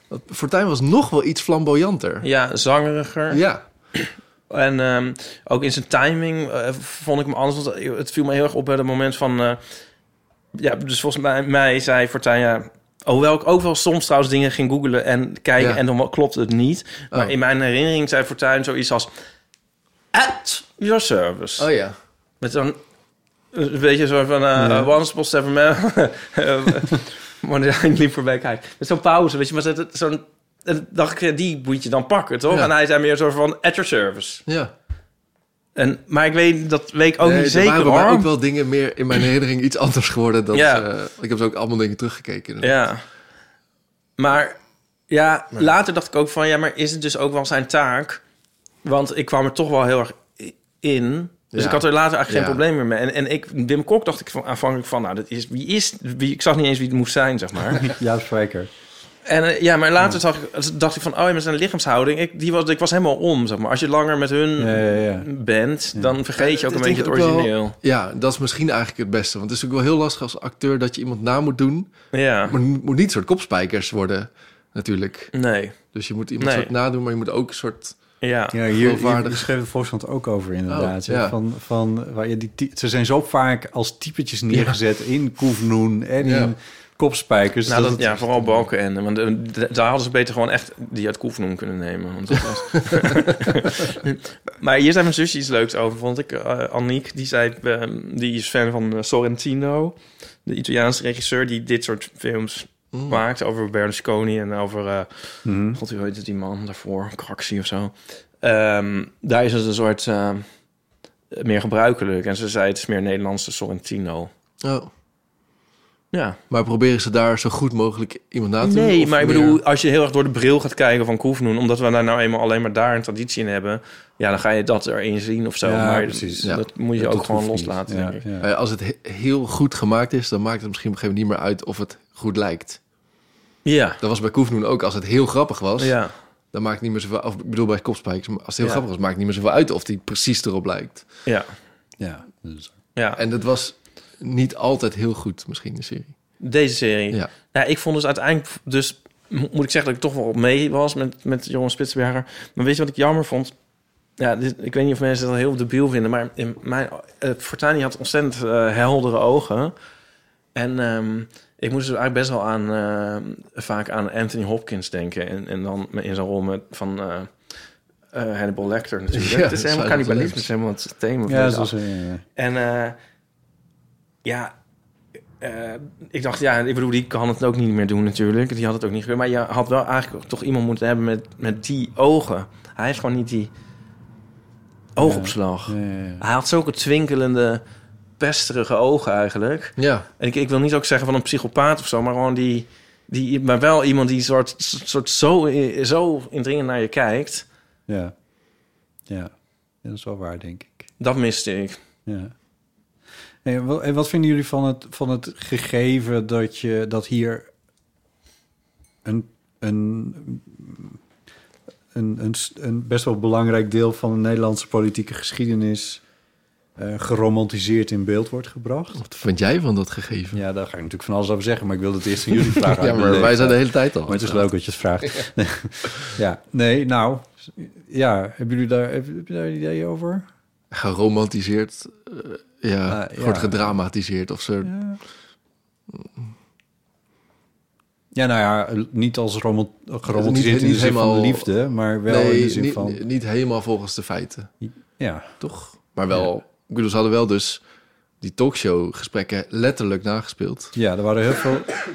Speaker 2: dat- Fortuyn was nog wel iets flamboyanter.
Speaker 1: ja, zangeriger.
Speaker 2: Ja,
Speaker 1: En ehm, ook in zijn timing eh, vond ik hem anders. Want het viel me heel erg op bij het moment van... eh, ja, dus volgens mij, mij zei Fortuyn... Ja, hoewel ik ook wel soms trouwens dingen ging googlen en kijken...
Speaker 2: Ja.
Speaker 1: en dan klopt het niet. Maar
Speaker 2: Oh.
Speaker 1: in mijn herinnering zei Fortuyn zoiets als... At your service.
Speaker 2: oh ja.
Speaker 1: Met zo'n... Een beetje zo van... eh One spot seven man. Maar Eh, hij liep voorbij kijken. Met zo'n pauze, weet je. Maar zo- zo'n... en dacht ik, ja, die moet je dan pakken, toch?
Speaker 2: Ja.
Speaker 1: En hij zei meer zo van... At your service.
Speaker 2: ja.
Speaker 1: En, maar ik weet, dat weet ik ook
Speaker 2: Nee,
Speaker 1: niet
Speaker 2: er
Speaker 1: zeker
Speaker 2: waren bij mij
Speaker 1: hoor.
Speaker 2: ook wel dingen meer in mijn herinnering iets anders geworden. Dan,
Speaker 1: Ja.
Speaker 2: eh, ik heb ze ook allemaal dingen teruggekeken.
Speaker 1: Ja. Maar ja, later dacht ik ook van ja, maar is het dus ook wel zijn taak? Want ik kwam er toch wel heel erg i- in. Dus
Speaker 2: Ja.
Speaker 1: ik had er later eigenlijk geen
Speaker 2: Ja.
Speaker 1: probleem meer mee. En, en ik, Wim Kok dacht ik van, aanvankelijk van, nou, dat is, wie is, wie, ik zag niet eens wie het moest zijn, zeg maar.
Speaker 3: Jaap Spijker.
Speaker 1: En eh, ja, maar later zag ik, dacht ik van, oh ja, met zijn lichaamshouding, ik, die was, ik was helemaal om, zeg maar. Als je langer met hun
Speaker 3: Ja, ja, ja.
Speaker 1: bent, dan vergeet je ook
Speaker 2: Het
Speaker 1: een
Speaker 2: is
Speaker 1: beetje het
Speaker 2: denk ik ook wel-
Speaker 1: origineel.
Speaker 2: Ja, dat is misschien eigenlijk het beste. Want het is ook wel heel lastig als acteur dat je iemand na moet doen.
Speaker 1: Ja,
Speaker 2: Maar het moet niet een soort kopspijkers worden, natuurlijk.
Speaker 1: nee,
Speaker 2: Dus je moet iemand
Speaker 1: Nee.
Speaker 2: soort nadoen, maar je moet ook een soort...
Speaker 1: ja.
Speaker 3: Ja, hier, hier,
Speaker 2: Geloofwaardig.
Speaker 3: schreef de Volkskrant ook over inderdaad.
Speaker 2: Oh,
Speaker 3: hè,
Speaker 2: ja.
Speaker 3: van, van, waar je die, ty- ze zijn zo vaak als typetjes neergezet in Koefnoen en
Speaker 2: Ja.
Speaker 3: in kopspijkers.
Speaker 1: Nou, dat,
Speaker 3: het-
Speaker 1: ja, vooral balken en. Want eh, d- daar hadden ze beter gewoon echt die uit Koefnoem kunnen nemen. Want dat was... maar hier zei mijn zusje iets leuks over, vond ik. eh Aniek, die, zei, eh, die is fan van eh, Sorrentino. De Italiaanse regisseur die dit soort films
Speaker 2: Mm.
Speaker 1: maakt. Over Berlusconi en over... eh,
Speaker 3: Mhm.
Speaker 1: God, hoe heet het, die man daarvoor? Craxi of zo. Ehm, daar is het een soort... eh, meer gebruikelijk. En ze zei, het is meer Nederlandse Sorrentino.
Speaker 2: Oh.
Speaker 1: Ja,
Speaker 2: Maar proberen ze daar zo goed mogelijk iemand na te doen?
Speaker 1: Nee,
Speaker 2: Of
Speaker 1: maar ik
Speaker 2: meer-
Speaker 1: bedoel, als je heel erg door de bril gaat kijken van Koefnoen... omdat we daar nou eenmaal alleen maar daar een traditie in hebben... ja, dan ga je dat erin zien of zo.
Speaker 3: Ja,
Speaker 1: maar
Speaker 3: precies.
Speaker 1: dat
Speaker 2: Ja.
Speaker 1: moet je
Speaker 3: dat
Speaker 1: ook gewoon
Speaker 3: hoeft niet.
Speaker 1: loslaten,
Speaker 3: Ja,
Speaker 1: denk ik.
Speaker 3: ja.
Speaker 2: Eh, als het he- heel goed gemaakt is, dan maakt het misschien op een gegeven moment niet meer uit of het goed lijkt.
Speaker 1: Ja,
Speaker 2: Dat was bij Koefnoen ook. Als het heel grappig was,
Speaker 1: ja.
Speaker 2: dan maakt het niet meer zoveel... Of, ik bedoel, bij Kopspijkers, maar als het heel
Speaker 1: Ja.
Speaker 2: grappig was, maakt het niet meer zoveel uit of die precies erop lijkt.
Speaker 1: ja.
Speaker 3: Ja, dus-
Speaker 1: ja.
Speaker 2: En dat was niet altijd heel goed, misschien, de serie.
Speaker 1: Deze serie.
Speaker 2: Ja.
Speaker 1: Ja, ik vond dus uiteindelijk... Dus mo- moet ik zeggen dat ik toch wel op mee was met, met Johan Spitsberger. Maar weet je wat ik jammer vond? Ja, dit, ik weet niet of mensen dat heel debiel vinden... maar in mijn, eh Fortuyn had ontzettend eh, heldere ogen. En ehm, ik moest dus eigenlijk best wel aan... eh, vaak aan Anthony Hopkins denken. En, en dan in zijn rol met, van... eh, eh, Hannibal Lecter natuurlijk.
Speaker 2: Ja,
Speaker 1: het is
Speaker 2: Silence of
Speaker 1: helemaal
Speaker 2: the
Speaker 1: cannibalisme,
Speaker 2: Lambs.
Speaker 1: het is helemaal het thema. van
Speaker 3: ja,
Speaker 1: deze
Speaker 3: zo zo- ja, ja.
Speaker 1: en eh, ja, eh, ik dacht, ja, ik bedoel, die kan het ook niet meer doen natuurlijk. Die had het ook niet gebeurd. Maar je had wel eigenlijk toch iemand moeten hebben met, met die ogen. Hij heeft gewoon niet die oogopslag.
Speaker 3: Ja, ja, ja.
Speaker 1: Hij had zulke twinkelende, pesterige ogen eigenlijk.
Speaker 2: Ja,
Speaker 1: En ik, ik wil niet ook zeggen van een psychopaat of zo, maar gewoon die... die maar wel iemand die soort, soort zo, zo indringend naar je kijkt.
Speaker 3: Ja. Ja. Ja, dat is wel waar, denk ik.
Speaker 1: Dat miste ik.
Speaker 3: Ja. En wat, en wat vinden jullie van het, van het gegeven dat, je, dat hier een, een, een, een, s- een best wel belangrijk deel van de Nederlandse politieke geschiedenis eh, geromantiseerd in beeld wordt gebracht?
Speaker 2: wat vind jij van dat gegeven? Ja,
Speaker 3: Ja, daar ga ik natuurlijk van alles over zeggen, maar ik wilde het eerst aan jullie vragen. uit
Speaker 2: maar
Speaker 3: mijn
Speaker 2: wij zijn de
Speaker 3: leeftijd.
Speaker 2: hele tijd al.
Speaker 3: Maar Oh, het is leuk dat je het vraagt. Ja, nee, nou, ja, hebben jullie daar, hebben jullie daar een idee over?
Speaker 2: Geromantiseerd, eh, ja,
Speaker 3: Ah, ja.
Speaker 2: wordt gedramatiseerd of zo.
Speaker 3: Ja. Ja, nou ja, niet als romant geromantiseerd
Speaker 2: Niet-
Speaker 3: in de
Speaker 2: niet
Speaker 3: zin van
Speaker 2: helemaal-
Speaker 3: liefde, maar wel in de
Speaker 2: nee,
Speaker 3: zin
Speaker 2: niet,
Speaker 3: van...
Speaker 2: niet helemaal volgens de feiten,
Speaker 3: Ja,
Speaker 2: toch? Maar wel, ik bedoel, ze hadden wel dus die talkshow-gesprekken letterlijk nagespeeld.
Speaker 3: ja, er waren heel veel c-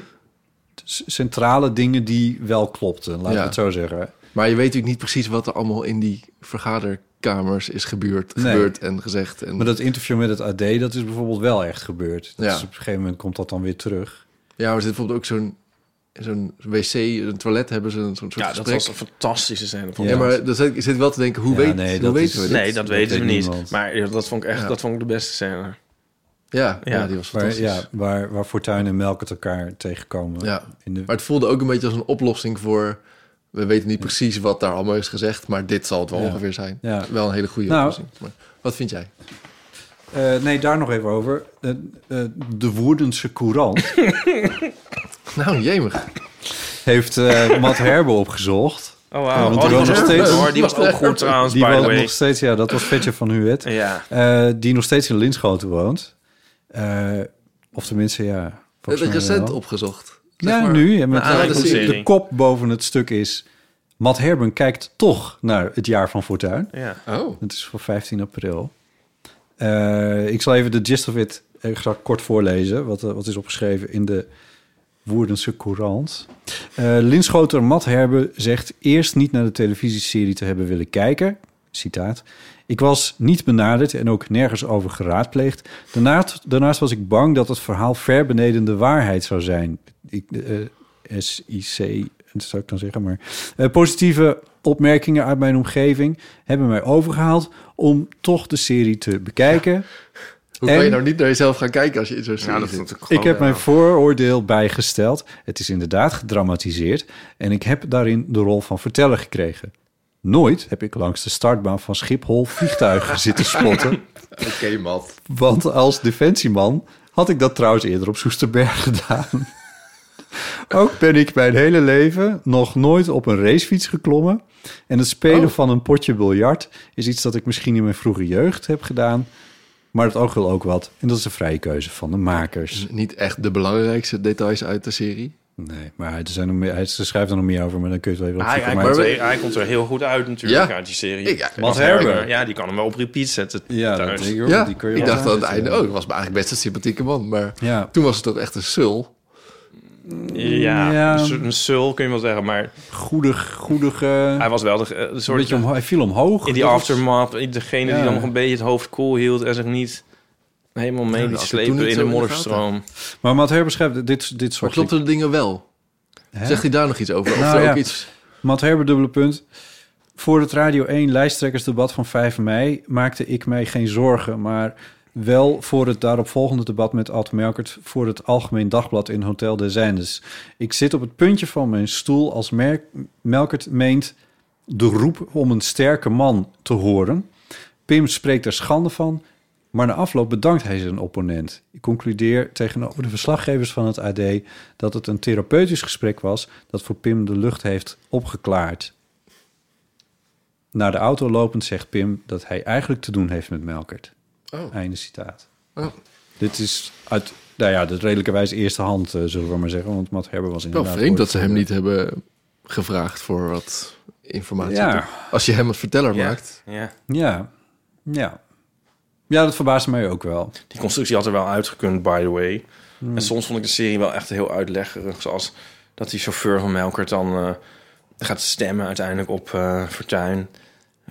Speaker 3: centrale dingen die wel klopten, laten we
Speaker 2: Ja.
Speaker 3: het zo zeggen.
Speaker 2: Maar je weet natuurlijk niet precies wat er allemaal in die vergaderkamers is gebeurd,
Speaker 3: Nee.
Speaker 2: gebeurd en gezegd. En,
Speaker 3: Maar dat interview met het AD, dat is bijvoorbeeld wel echt gebeurd. Dus
Speaker 2: Ja.
Speaker 3: op een gegeven moment komt dat dan weer terug.
Speaker 2: Ja, maar er zit bijvoorbeeld ook zo'n zo'n wc, een toilet hebben ze, een zo'n soort
Speaker 1: Ja, dat
Speaker 2: gesprek.
Speaker 1: was een fantastische scène. vond
Speaker 2: ja,
Speaker 1: ik.
Speaker 2: maar dan zit, ik zit wel te denken, hoe,
Speaker 3: Ja,
Speaker 2: weet,
Speaker 3: nee,
Speaker 2: hoe
Speaker 3: dat
Speaker 2: weten
Speaker 3: is-
Speaker 2: we dit?
Speaker 1: nee, dat, weten we
Speaker 3: weet
Speaker 1: niet.
Speaker 3: niemand.
Speaker 1: Maar ja, dat vond ik echt
Speaker 2: Ja.
Speaker 1: dat vond ik de beste scène. Oh,
Speaker 2: Ja, ja.
Speaker 1: Ja.
Speaker 2: die was
Speaker 3: Waar,
Speaker 2: fantastisch.
Speaker 3: ja, waar, waar Fortuin en Melk het elkaar tegenkomen.
Speaker 2: Ja.
Speaker 3: In de,
Speaker 2: Maar het voelde ook een beetje als een oplossing voor... We weten niet precies wat daar allemaal is gezegd, maar dit zal het wel
Speaker 3: Ja.
Speaker 2: ongeveer zijn.
Speaker 3: Ja.
Speaker 2: Wel een hele goede
Speaker 3: Nou.
Speaker 2: oplossing. Maar wat vind jij?
Speaker 3: Eh, nee, daar nog even over. Eh, eh, de Woerdense Courant
Speaker 2: Nou, jemig.
Speaker 3: heeft eh Matt Herbe opgezocht.
Speaker 1: Oh
Speaker 3: Ja,
Speaker 1: wauw.
Speaker 3: want
Speaker 1: Oh,
Speaker 3: die
Speaker 1: die
Speaker 3: woont
Speaker 1: was
Speaker 3: nog
Speaker 1: ook
Speaker 3: steeds-
Speaker 1: goed hoor. Die was ook goed trouwens,
Speaker 3: Die
Speaker 1: by the
Speaker 3: woont
Speaker 1: way.
Speaker 3: nog steeds, ja, dat was Vetje van Huwet.
Speaker 1: Ja.
Speaker 3: Eh, die nog steeds in Linschoten woont. Eh, of tenminste, ja.
Speaker 2: Het
Speaker 3: volgens mij
Speaker 2: Eh, recent
Speaker 3: wel.
Speaker 2: opgezocht.
Speaker 3: Ja,
Speaker 2: Zeg maar.
Speaker 3: nu. En met
Speaker 1: Nou,
Speaker 2: dat is
Speaker 3: de,
Speaker 1: serie.
Speaker 3: kop boven het stuk is... Matt Herben kijkt toch naar het jaar van Fortuin.
Speaker 1: Ja.
Speaker 2: Oh,
Speaker 3: Het is voor 15 april. Eh, ik zal even de gist of it eh, graag kort voorlezen. Wat, eh, wat is opgeschreven in de Woerdense Courant. Eh Linschoter Matt Herbe zegt eerst niet naar de televisieserie te hebben willen kijken. Citaat. Ik was niet benaderd en ook nergens over geraadpleegd. Daarnaast, daarnaast was ik bang dat het verhaal ver beneden de waarheid zou zijn. Ik, eh, SIC, dat zou ik dan zeggen, maar... Eh, positieve opmerkingen uit mijn omgeving hebben mij overgehaald om toch de serie te bekijken.
Speaker 2: hoe kan
Speaker 3: En-
Speaker 2: je nou niet naar jezelf gaan kijken als je in zo'n serie
Speaker 1: Oh, Ja, dat
Speaker 2: zit?
Speaker 1: vond ik
Speaker 3: Ik heb
Speaker 1: mijn
Speaker 3: mijn vooroordeel bijgesteld. Het is inderdaad gedramatiseerd en ik heb daarin de rol van verteller gekregen. Nooit heb ik langs de startbaan van Schiphol vliegtuigen zitten spotten.
Speaker 2: Oké, Matt.
Speaker 3: Want als defensieman had ik dat trouwens eerder op Soesterberg gedaan. Ook ben ik mijn hele leven nog nooit op een racefiets geklommen. En het spelen
Speaker 2: Oh.
Speaker 3: van een potje biljart is iets dat ik misschien in mijn vroege jeugd heb gedaan. Maar het oog wil ook wat. En dat is de vrije keuze van de makers.
Speaker 2: Niet echt de belangrijkste details uit de serie.
Speaker 3: Nee, maar er zijn nog meer, hij ze schrijft er nog meer over, maar dan kun je het wel even
Speaker 1: Hij, hij,
Speaker 3: opzoeken.
Speaker 1: komt
Speaker 3: Maar-
Speaker 1: er, hij komt er heel goed uit natuurlijk
Speaker 2: Ja.
Speaker 1: uit die serie.
Speaker 2: Ik- ja,
Speaker 3: Matt Herber.
Speaker 1: Ja, die kan hem wel op repeat zetten
Speaker 3: Ja, dat
Speaker 1: thuis.
Speaker 3: denk ik ook.
Speaker 2: ja,
Speaker 3: Die kun je
Speaker 2: ik
Speaker 3: wel
Speaker 2: dacht aan het
Speaker 3: aanzetten.
Speaker 2: einde ook. was me eigenlijk best een sympathieke man, maar
Speaker 3: Ja.
Speaker 2: toen was het ook echt een sul.
Speaker 1: Ja,
Speaker 3: Ja.
Speaker 1: een su- een sul kun je wel zeggen, maar
Speaker 3: Goedig, goedig, eh,
Speaker 1: hij was wel de, eh, de
Speaker 3: een
Speaker 1: soort...
Speaker 3: beetje omho- hij viel omhoog.
Speaker 1: in die
Speaker 3: Dat was-
Speaker 1: aftermath, degene
Speaker 3: Ja.
Speaker 1: die dan nog een beetje het hoofd koel hield en zich niet helemaal mee
Speaker 2: Ja,
Speaker 1: liet
Speaker 2: dat had ik toen
Speaker 1: slepen
Speaker 2: niet zo
Speaker 1: in de
Speaker 2: in de
Speaker 1: modderstroom.
Speaker 3: Maar Matt Herber schrijft dit, dit
Speaker 2: Maar
Speaker 3: soort
Speaker 2: klopten de dingen wel?
Speaker 3: Hè?
Speaker 2: Zegt hij daar nog iets over? Of
Speaker 3: Nou,
Speaker 2: er ook
Speaker 3: ja.
Speaker 2: iets...
Speaker 3: Matt Herber, dubbele punt. Voor het Radio 1 lijsttrekkersdebat van 5 mei maakte ik mij geen zorgen, maar wel voor het daaropvolgende debat met Ad Melkert voor het Algemeen Dagblad in Hotel des Zijndes. Ik zit op het puntje van mijn stoel als Mer- Melkert meent de roep om een sterke man te horen. Pim spreekt er schande van, maar na afloop bedankt hij zijn opponent. Ik concludeer tegenover de verslaggevers van het AD dat het een therapeutisch gesprek was dat voor Pim de lucht heeft opgeklaard. Naar de auto lopend zegt Pim dat hij eigenlijk te doen heeft met Melkert.
Speaker 2: Oh.
Speaker 3: Einde citaat.
Speaker 2: Oh.
Speaker 3: Dit is uit, nou ja, dat redelijkerwijs eerste hand, eh, zullen we maar zeggen. Want Matt Herber was
Speaker 2: Wel
Speaker 3: inderdaad...
Speaker 2: vreemd dat ze hem
Speaker 3: woordvoerder.
Speaker 2: niet hebben gevraagd voor wat informatie.
Speaker 3: Ja.
Speaker 2: Als je hem een verteller
Speaker 1: Ja.
Speaker 2: maakt.
Speaker 1: Ja.
Speaker 3: Ja, ja. Ja, dat verbaasde mij ook wel.
Speaker 1: Die constructie had er wel uitgekund, by the way. En soms vond ik de serie wel echt heel uitleggerig. Zoals dat die chauffeur van Melkert dan eh, gaat stemmen uiteindelijk op eh Fortuin.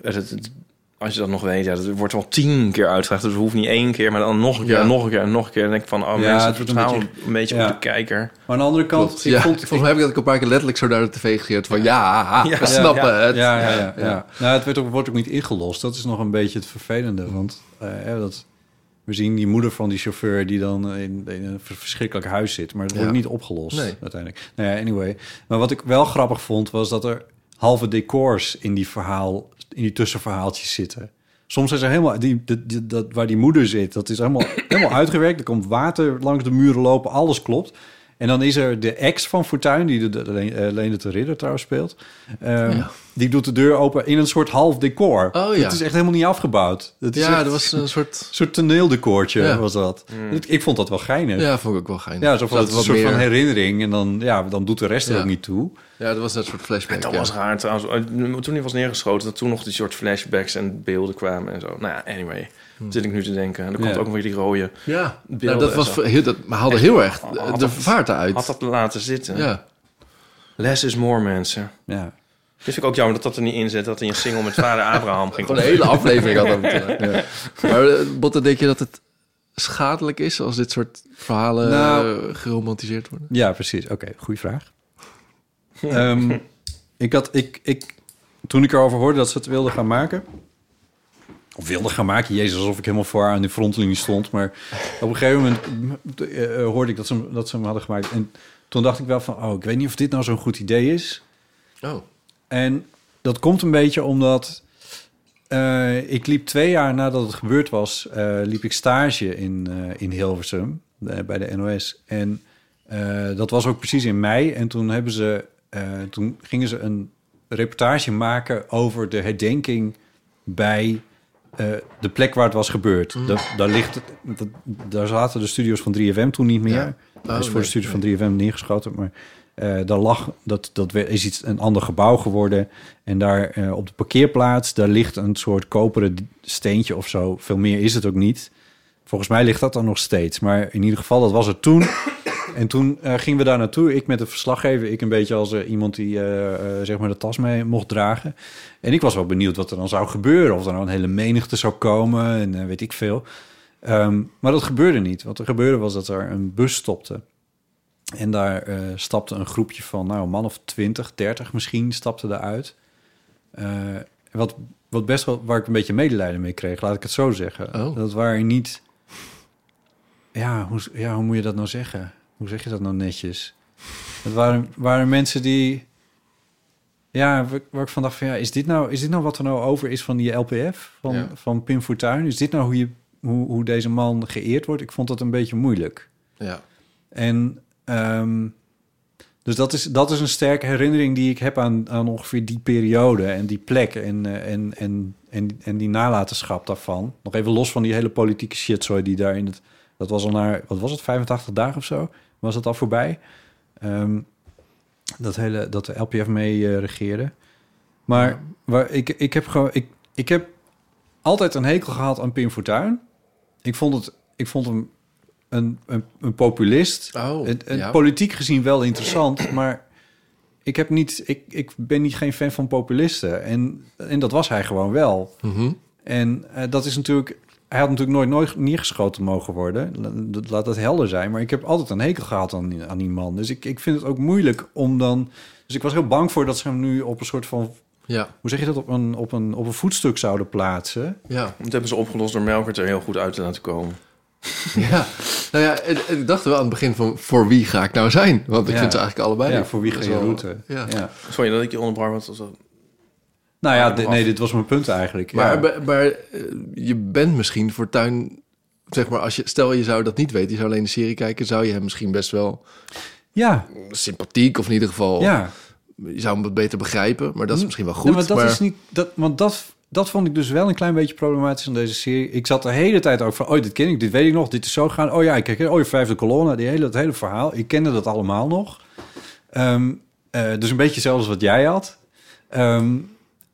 Speaker 1: Eh, dat- dat- als je dat nog weet, ja, dat wordt wel tien keer uitgelegd. Dus het hoeft niet één keer, maar dan nog een keer,
Speaker 2: Ja.
Speaker 1: en nog een keer, en nog een keer. En dan denk ik van, oh
Speaker 3: Ja,
Speaker 1: mensen,
Speaker 3: het wordt een
Speaker 1: vertrouwen een beetje,
Speaker 3: ja.
Speaker 1: op de kijker.
Speaker 3: Maar aan de andere kant,
Speaker 2: Klopt.
Speaker 3: ik
Speaker 2: ja,
Speaker 3: vond...
Speaker 2: volgens mij heb ik dat ook een paar keer letterlijk zo naar de tv gegeerd. Van ja, ha,
Speaker 1: Ja.
Speaker 2: we snappen
Speaker 1: Ja.
Speaker 2: het.
Speaker 3: Ja, ja, ja. ja. Nou, het werd ook, wordt ook niet ingelost. Dat is nog een beetje het vervelende. Want eh, hè, dat, we zien die moeder van die chauffeur die dan in, in een vers- verschrikkelijk huis zit. Maar het wordt
Speaker 2: Ja.
Speaker 3: niet opgelost
Speaker 2: Nee.
Speaker 3: uiteindelijk. Nou ja, anyway. Maar wat ik wel grappig vond, was dat er halve decors in die verhaal, in die tussenverhaaltjes zitten. Soms is er helemaal, die, die- die- dat, waar die moeder zit, dat is helemaal, helemaal uitgewerkt. Er komt water langs de muren lopen, alles klopt. En dan is er de ex van Fortuin, die de, de, eh, Lene de Ridder trouwens speelt. Ehm, Die doet de deur open in een soort half decor.
Speaker 2: Oh ja.
Speaker 3: Het is echt helemaal niet afgebouwd. Het is
Speaker 2: Ja,
Speaker 3: echt
Speaker 2: dat was een soort...
Speaker 3: een soort toneeldecoortje
Speaker 2: Ja.
Speaker 3: was dat. Ik, ik vond dat wel geinig. Ja.
Speaker 2: Ja, vond ik ook wel geinig.
Speaker 3: zo van
Speaker 2: Dat
Speaker 3: het was een soort van herinnering. En dan, ja, dan doet de rest er
Speaker 2: Ja.
Speaker 3: ook niet toe.
Speaker 2: Ja, dat was net een soort flashback.
Speaker 1: Dat
Speaker 2: ja.
Speaker 1: was raar trouwens. Eh, Toen hij was neergeschoten, dat toen nog die soort flashbacks en beelden kwamen en zo. Nou ja, anyway. Zit ik nu te denken. En dan komt
Speaker 3: Ja.
Speaker 1: ook nog weer die rode.
Speaker 2: Ja,
Speaker 1: Beelden
Speaker 2: nou, dat,
Speaker 1: en
Speaker 2: was,
Speaker 1: zo.
Speaker 2: heel, dat haalde heel erg
Speaker 1: had
Speaker 2: de
Speaker 1: dat-
Speaker 2: vaart eruit.
Speaker 1: Had dat laten zitten.
Speaker 2: ja.
Speaker 1: Less is more, mensen.
Speaker 3: Ja.
Speaker 1: Dus vind ik ook jammer dat dat er niet in zit, dat hij een single met vader Abraham ging.
Speaker 2: Gewoon een hele aflevering had over te maken. Maar eh, Botte, denk je dat het schadelijk is als dit soort verhalen
Speaker 3: Nou.
Speaker 2: eh, geromantiseerd worden?
Speaker 3: Ja, precies. Oké, goede vraag. Ehm, ik had, ik, ik, toen ik erover hoorde dat ze het wilden gaan maken... Of wilde gaan maken, jezus, alsof ik helemaal voor haar aan de frontlinie stond. Maar op een gegeven moment eh, eh, hoorde ik dat ze, hem- dat ze hem hadden gemaakt. En toen dacht ik wel van, oh, ik weet niet of dit nou zo'n goed idee is.
Speaker 2: Oh,
Speaker 3: En dat komt een beetje omdat eh, ik liep twee jaar nadat het gebeurd was, eh, liep ik stage in, eh, in Hilversum eh, bij de NOS. En eh, dat was ook precies in mei. En toen hebben ze, eh, toen gingen ze een reportage maken over de herdenking bij eh, de plek waar het was gebeurd. Da- daar, ligt, het- dat, daar zaten de studios van 3FM toen niet meer.
Speaker 2: Ja.
Speaker 3: Dat is voor
Speaker 2: nee,
Speaker 3: de studios van 3FM neergeschoten. Maar eh, daar lag, dat, dat we- is iets, een ander gebouw geworden. En daar eh, op de parkeerplaats, daar ligt een soort koperen d- steentje of zo. Veel meer is het ook niet. Volgens mij ligt dat dan nog steeds. Maar in ieder geval, dat was het toen. En toen eh, gingen we daar naartoe. Ik met de verslaggever. Ik een beetje als eh, iemand die eh, eh, zeg maar de tas mee mocht dragen. En ik was wel benieuwd wat er dan zou gebeuren. Of er nou een hele menigte zou komen en eh, weet ik veel. Ehm, maar dat gebeurde niet. Wat er gebeurde was dat er een bus stopte. En daar eh, stapte een groepje van, nou, een man of 20, 30 misschien, stapte daaruit. Eh, wat, wat best wel, waar ik een beetje medelijden mee kreeg, laat ik het zo zeggen.
Speaker 2: Oh.
Speaker 3: Dat waren niet. Ja hoe, ja, hoe moet je dat nou zeggen? Hoe zeg je dat nou netjes? Het waren, waren mensen die. Ja, waar- waar ik van dacht van ja, is dit nou, is dit nou wat er nou over is van die LPF? Van,
Speaker 2: Ja.
Speaker 3: van Pim Fortuyn? Is dit nou hoe, je, hoe, hoe deze man geëerd wordt? Ik vond dat een beetje moeilijk.
Speaker 2: ja.
Speaker 3: En ehm, dus dat is, dat is een sterke herinnering die ik heb aan, aan ongeveer die periode en die plek en, eh, en, en, en, en die nalatenschap daarvan. Nog even los van die hele politieke shitzooi die daar in het... Dat was al naar, wat was het, 85 dagen of zo? Was dat al voorbij? Ehm, dat, hele, dat de LPF mee eh, regeerde. Maar waar, ik, ik, heb gewoon, ik, ik heb altijd een hekel gehad aan Pim Fortuyn. Ik vond, het, ik vond hem een, een, een populist.
Speaker 2: Oh,
Speaker 3: Het- het
Speaker 2: ja.
Speaker 3: Politiek gezien wel interessant, maar ik, heb niet, ik, ik ben niet geen fan van populisten. En, en dat was hij gewoon wel.
Speaker 2: Mhm.
Speaker 3: En eh, dat is natuurlijk... Hij had natuurlijk nooit, nooit neergeschoten mogen worden. La- Laat dat helder zijn. Maar ik heb altijd een hekel gehad aan, die- aan die man. Dus ik, ik vind het ook moeilijk om dan... Dus ik was heel bang voor dat ze hem nu op een soort van...
Speaker 2: ja,
Speaker 3: Hoe zeg je dat? Op een, op een, op een voetstuk zouden plaatsen.
Speaker 2: ja.
Speaker 1: Dat hebben ze opgelost door Melkert er heel goed uit te laten komen.
Speaker 2: Ja, nou ja, en- en ik dacht wel aan het begin van voor wie ga ik nou zijn? Want ik
Speaker 3: Ja.
Speaker 2: vind ze eigenlijk allebei.
Speaker 3: ja, voor wie
Speaker 2: Dat
Speaker 3: ga
Speaker 2: is
Speaker 3: je
Speaker 2: wel-
Speaker 3: route?
Speaker 2: Ja.
Speaker 1: Sorry dat ik je onderbrak, want dat was wel-
Speaker 3: Nou ja,
Speaker 1: Ah,
Speaker 3: dit-
Speaker 1: af.
Speaker 3: nee, dit was mijn punt eigenlijk.
Speaker 2: Maar,
Speaker 3: ja.
Speaker 2: maar, maar, eh, je bent misschien voor tuin, zeg maar, als je, stel je zou dat niet weten, je zou alleen de serie kijken, zou je hem misschien best wel
Speaker 3: ja,
Speaker 2: sympathiek of in ieder geval,
Speaker 3: ja.
Speaker 2: je zou hem wat beter begrijpen, maar dat is misschien wel goed.
Speaker 3: Nee, maar dat is niet. Dat, want dat, dat vond ik dus wel een klein beetje problematisch aan deze serie. Ik zat de hele tijd ook van. Oh, dit ken ik, dit weet ik nog, dit is zo gaan. Oh ja, ik herken. Oh, je vijfde kolonne, die hele, dat hele verhaal. Ik kende dat allemaal nog. Ehm, eh, dus een beetje zelfs wat jij had. Ehm,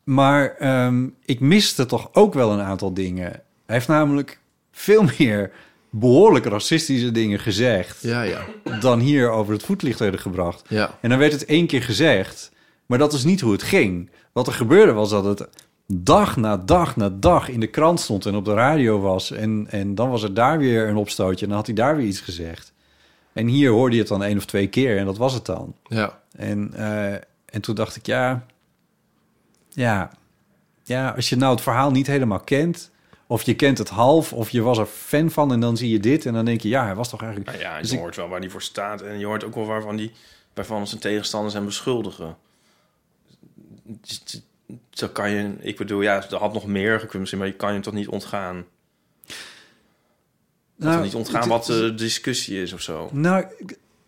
Speaker 3: maar ehm, ik miste toch ook wel een aantal dingen. Hij heeft namelijk veel meer behoorlijk racistische dingen gezegd
Speaker 2: Ja, ja,
Speaker 3: dan hier over het voetlicht werden gebracht.
Speaker 2: ja.
Speaker 3: En dan werd het één keer gezegd, maar dat is niet hoe het ging. Wat er gebeurde was dat het dag na dag na dag in de krant stond en op de radio was. En, en dan was er daar weer een opstootje en dan had hij daar weer iets gezegd. En hier hoorde je het dan één of twee keer en dat was het dan.
Speaker 2: ja.
Speaker 3: En, eh, en toen dacht ik, ja, ja, ja, als je nou het verhaal niet helemaal kent... of je kent het half, of je was er fan van en dan zie je dit... en dan denk je, ja, hij was toch eigenlijk...
Speaker 1: Nou ja, je
Speaker 3: Dus ik-
Speaker 1: hoort wel waar die voor staat. En je hoort ook wel waarvan die waarvan zijn tegenstanders hem beschuldigen. Dus d- Zo kan je, ik bedoel, ja, er had nog meer gekund misschien, maar je kan je toch niet ontgaan. Je kan
Speaker 3: Nou,
Speaker 1: niet ontgaan wat eh, de discussie is of zo.
Speaker 3: Nou,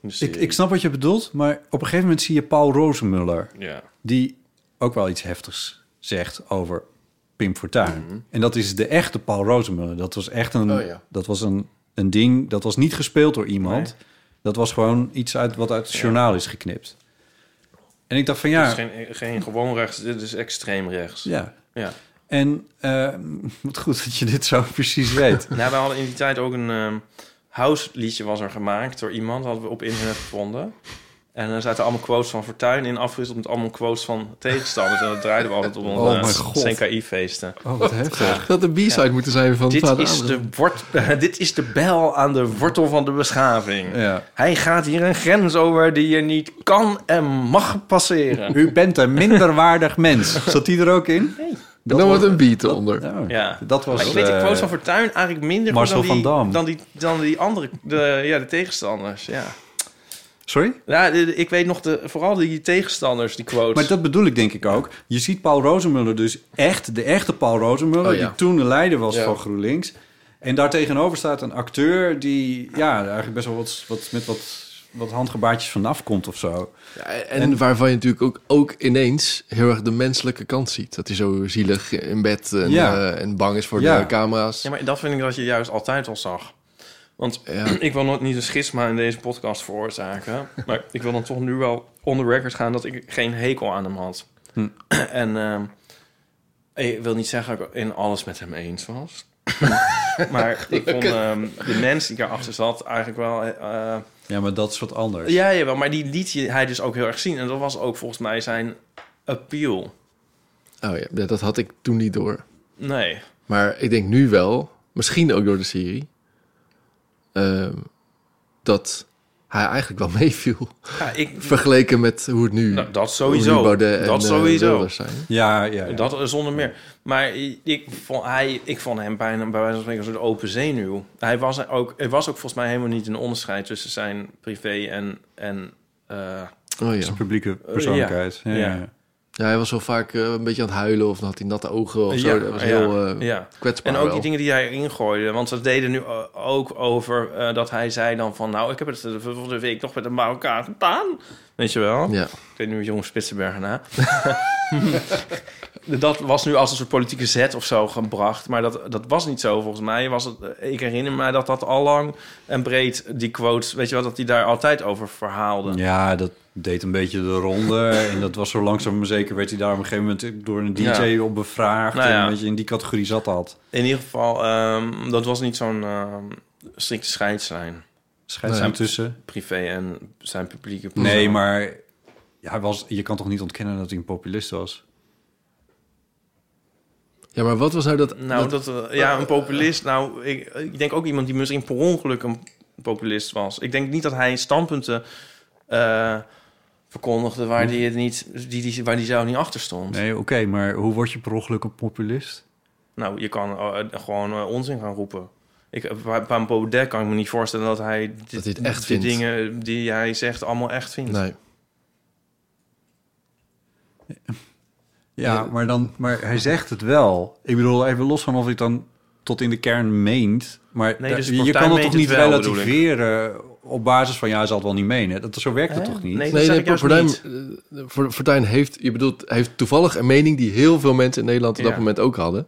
Speaker 1: Dus,
Speaker 3: Ik,
Speaker 1: eh,
Speaker 3: ik snap wat je bedoelt, maar op een gegeven moment zie je Paul Rozenmuller...
Speaker 1: Ja.
Speaker 3: die ook wel iets heftigs zegt over Pim Fortuyn.
Speaker 1: Mhm.
Speaker 3: En dat is de echte Paul Rozenmuller. Dat was echt een,
Speaker 2: Oh ja.
Speaker 3: dat was een, een ding, dat was niet gespeeld door iemand. Dat was gewoon iets uit, wat uit het journaal is geknipt. En ik dacht van
Speaker 1: Het
Speaker 3: ja,
Speaker 1: is geen, geen gewoon rechts, dit is extreem rechts.
Speaker 3: ja.
Speaker 1: Ja.
Speaker 3: En eh, wat goed dat je dit zo precies weet.
Speaker 1: Nou, we hadden in die tijd ook een ehm house liedje was er gemaakt door iemand, hadden we op internet gevonden. En dan zaten allemaal quotes van Fortuyn in, afgewisseld met allemaal quotes van tegenstanders. En dat draaiden we altijd op onze eh,
Speaker 3: Oh mijn god.
Speaker 1: CKI-feesten.
Speaker 3: Oh, wat heftig.
Speaker 2: Dat de B-side moeten zijn van
Speaker 1: Dit
Speaker 2: Vader
Speaker 1: is,
Speaker 2: Abraham.
Speaker 1: de wort, dit is de bel aan de wortel van de beschaving.
Speaker 3: Ja.
Speaker 1: Hij gaat hier een grens over die je niet kan en mag passeren.
Speaker 3: U bent een minderwaardig mens. Zat die er ook in?
Speaker 2: En dan wordt een beat eronder.
Speaker 3: Oh,
Speaker 1: Ja.
Speaker 3: Dat was...
Speaker 1: Maar ik weet de
Speaker 3: eh,
Speaker 1: quotes van Fortuyn eigenlijk minder goed
Speaker 3: Marcel
Speaker 1: dan die,
Speaker 3: van Dam.
Speaker 1: dan die, dan die andere de, ja, de tegenstanders. Ja,
Speaker 3: Sorry?
Speaker 1: ja de- de- ik weet nog de, vooral die tegenstanders, die quotes.
Speaker 3: Maar dat bedoel ik denk ik ook. Je ziet Paul Rozemuller dus echt, de echte Paul Rozemuller...
Speaker 2: Oh, ja.
Speaker 3: die toen de leider was
Speaker 2: Ja.
Speaker 3: van GroenLinks. En daartegenover staat een acteur die... ja, eigenlijk best wel wat, wat, met wat, wat handgebaartjes vanaf komt of zo.
Speaker 2: Ja, en, waarvan je natuurlijk ook, ook ineens heel erg de menselijke kant ziet. Dat hij zo zielig in bed en,
Speaker 3: Ja.
Speaker 2: eh, en bang is voor
Speaker 3: Ja.
Speaker 2: de camera's.
Speaker 1: Ja, maar dat vind ik dat je juist altijd al zag. Want
Speaker 2: Ja.
Speaker 1: ik wil nooit niet een schisma in deze podcast veroorzaken. Maar ik wil dan toch nu wel on the record gaan dat ik geen hekel aan hem had.
Speaker 3: Hm.
Speaker 1: En ehm, ik wil niet zeggen dat ik in alles met hem eens was. maar ik vond ehm, de mens die daarachter zat eigenlijk wel... eh,
Speaker 3: Ja, maar dat is wat anders.
Speaker 1: Ja, jawel, maar die liet je- hij dus ook heel erg zien. En dat was ook volgens mij zijn appeal.
Speaker 2: Oh ja, dat- dat had ik toen niet door.
Speaker 1: Nee.
Speaker 2: Maar ik denk nu wel, misschien ook door de serie, ehm, dat hij eigenlijk wel meeviel.
Speaker 1: Ja, ik,
Speaker 2: Vergeleken met hoe het nu,
Speaker 1: nou, dat
Speaker 2: Mm. hoe nu
Speaker 1: sowieso.
Speaker 2: Baudet en
Speaker 1: Dat
Speaker 2: eh,
Speaker 1: sowieso.
Speaker 2: Wilders zijn.
Speaker 3: Ja, ja, ja.
Speaker 1: Dat eh, zonder meer. Maar ik vond, hij, ik vond hem bijna bij wijze van spreken een soort open zenuw. Hij was ook, er was ook volgens mij helemaal niet een onderscheid tussen zijn privé en. en eh,
Speaker 2: Oh ja.
Speaker 3: Zijn publieke persoonlijkheid. Ja,
Speaker 1: Ja.
Speaker 3: ja, ja.
Speaker 2: ja, hij was wel vaak eh, een beetje aan het huilen of dan had hij natte ogen of zo. Dat was heel eh,
Speaker 1: ja.
Speaker 2: kwetsbaar
Speaker 1: En ook
Speaker 2: wel.
Speaker 1: die dingen die hij erin gooide. Want ze deden nu eh, ook over eh, dat hij zei dan van... nou, ik heb het de volgende week nog met een Marokkaan gedaan. Weet je wel?
Speaker 2: Ja.
Speaker 1: Ik weet nu jonge Spitsenberger na. dat was nu als een soort politieke zet of zo gebracht. Maar dat, dat was niet zo volgens mij. Was het, eh, ik herinner me dat dat al lang en breed die quotes... weet je wel, dat hij daar altijd over verhaalde.
Speaker 3: Ja, dat deed een beetje de ronde. en dat was zo langzaam maar zeker werd hij daar op een gegeven moment door een DJ
Speaker 1: Ja.
Speaker 3: op bevraagd.
Speaker 1: Nou ja.
Speaker 3: En een beetje in die categorie zat dat.
Speaker 1: In ieder geval, ehm, dat was niet zo'n ehm, strikte scheidslijn.
Speaker 3: Scheidslijn tussen.
Speaker 1: Privé en zijn publieke
Speaker 3: Nee, maar ja, hij was, je kan toch niet ontkennen dat hij een populist was?
Speaker 2: ja, maar wat was nou dat...
Speaker 1: Nou, dat, eh, ja, een populist. Nou, ik, ik denk ook iemand die misschien per ongeluk een populist was. Ik denk niet dat hij standpunten eh, verkondigde waar die het niet, die, die, waar die zelf niet achter stond.
Speaker 3: Nee, oké, maar hoe word je per ongeluk een populist?
Speaker 1: Nou, je kan eh, gewoon eh, onzin gaan roepen. Ik, eh, bij bij Baudet kan ik me niet voorstellen dat hij, dit-
Speaker 2: Dat hij het echt
Speaker 1: die
Speaker 2: vindt.
Speaker 1: dingen die hij zegt allemaal echt vindt.
Speaker 2: Nee.
Speaker 3: Ja, maar, dan, maar hij zegt het wel. Ik bedoel, even los van of hij het dan tot in de kern meent. Maar
Speaker 1: Nee,
Speaker 3: daar-
Speaker 1: dus
Speaker 3: je
Speaker 1: Fortuyn
Speaker 3: kan het
Speaker 1: meent
Speaker 3: toch
Speaker 1: het
Speaker 3: niet
Speaker 1: wel, bedoel ik.
Speaker 3: relativeren op basis van... ja, hij zal het wel niet menen. Dat, zo werkt het toch niet?
Speaker 1: Nee, dat
Speaker 2: Nee,
Speaker 1: zeg
Speaker 2: nee,
Speaker 1: ik juist
Speaker 2: Fortuyn,
Speaker 1: niet.
Speaker 2: eh, Fort- Fortuyn heeft, je bedoelt, hij heeft toevallig een mening die heel veel mensen in Nederland op dat
Speaker 1: Ja.
Speaker 2: moment ook hadden.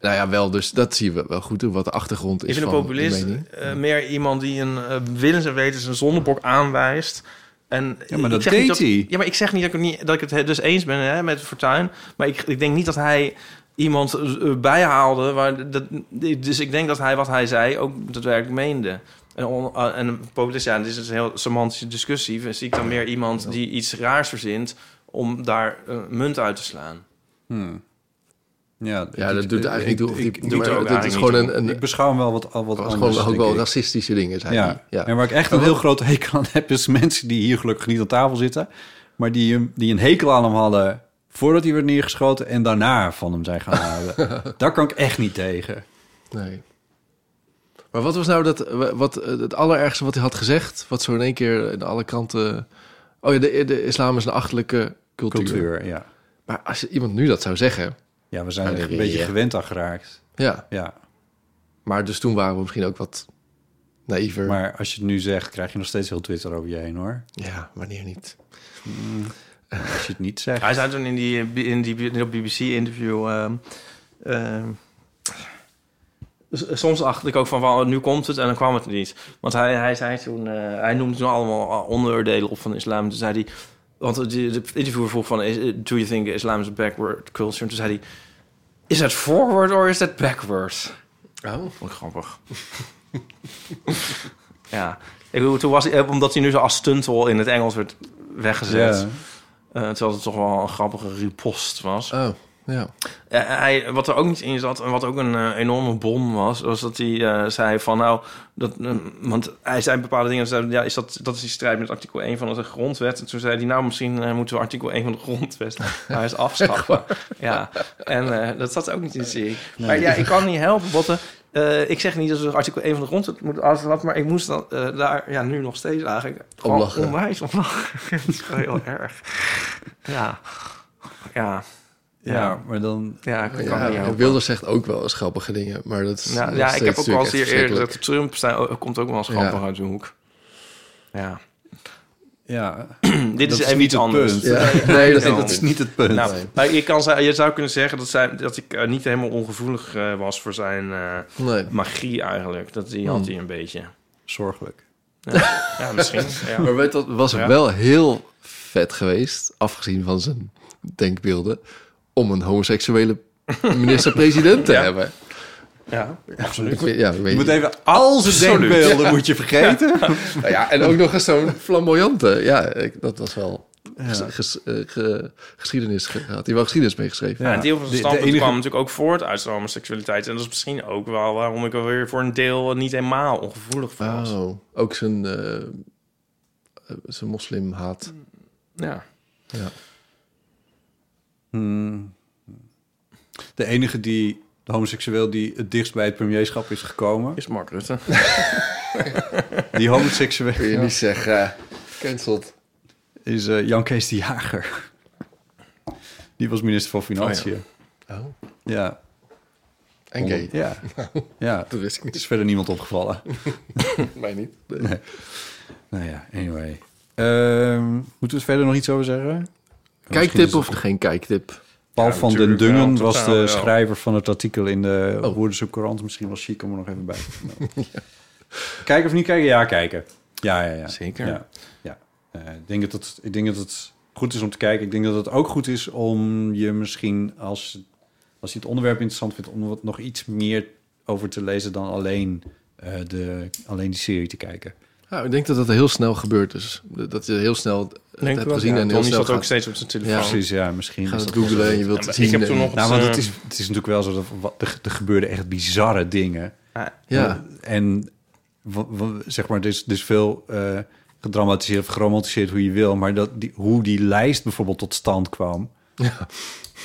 Speaker 2: Nou ja, wel, dus dat zien we wel goed, hoe- wat de achtergrond is
Speaker 1: Ik vind een
Speaker 2: van
Speaker 1: populist
Speaker 2: die mening.
Speaker 1: eh, meer iemand die een eh, willens en wetens een zondebok aanwijst. En
Speaker 3: Ja, maar
Speaker 1: ik
Speaker 3: dat
Speaker 1: zeg niet
Speaker 3: deed hij.
Speaker 1: Ja, maar ik zeg niet dat ik, het niet, dat ik het dus eens ben hè, met Fortuyn. Maar ik, ik denk niet dat hij iemand eh, bijhaalde. Waar dat, dus ik denk dat hij wat hij zei ook daadwerkelijk meende. En, on, eh, en een populist, ja, dit is dus een heel semantische discussie. Dus Zie ik dan meer iemand die iets raars verzint om daar eh, munt uit te slaan.
Speaker 3: Hmm. Ja,
Speaker 2: Ja,
Speaker 3: ik-
Speaker 2: dat doet
Speaker 3: ik-
Speaker 2: eigenlijk
Speaker 3: ik-
Speaker 2: niet toe. of die-
Speaker 3: ik-
Speaker 1: doet
Speaker 2: maar
Speaker 1: er
Speaker 2: dat
Speaker 1: ook
Speaker 2: is
Speaker 1: eigenlijk
Speaker 2: gewoon
Speaker 1: niet
Speaker 2: een, een,
Speaker 3: Ik beschouw hem wel wat, al wat
Speaker 2: dat was
Speaker 3: anders.
Speaker 2: gewoon ook
Speaker 3: denk
Speaker 2: wel
Speaker 3: ik.
Speaker 2: racistische dingen, zei hij.
Speaker 3: ja.
Speaker 2: Ja.
Speaker 3: En waar ik echt een heel groot hekel aan heb, is mensen die hier gelukkig niet aan tafel zitten. Maar die, hem, die een hekel aan hem hadden voordat hij werd neergeschoten en daarna van hem zijn gaan houden. Daar kan ik echt niet tegen.
Speaker 2: Nee. Maar wat was nou dat, wat, eh, het allerergste wat hij had gezegd? Wat zo in één keer in alle kanten... Oh ja, de, de islam is een achterlijke cultuur.
Speaker 3: Cultuur, ja.
Speaker 2: Maar als je- iemand nu dat zou zeggen...
Speaker 3: Ja, we zijn er echt een
Speaker 2: Ja.
Speaker 3: beetje gewend aan geraakt.
Speaker 2: Ja,
Speaker 3: Ja,
Speaker 2: maar dus toen waren we misschien ook wat naïver.
Speaker 3: maar als je het nu zegt, krijg je nog steeds heel Twitter over je heen, hoor.
Speaker 2: Ja, wanneer niet?
Speaker 3: Als je het niet zegt.
Speaker 1: Hij zei toen in die, in die, in dat BBC-interview... ehm, ehm, s- soms dacht ik ook van, wel, nu komt het en dan kwam het niet. Want hij, hij, zei toen, eh, hij noemde toen allemaal eh, onderdelen op van de islam. Toen zei hij... Want de, de interviewer vroeg van, is- do you think Islam is a backward culture? En toen zei hij, is that forward or is that backward?
Speaker 2: Oh.
Speaker 1: Vond ik grappig. Ja. Ik bedoel, toen was hij, eh, omdat hij nu zo als stuntel in het Engels werd weggezet.
Speaker 3: Ja.
Speaker 1: eh, terwijl het toch wel een grappige ripost was.
Speaker 2: Oh, ja.
Speaker 1: Eh, hij, wat er ook niet in zat en wat ook een eh, enorme bom was, was dat hij eh, zei van nou, dat, eh, want hij zei bepaalde dingen, zei, ja, is dat, dat is die strijd met artikel 1 van de grondwet. En toen zei hij nou, misschien eh, moeten we artikel 1 van de grondwet nou eens afschaffen. ja, en eh, dat zat ook niet in zie ik. Maar ja, ik kan niet helpen, Botten. Eh, ik zeg niet dat we artikel 1 van de grondwet moeten afschaffen, maar ik moest dan, eh, daar ja, nu nog steeds eigenlijk gewoon
Speaker 2: lachen.
Speaker 1: onwijs om lachen. dat is gewoon heel erg. Ja, ja.
Speaker 3: Ja, maar dan...
Speaker 1: Ja, ik kan
Speaker 2: Ja,
Speaker 1: niet helpen.
Speaker 2: Wilders zegt ook wel eens grappige dingen, maar dat is
Speaker 1: Ja,
Speaker 2: nog
Speaker 1: ja ik
Speaker 2: steeds
Speaker 1: heb ook al eens
Speaker 2: natuurlijk
Speaker 1: hier
Speaker 2: echt
Speaker 1: eerder
Speaker 2: verschrikkelijk.
Speaker 1: gezegd... Trump zijn, komt ook wel eens grappig
Speaker 2: Ja.
Speaker 1: uit de hoek. Ja. Hm,
Speaker 3: Ja,
Speaker 1: Dit
Speaker 3: dat
Speaker 1: is even
Speaker 3: niet
Speaker 1: iets
Speaker 3: het
Speaker 1: anders.
Speaker 3: punt.
Speaker 2: Ja. Nee, dat
Speaker 1: Ja.
Speaker 2: is
Speaker 3: Dat is niet het punt.
Speaker 1: Nou, maar je, kan, ze- je zou kunnen zeggen dat, zij, dat ik eh, niet helemaal ongevoelig eh, was voor zijn eh,
Speaker 2: Nee.
Speaker 1: magie eigenlijk. Dat die had hij een beetje.
Speaker 3: Zorgelijk.
Speaker 1: Ja, misschien. ja.
Speaker 2: Maar weet dat was
Speaker 1: Ja.
Speaker 2: wel heel vet geweest, afgezien van zijn denkbeelden, om een homoseksuele minister-president te
Speaker 1: Ja.
Speaker 2: hebben.
Speaker 1: Ja.
Speaker 2: Ik vind- Ja, ik weet
Speaker 3: Je moet
Speaker 2: niet.
Speaker 3: even al zijn
Speaker 1: Absoluut.
Speaker 3: denkbeelden moet je vergeten.
Speaker 2: Nou ja, en ook nog eens zo'n flamboyante. Ja, ik- dat was wel ges- ges- eh, ge- geschiedenis. ge- Had hij wel geschiedenis meegeschreven?
Speaker 1: Ja,
Speaker 3: Ja,
Speaker 1: een deel van zijn
Speaker 3: de- de
Speaker 1: standpunt
Speaker 3: enige-
Speaker 1: kwam natuurlijk ook voort uit zijn homoseksualiteit. En dat is misschien ook wel waarom ik er weer voor een deel niet helemaal ongevoelig voor was.
Speaker 2: Oh, ook zijn, eh, eh, zijn moslimhaat.
Speaker 1: Mm. Ja.
Speaker 3: Hmm. De enige die, de homoseksueel die het dichtst bij het premierschap is gekomen.
Speaker 1: Is Mark Rutte.
Speaker 3: Die homoseksueel
Speaker 2: Kun je niet zeggen, cancelled.
Speaker 3: is eh, Jan Kees de Jager. Die was minister van Financiën.
Speaker 2: Oh,
Speaker 3: ja.
Speaker 2: en gay.
Speaker 3: Ja. ja.
Speaker 2: Dat wist ik
Speaker 3: Het
Speaker 2: niet,
Speaker 3: is verder niemand opgevallen.
Speaker 2: mij niet.
Speaker 3: nou ja, anyway. Ehm, moeten we er verder nog iets over zeggen? Misschien is
Speaker 2: Kijktip
Speaker 3: het-
Speaker 2: of geen kijktip?
Speaker 3: Paul
Speaker 1: Ja,
Speaker 3: van den
Speaker 1: natuurlijk wel,
Speaker 3: Dungen
Speaker 1: totaal
Speaker 3: was de
Speaker 1: wel.
Speaker 3: schrijver van het artikel in de
Speaker 2: Oh.
Speaker 3: Woerdense Courant. Misschien wel chic om er nog even bij te vermelden. Kijken of niet kijken? Ja, kijken. Ja, ja, ja.
Speaker 1: Zeker.
Speaker 3: Ja, ja. Eh, ik, denk dat het, ik denk dat het goed is om te kijken. Ik denk dat het ook goed is om je misschien, als, als je het onderwerp interessant vindt... om er wat, nog iets meer over te lezen dan alleen, eh, de, alleen die serie te kijken.
Speaker 2: Ja, Nou, ik denk dat dat heel snel gebeurt. Dus dat je heel snel het
Speaker 1: Denk ik
Speaker 2: hebt
Speaker 1: wel.
Speaker 2: gezien
Speaker 1: Ja,
Speaker 2: en heel
Speaker 1: Tony
Speaker 2: snel
Speaker 1: zat ook
Speaker 2: gaat,
Speaker 1: steeds op zijn telefoon.
Speaker 2: Ja,
Speaker 3: Precies, Dus ja. Misschien
Speaker 2: gaat
Speaker 3: is
Speaker 2: het
Speaker 3: dat-
Speaker 2: googlen en je wilt
Speaker 1: Ja,
Speaker 2: het
Speaker 1: maar ik
Speaker 2: zien.
Speaker 1: heb toen
Speaker 2: en-
Speaker 1: nog-
Speaker 3: Nou, want het
Speaker 1: eh,
Speaker 3: is, het is natuurlijk wel zo dat wat, er, er gebeurden echt bizarre dingen...
Speaker 2: Ja,
Speaker 3: En wa- wa- zeg maar, dus, dus veel eh, gedramatiseerd of geromantiseerd hoe je wil, maar dat die, hoe die lijst bijvoorbeeld tot stand kwam,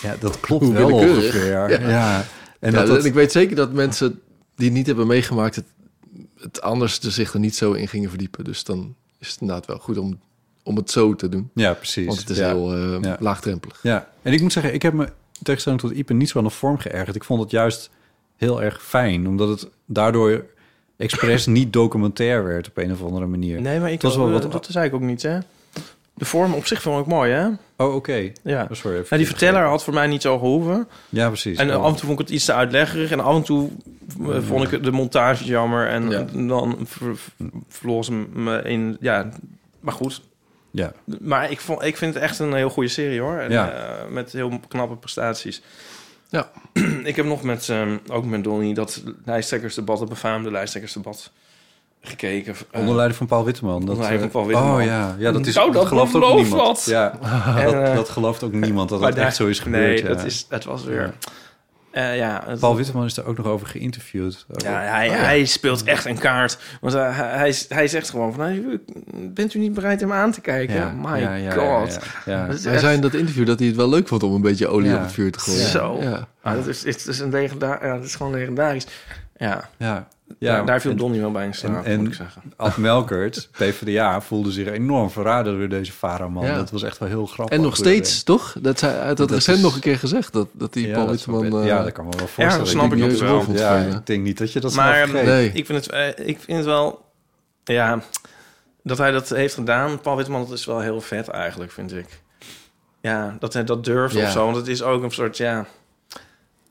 Speaker 3: ja, dat klopt
Speaker 2: Hoe
Speaker 3: wel
Speaker 2: willekeurig.
Speaker 3: ongeveer. Ja. En
Speaker 2: Ja, dat-
Speaker 3: dat, dat-
Speaker 2: ik weet zeker dat mensen die het niet hebben meegemaakt... het, het anders er zich er niet zo in gingen verdiepen. Dus dan is het inderdaad wel goed om, om het zo te doen.
Speaker 3: ja, precies.
Speaker 2: Want het is
Speaker 3: ja.
Speaker 2: heel eh,
Speaker 3: Ja.
Speaker 2: laagdrempelig.
Speaker 3: Ja, en ik moet zeggen, ik heb me in tegenstelling tot Ipe niet zo aan de vorm geërgerd. Ik vond het juist heel erg fijn, omdat het daardoor expres niet documentair werd op een of andere manier.
Speaker 1: Nee, maar ik
Speaker 3: Dat is wel
Speaker 1: eh,
Speaker 3: wat-
Speaker 1: dat is eigenlijk ook niet, hè? De vorm op zich vond ik mooi, hè?
Speaker 3: Oh, oké.
Speaker 1: Ja.
Speaker 3: Oh, sorry.
Speaker 1: Ja, die verteller had voor mij niet zo gehoeven.
Speaker 3: Ja, precies.
Speaker 1: En eh,
Speaker 3: Oh.
Speaker 1: af en toe vond ik het iets te uitleggerig. En af en toe eh,
Speaker 3: Mm.
Speaker 1: vond ik de montage jammer. En
Speaker 2: Ja.
Speaker 1: dan ver- ver- verloor ze me eh, in... Ja, maar goed.
Speaker 3: Ja.
Speaker 1: Maar ik, vond, ik vind het echt een heel goede serie, hoor. En,
Speaker 3: Ja.
Speaker 1: eh, met heel knappe prestaties.
Speaker 2: Ja.
Speaker 1: ik heb nog met, ehm, ook met Donnie, dat lijsttrekkersdebat, het befaamde lijsttrekkersdebat, gekeken. Eh,
Speaker 3: Onder leiding van Paul Witteman. Dat,
Speaker 1: onder leiding van
Speaker 3: eh,
Speaker 1: Paul Witteman.
Speaker 3: Oh ja, ja dat, is,
Speaker 1: Nou, dat
Speaker 3: gelooft ook
Speaker 1: belooft
Speaker 3: niemand.
Speaker 1: wat.
Speaker 3: Ja, dat,
Speaker 1: eh,
Speaker 3: dat gelooft ook niemand dat
Speaker 1: Maar
Speaker 3: dat
Speaker 1: daar-
Speaker 3: echt zo is gebeurd.
Speaker 1: Nee,
Speaker 3: ja.
Speaker 1: dat, is, dat was weer... Eh, ja, het-
Speaker 3: Paul Witteman Oh, is daar ook nog over geïnterviewd. Over-
Speaker 1: ja, hij, hij speelt echt een kaart. Want eh, hij, hij, hij zegt gewoon van... "Hey, Bent u niet bereid hem aan te kijken? My
Speaker 3: ja, ja,
Speaker 1: god.
Speaker 3: Ja, ja, ja.
Speaker 1: Dat is
Speaker 2: Hij
Speaker 1: echt-
Speaker 2: zei in dat interview dat hij het wel leuk vond om een beetje olie
Speaker 3: Ja.
Speaker 2: op het vuur te gooien.
Speaker 1: Zo.
Speaker 2: Ja.
Speaker 1: Ah, dat, is, het is een legenda- ja, dat is gewoon legendarisch. Ja,
Speaker 3: Ja. Ja,
Speaker 1: ja daar, daar viel
Speaker 3: en
Speaker 1: Donnie wel bij in slaap,
Speaker 3: en-
Speaker 1: moet ik zeggen.
Speaker 3: Ad Melkert, PvdA, voelde zich enorm verraden door deze Faraman.
Speaker 2: Ja.
Speaker 3: Dat was echt wel heel grappig.
Speaker 2: En nog steeds, toch? Dat hij had dat
Speaker 3: Dat
Speaker 2: recent
Speaker 3: is-
Speaker 2: nog een keer gezegd. Dat, dat die
Speaker 3: Ja,
Speaker 2: Paul
Speaker 3: dat
Speaker 2: Witteman...
Speaker 3: snap ik.
Speaker 2: eh,
Speaker 3: ja, dat kan me wel
Speaker 1: Ja,
Speaker 3: voorstellen.
Speaker 1: dat snap ik
Speaker 2: die
Speaker 1: ook
Speaker 2: Jeugd
Speaker 1: wel.
Speaker 2: Wolf-
Speaker 3: Ja,
Speaker 2: Ja.
Speaker 3: ik denk niet dat je dat snel
Speaker 1: Maar
Speaker 3: vergeet.
Speaker 2: Nee.
Speaker 1: ik, vind het, eh, ik vind het wel... Ja, dat hij dat heeft gedaan, Paul Witteman, dat is wel heel vet eigenlijk, vind ik. Ja, dat hij dat durft
Speaker 2: Ja.
Speaker 1: of zo. Want het is ook een soort, ja...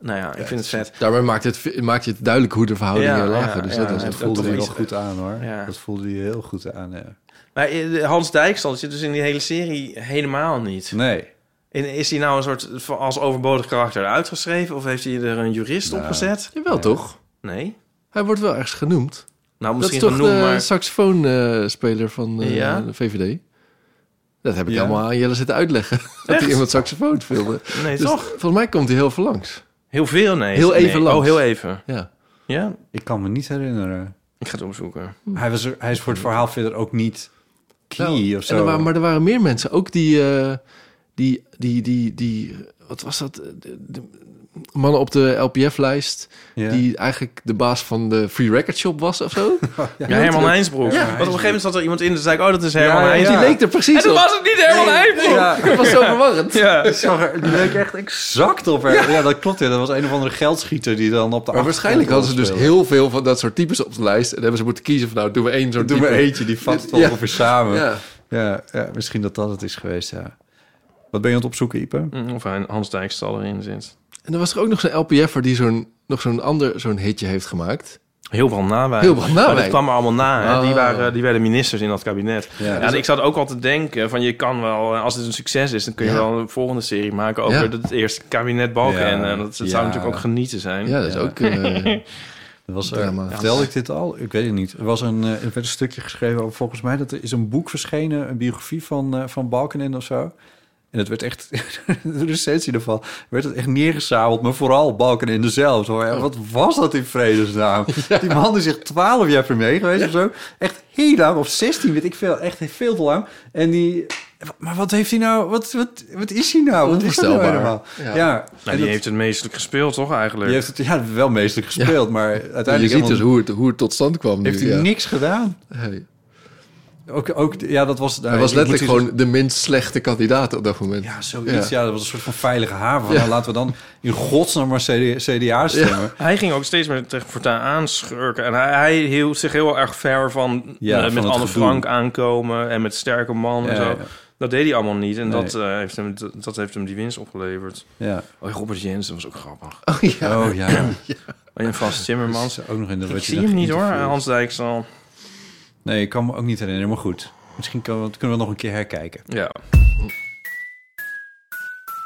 Speaker 1: Nou ja, ik vind het vet.
Speaker 2: Daarbij maakt het, maakt je het duidelijk hoe de verhoudingen
Speaker 1: Ja,
Speaker 2: lagen.
Speaker 1: ja,
Speaker 2: dus
Speaker 1: ja.
Speaker 2: dat was
Speaker 1: Ja,
Speaker 3: Dat
Speaker 2: het
Speaker 1: dat
Speaker 3: voelde
Speaker 1: toch
Speaker 3: hij wel
Speaker 1: iets-
Speaker 3: goed aan, hoor.
Speaker 1: Ja.
Speaker 3: Dat voelde hij heel goed aan, ja.
Speaker 1: Maar eh, Hans Dijkstal zit dus in die hele serie helemaal niet.
Speaker 3: Nee.
Speaker 1: En is hij nou een soort van als overbodig karakter
Speaker 2: Nou.
Speaker 1: uitgeschreven? Of heeft hij er een jurist op gezet?
Speaker 2: Jawel, toch?
Speaker 1: Nee.
Speaker 2: Hij wordt wel ergens genoemd.
Speaker 1: Nou,
Speaker 2: Dat is
Speaker 1: misschien
Speaker 2: toch eh,
Speaker 1: genoeg,
Speaker 2: de
Speaker 1: maar...
Speaker 2: saxofoonspeler van eh,
Speaker 1: Ja?
Speaker 2: de VVD? Dat heb ik
Speaker 3: Ja.
Speaker 2: allemaal aan Jelle zitten uitleggen. Dat hij iemand saxofoon speelde.
Speaker 1: Nee,
Speaker 2: Dus
Speaker 1: toch?
Speaker 2: volgens mij komt hij heel veel langs.
Speaker 1: Heel veel, nee.
Speaker 2: Heel
Speaker 1: Nee.
Speaker 2: even langs.
Speaker 1: Oh, heel even.
Speaker 2: Ja.
Speaker 1: Ja,
Speaker 3: Ik kan me niet herinneren.
Speaker 1: ik ga het opzoeken.
Speaker 3: Hij, was er, hij is voor het verhaal verder ook niet key
Speaker 2: Nou,
Speaker 3: of
Speaker 2: en er
Speaker 3: zo.
Speaker 2: waren- maar er waren meer mensen. Ook die, eh, die, die, die, die, wat was dat? De, de mannen op de LPF-lijst.
Speaker 3: Ja.
Speaker 2: Die eigenlijk de baas van de Free Record Shop was of zo.
Speaker 1: Ja, Herman Heinsbroek.
Speaker 3: Ja,
Speaker 1: Want op een gegeven moment zat er iemand in en zei ik, oh, dat is Herman
Speaker 3: Ja, ja, ja.
Speaker 1: Heinsbroek.
Speaker 2: Die leek er precies
Speaker 1: En toen
Speaker 2: op.
Speaker 1: was het niet Herman Heinsbroek.
Speaker 3: Ja,
Speaker 2: Dat was zo verwarrend.
Speaker 1: Ja.
Speaker 3: ik zag er, die leek echt exact op haar. Ja. dat klopt. Ja. Dat was een of andere geldschieter die dan op de
Speaker 2: Maar waarschijnlijk hadden ze dus
Speaker 3: achtergrond
Speaker 2: heel veel van dat soort types op de lijst. En hebben ze moeten kiezen van nou, doen we één zo'n
Speaker 3: speelde. Doe
Speaker 2: type.
Speaker 3: maar eentje, die vat het wel
Speaker 2: Ja.
Speaker 3: ongeveer samen. Ja.
Speaker 2: Ja.
Speaker 3: Ja, misschien dat dat het is geweest, ja. Wat ben je aan het opzoeken, Ipe?
Speaker 1: Mm, Of hij- Hans Dijkstal erin zit.
Speaker 2: En er was er ook nog zo'n LPF'er die zo'n, nog zo'n ander zo'n hitje heeft gemaakt.
Speaker 1: Heel veel nawijs.
Speaker 2: Heel veel
Speaker 1: Maar
Speaker 2: nawijs.
Speaker 1: dat kwam er allemaal na. Hè. Die,
Speaker 2: Oh.
Speaker 1: waren, eh, die werden ministers in dat kabinet.
Speaker 3: Ja.
Speaker 1: Ja,
Speaker 3: Dus-
Speaker 1: ik zat ook al te denken van je kan wel, eh, als het een succes is, dan kun je
Speaker 2: Ja.
Speaker 1: wel een volgende serie maken over
Speaker 2: Ja.
Speaker 1: het eerste kabinet Balken.
Speaker 3: Ja.
Speaker 1: En eh, dat, dat
Speaker 3: Ja.
Speaker 1: zou natuurlijk ook genieten zijn. Nou,
Speaker 2: Ja, dat is ook... eh,
Speaker 3: Er was, er,
Speaker 2: Drama.
Speaker 3: vertelde ik dit al? Ik weet het niet. Er, was een, eh, er werd een stukje geschreven over, volgens mij, dat er is een boek verschenen, een biografie van, eh van Balkenende of zo. En het werd echt, de recensie ervan, werd het echt neergezabeld, maar vooral Balkenende zelf. Zo, ja, wat was dat in vredesnaam? Die man is echt twaalf jaar premier geweest of zo. Echt heel lang, of 16 weet ik veel, echt veel te lang. En die... Maar wat heeft hij nou? Wat, wat, wat is hij nou? Wat is dat nou
Speaker 2: Onvoorstelbaar.
Speaker 3: helemaal? Ja.
Speaker 2: Ja.
Speaker 1: Nou,
Speaker 3: en
Speaker 1: die
Speaker 3: dat-
Speaker 1: heeft eh, het meestelijk gespeeld, toch eigenlijk?
Speaker 3: die heeft het ja, wel meestelijk gespeeld, maar uiteindelijk...
Speaker 2: je ziet
Speaker 3: helemaal-
Speaker 2: dus hoe het, hoe het tot stand kwam
Speaker 3: heeft
Speaker 2: nu,
Speaker 3: hij
Speaker 2: ja.
Speaker 3: niks gedaan.
Speaker 2: Hey.
Speaker 3: Ook, ook, ja, dat was...
Speaker 2: Hij was letterlijk gewoon de minst slechte kandidaat op dat moment.
Speaker 3: Ja, zoiets. Ja. dat was een soort van veilige haven. Van, nou, laten we dan in godsnaam maar CD, CDA stemmen.
Speaker 1: Hij ging ook steeds meer tegen voortaan aanschurken. En hij, hij hield zich heel erg ver van,
Speaker 3: Ja,
Speaker 1: eh,
Speaker 3: van
Speaker 1: met
Speaker 3: het
Speaker 1: Anne
Speaker 3: gedoe.
Speaker 1: Frank aankomen en met sterke man
Speaker 3: Ja,
Speaker 1: en zo.
Speaker 3: ja.
Speaker 1: Dat deed hij allemaal niet. En dat,
Speaker 3: Nee.
Speaker 1: eh, heeft hem, dat, dat heeft hem die winst opgeleverd.
Speaker 3: Ja.
Speaker 1: Oh, Robert Jensen was ook grappig.
Speaker 2: Oh ja.
Speaker 3: Oh ja.
Speaker 1: En Oh, Frans
Speaker 3: Dat
Speaker 1: Timmermans.
Speaker 3: is ook nog in de
Speaker 1: Ik
Speaker 3: werd je
Speaker 1: zie
Speaker 3: dan
Speaker 1: hem niet hoor,
Speaker 3: geïnterviewd.
Speaker 1: Hans Dijkstal.
Speaker 3: Nee, ik kan me ook niet herinneren, maar goed. Misschien kan, kunnen we het nog een keer herkijken.
Speaker 1: Ja.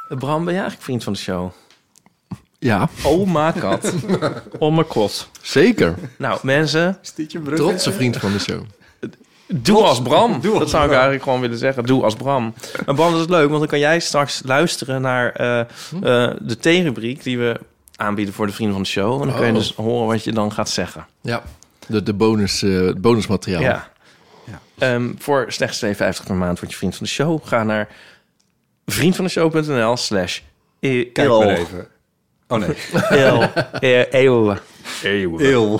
Speaker 1: Bram, ben jij eigenlijk vriend van de show?
Speaker 2: Ja,
Speaker 1: Oh my god. oh my god.
Speaker 2: zeker.
Speaker 1: Nou, mensen,
Speaker 3: Is dit je
Speaker 2: Trotse vriend van de show.
Speaker 1: Doe als Bram.
Speaker 3: Doe als
Speaker 1: dat zou ik
Speaker 3: Bram.
Speaker 1: eigenlijk gewoon willen zeggen. Doe als Bram. En Bram, dat is leuk, want dan kan jij straks luisteren naar eh, eh, de theerubriek die we aanbieden voor de vrienden van de show. En dan kun je
Speaker 2: Oh.
Speaker 1: dus horen wat je dan gaat zeggen.
Speaker 2: Ja, de, de bonus, eh, het bonusmateriaal.
Speaker 1: Ja.
Speaker 3: Ja.
Speaker 1: Ehm, voor slechts 2,50 per maand word je vriend van de show. Ga naar vriendvandeshow.nl slash e-
Speaker 3: Kijk
Speaker 1: eeuw.
Speaker 3: maar even. Oh nee.
Speaker 1: Eeuw. E- eeuw.
Speaker 3: Eeuw.
Speaker 1: Eeuw.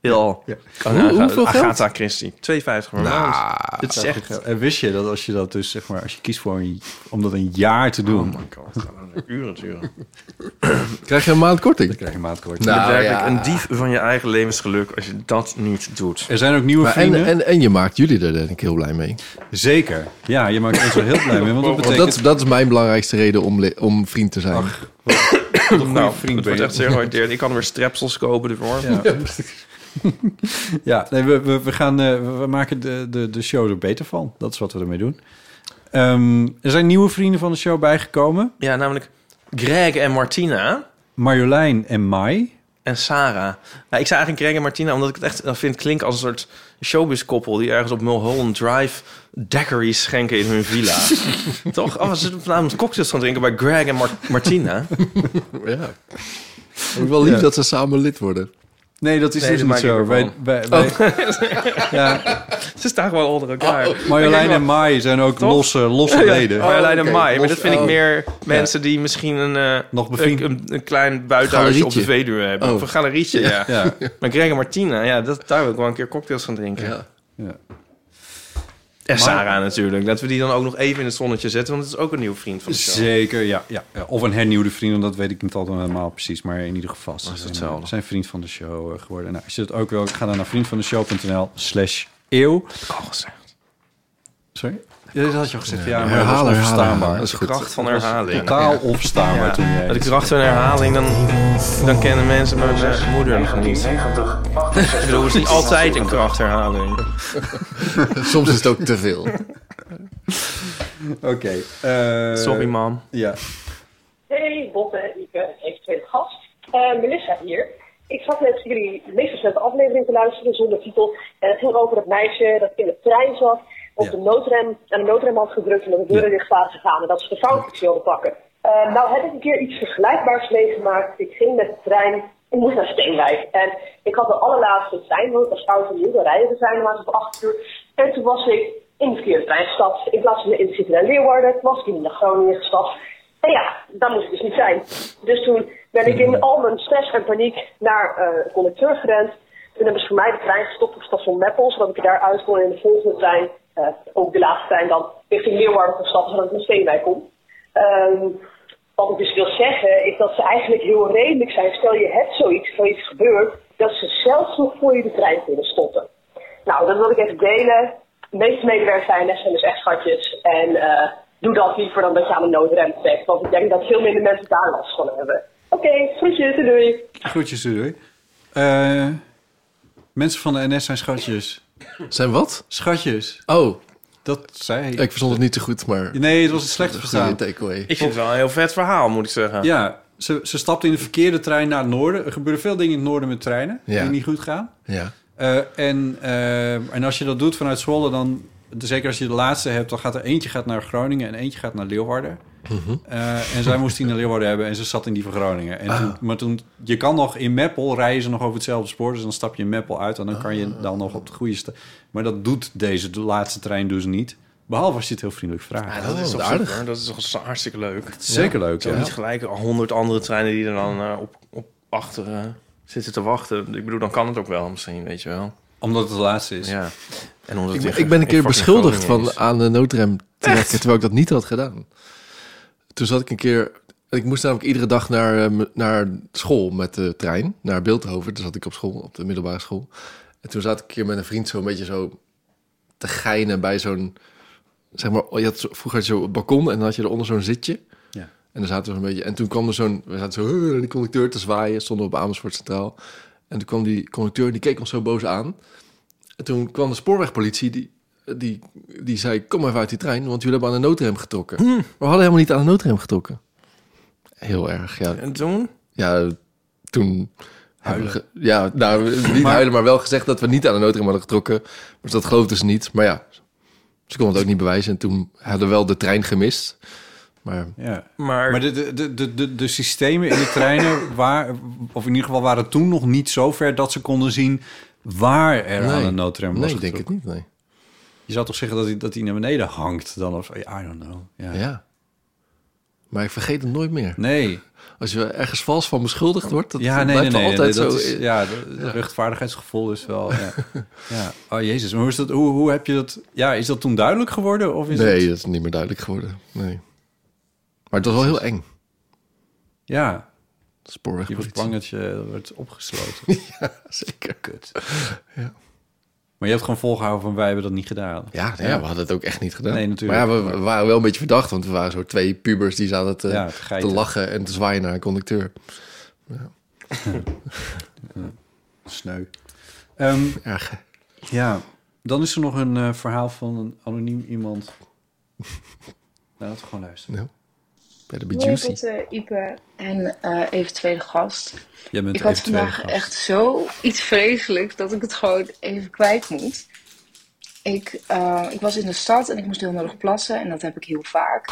Speaker 3: Ja.
Speaker 1: Oh, nou,
Speaker 2: Hoe- hoeveel
Speaker 1: Agatha Christie. 2,50 per maand. Dit is echt...
Speaker 3: En Eh, wist je dat als je dat dus, zeg maar, als je kiest voor een, om dat een jaar te doen,
Speaker 1: Oh my god, dat gaat dan uren duren.
Speaker 2: Krijg je een maand korting?
Speaker 3: dan krijg je maatkoord.
Speaker 1: Je bent
Speaker 2: Nou,
Speaker 1: werkelijk
Speaker 2: ja.
Speaker 1: een dief van je eigen levensgeluk als je dat niet doet.
Speaker 3: Er zijn ook nieuwe
Speaker 2: Maar en,
Speaker 3: vrienden.
Speaker 2: en, en je maakt jullie er denk ik heel blij mee.
Speaker 3: Zeker. Ja, je maakt ons er heel blij mee, want dat
Speaker 2: Want
Speaker 3: betekent...
Speaker 2: dat, is- dat is mijn belangrijkste reden om, le- om vriend te zijn.
Speaker 3: een
Speaker 1: Nou, het wordt echt zeer gewaardeerd. Ik kan weer strepsels kopen ervoor.
Speaker 3: Ja, ja nee, we, we, we, gaan, eh, we- we maken de, de, de show er beter van. Dat is wat we ermee doen. Ehm, er zijn nieuwe vrienden van de show bijgekomen.
Speaker 1: Ja, namelijk Greg en Martina
Speaker 3: Marjolein en Mai.
Speaker 1: en Sarah. Nou, ik zei eigenlijk Greg en Martina omdat ik het echt eh, vind klinken als een soort showbiz-koppel... die ergens op Mulholland Drive daiquiris schenken in hun villa. Toch? Oh, ze zitten vanavond cocktails gaan drinken bij Greg en Mar- Martina.
Speaker 2: Ja. Ook wel lief
Speaker 3: Ja.
Speaker 2: dat ze samen lid worden.
Speaker 3: Nee, dat is
Speaker 1: Nee,
Speaker 3: dus
Speaker 1: dat
Speaker 3: niet
Speaker 1: maak ik
Speaker 3: zo. Wij,
Speaker 1: ervan. Oh.
Speaker 3: wij, wij- ja,
Speaker 1: ze staan gewoon onder elkaar.
Speaker 3: Marjolein en Mai zijn ook
Speaker 1: Toch?
Speaker 3: losse, losse leden.
Speaker 1: Marjolein en
Speaker 2: oké.
Speaker 1: Oh, Mai. Maar dat
Speaker 2: Los-
Speaker 1: vind ik
Speaker 2: oh.
Speaker 1: meer mensen die misschien een, eh,
Speaker 3: Nog bevriend-
Speaker 1: een, een- een klein buitenhuisje op de
Speaker 2: Galerietje.
Speaker 1: Veluwe hebben.
Speaker 2: Oh.
Speaker 1: Of een galerietje, ja.
Speaker 3: Ja,
Speaker 1: Maar Greg en Martina, ja, dat, daar wil ik wel een keer cocktails gaan drinken.
Speaker 2: Ja.
Speaker 3: ja.
Speaker 1: En
Speaker 3: Maar-
Speaker 1: Sarah natuurlijk. Dat we die dan ook nog even in het zonnetje zetten. Want het is ook een nieuw vriend van de show.
Speaker 3: Zeker, ja, ja. ja. Of een hernieuwde vriend, want dat weet ik niet altijd helemaal precies. Maar in ieder geval, ze
Speaker 1: Dat is
Speaker 3: zijn,
Speaker 1: hetzelfde.
Speaker 3: eh, zijn vriend van de show eh, geworden. Nou, als je dat ook wil, ga dan naar vriendvandeshow.nl slash eeuw.
Speaker 1: Oh, gezegd.
Speaker 3: Sorry? Ja, dat had je al gezegd. Ja, maar
Speaker 2: Herhalen,
Speaker 3: dat was
Speaker 2: herhalen.
Speaker 3: onverstaanbaar.
Speaker 2: Dat is goed.
Speaker 1: Kracht van herhaling.
Speaker 3: Totaal onverstaanbaar
Speaker 1: Ja.
Speaker 3: toen jij... dus-
Speaker 1: Als ik kracht van herhaling, dan, dan kennen mensen mijn eh, moeder nog niet. Ik bedoel, het is niet altijd een krachtherhaling.
Speaker 2: Eh, Soms is het ook te veel.
Speaker 3: Oké. eh,
Speaker 1: Sorry, mam.
Speaker 3: Ja.
Speaker 5: Hey, Botte, Ipe, eventuele gast. Eh, Melissa hier. ik zat net jullie meest recente aflevering te luisteren zonder titel. En het ging over dat meisje dat in de trein zat, op
Speaker 3: Ja.
Speaker 5: de noodrem, aan de noodrem had gedrukt en dat de deuren dicht waren gegaan. En dat ze de foutjes wilde pakken. Eh, nou heb ik een keer iets vergelijkbaars meegemaakt. Ik ging met de trein, ik moest naar Steenwijk. En ik had de allerlaatste trein, want als oud en nieuw, dan rijden de treinen maar tot acht uur. En toen was ik in de verkeerde trein gestapt. In plaats van in de City naar Leeuwarden, toen was ik in de Groningen gestapt. En ja, dat moest ik dus niet zijn. Dus toen ben ik in al mijn stress en paniek naar eh de conducteur gerend. Toen hebben ze voor mij de trein gestopt op station Meppel, zodat ik er daar uit kon en in de volgende trein, eh, ook de laatste trein dan, richting Leeuwarden kon stappen, zodat ik meteen bij kom. Ehm, wat ik dus wil zeggen, is dat ze eigenlijk heel redelijk zijn. Stel je hebt zoiets, zoiets gebeurt, dat ze zelfs nog voor je de trein kunnen stoppen. Nou, dat wil ik even delen. De meeste medewerkers zijn net zijn dus echt schatjes. En eh, doe dat liever dan dat je aan de noodrem trekt. Want ik denk dat veel minder mensen daar last van hebben. Oké, groetjes, doei, doei.
Speaker 3: Groetjes, doei. Eh, mensen van de NS zijn schatjes.
Speaker 2: Zijn wat?
Speaker 3: Schatjes.
Speaker 2: Oh,
Speaker 3: Dat zei
Speaker 2: ik verstond het niet zo goed, maar...
Speaker 3: Nee, het was een slecht verstaan.
Speaker 2: Goede takeaway.
Speaker 1: Ik vind het wel een heel vet verhaal, moet ik zeggen.
Speaker 3: Ja, ze, ze stapte in de verkeerde trein naar het noorden. Er gebeuren veel dingen in het noorden met treinen
Speaker 2: Ja.
Speaker 3: die niet goed gaan.
Speaker 2: Ja.
Speaker 3: Eh, en, eh, en als je dat doet vanuit Zwolle, dan zeker als je de laatste hebt, dan gaat er eentje gaat naar Groningen en eentje gaat naar Leeuwarden.
Speaker 1: Mhm.
Speaker 3: Eh, en zij moest die naar Leeuwarden hebben en ze zat in die van Groningen.
Speaker 1: Ah.
Speaker 3: En toen- maar toen, je kan nog in Meppel rijden ze nog over hetzelfde spoor, dus dan stap je in Meppel uit en dan kan
Speaker 1: Ah.
Speaker 3: je dan nog op de goede sta- Maar dat doet deze de laatste trein dus niet. Behalve als je het heel vriendelijk vraagt.
Speaker 1: Ja, Ah, dat is
Speaker 2: Oh,
Speaker 1: toch
Speaker 2: wat aardig.
Speaker 1: super. Dat is toch zo hartstikke leuk. Het
Speaker 3: Zeker leuk,
Speaker 1: zijn
Speaker 3: ja.
Speaker 1: niet gelijk honderd andere treinen die er dan eh, op, op achteren zitten te wachten. Ik bedoel, dan kan het ook wel misschien, weet je wel.
Speaker 3: Omdat het de laatste is.
Speaker 1: Ja. En omdat
Speaker 2: Dus Ik,
Speaker 1: het
Speaker 2: ben-
Speaker 1: weer
Speaker 2: ik ben een
Speaker 1: in
Speaker 2: keer
Speaker 1: fucking
Speaker 2: beschuldigd
Speaker 1: Groningen
Speaker 2: van aan de noodrem trekken, terwijl ik dat niet had gedaan. Toen zat ik een keer... Ik moest namelijk iedere dag naar, eh, m- naar school met de trein, naar Beeldhoven. Toen zat ik op school, op de middelbare school. En toen zat ik een keer met een vriend zo een beetje zo te geinen bij zo'n... Zeg maar, je had, zo- vroeger had je zo'n balkon en dan had je eronder zo'n zitje.
Speaker 3: Ja.
Speaker 2: En dan zaten we zo'n beetje... En toen kwam er zo'n... We zaten zo "Huh," naar die conducteur te zwaaien, stonden we op Amersfoort Centraal. En toen kwam die conducteur, die keek ons zo boos aan. En toen kwam de spoorwegpolitie, die, die, die zei... Kom even uit die trein, want jullie hebben aan de noodrem getrokken. Maar we hadden helemaal niet aan de noodrem getrokken. Heel erg, ja.
Speaker 1: En toen?
Speaker 2: Ja, toen... hebben we ge- Ja, nou, niet huilen, maar wel gezegd dat we niet aan de noodrem hadden getrokken. Dus dat geloofden ze niet. Maar ja, ze konden het ook niet bewijzen. En toen hadden we wel de trein gemist. Maar
Speaker 3: Ja.
Speaker 1: Maar,
Speaker 3: Maar de, de, de, de, de systemen in de treinen, waar, of in ieder geval waren toen nog niet zo ver dat ze konden zien waar er aan
Speaker 2: Nee.
Speaker 3: een noodrem was.
Speaker 2: nee, ik denk het
Speaker 3: getrokken.
Speaker 2: niet, nee.
Speaker 3: Je zou toch zeggen dat hij, dat hij naar beneden hangt dan? Of, I don't know. Ja.
Speaker 2: Ja. Maar ik vergeet het nooit meer.
Speaker 3: Nee.
Speaker 2: Als je ergens vals van beschuldigd wordt, dat
Speaker 3: Ja,
Speaker 2: dat
Speaker 3: nee, nee,
Speaker 2: blijft
Speaker 3: nee. nee,
Speaker 2: altijd
Speaker 3: dat
Speaker 2: zo.
Speaker 3: is, ja, de, de rechtvaardigheidsgevoel is wel... Ja. ja. Oh, jezus. Maar hoe, is dat, hoe, hoe heb je dat... Ja, is dat toen duidelijk geworden? Of is
Speaker 2: nee,
Speaker 3: Het,
Speaker 2: dat is niet meer duidelijk geworden. Nee. Maar het was wel heel eng.
Speaker 3: ja, je was
Speaker 2: Spoorwegpolitie.
Speaker 3: bang dat je werd opgesloten.
Speaker 2: Zeker.
Speaker 3: Kut. Maar je hebt gewoon volgehouden van wij hebben dat niet gedaan.
Speaker 2: Ja, nou ja, we hadden het ook echt niet gedaan.
Speaker 3: Nee, natuurlijk.
Speaker 2: Maar ja, we, we waren wel een beetje verdacht, want we waren zo twee pubers die zaten te,
Speaker 3: Ja, te
Speaker 2: eh, te,
Speaker 3: geiten.
Speaker 2: lachen en te zwaaien naar een conducteur.
Speaker 3: Sneu. Ehm,
Speaker 2: Erg. hè?
Speaker 3: Ja, dan is er nog een eh, verhaal van een anoniem iemand. nou, laten we gewoon luisteren.
Speaker 2: Bij de Juicy.
Speaker 6: Tot eh, Ipe en eh eventuele gast.
Speaker 3: Jij bent
Speaker 6: Ik had
Speaker 3: eventueel
Speaker 6: vandaag
Speaker 3: gast.
Speaker 6: echt zo iets vreselijks dat ik het gewoon even kwijt moet. Ik, eh, ik was in de stad en ik moest heel nodig plassen en dat heb ik heel vaak.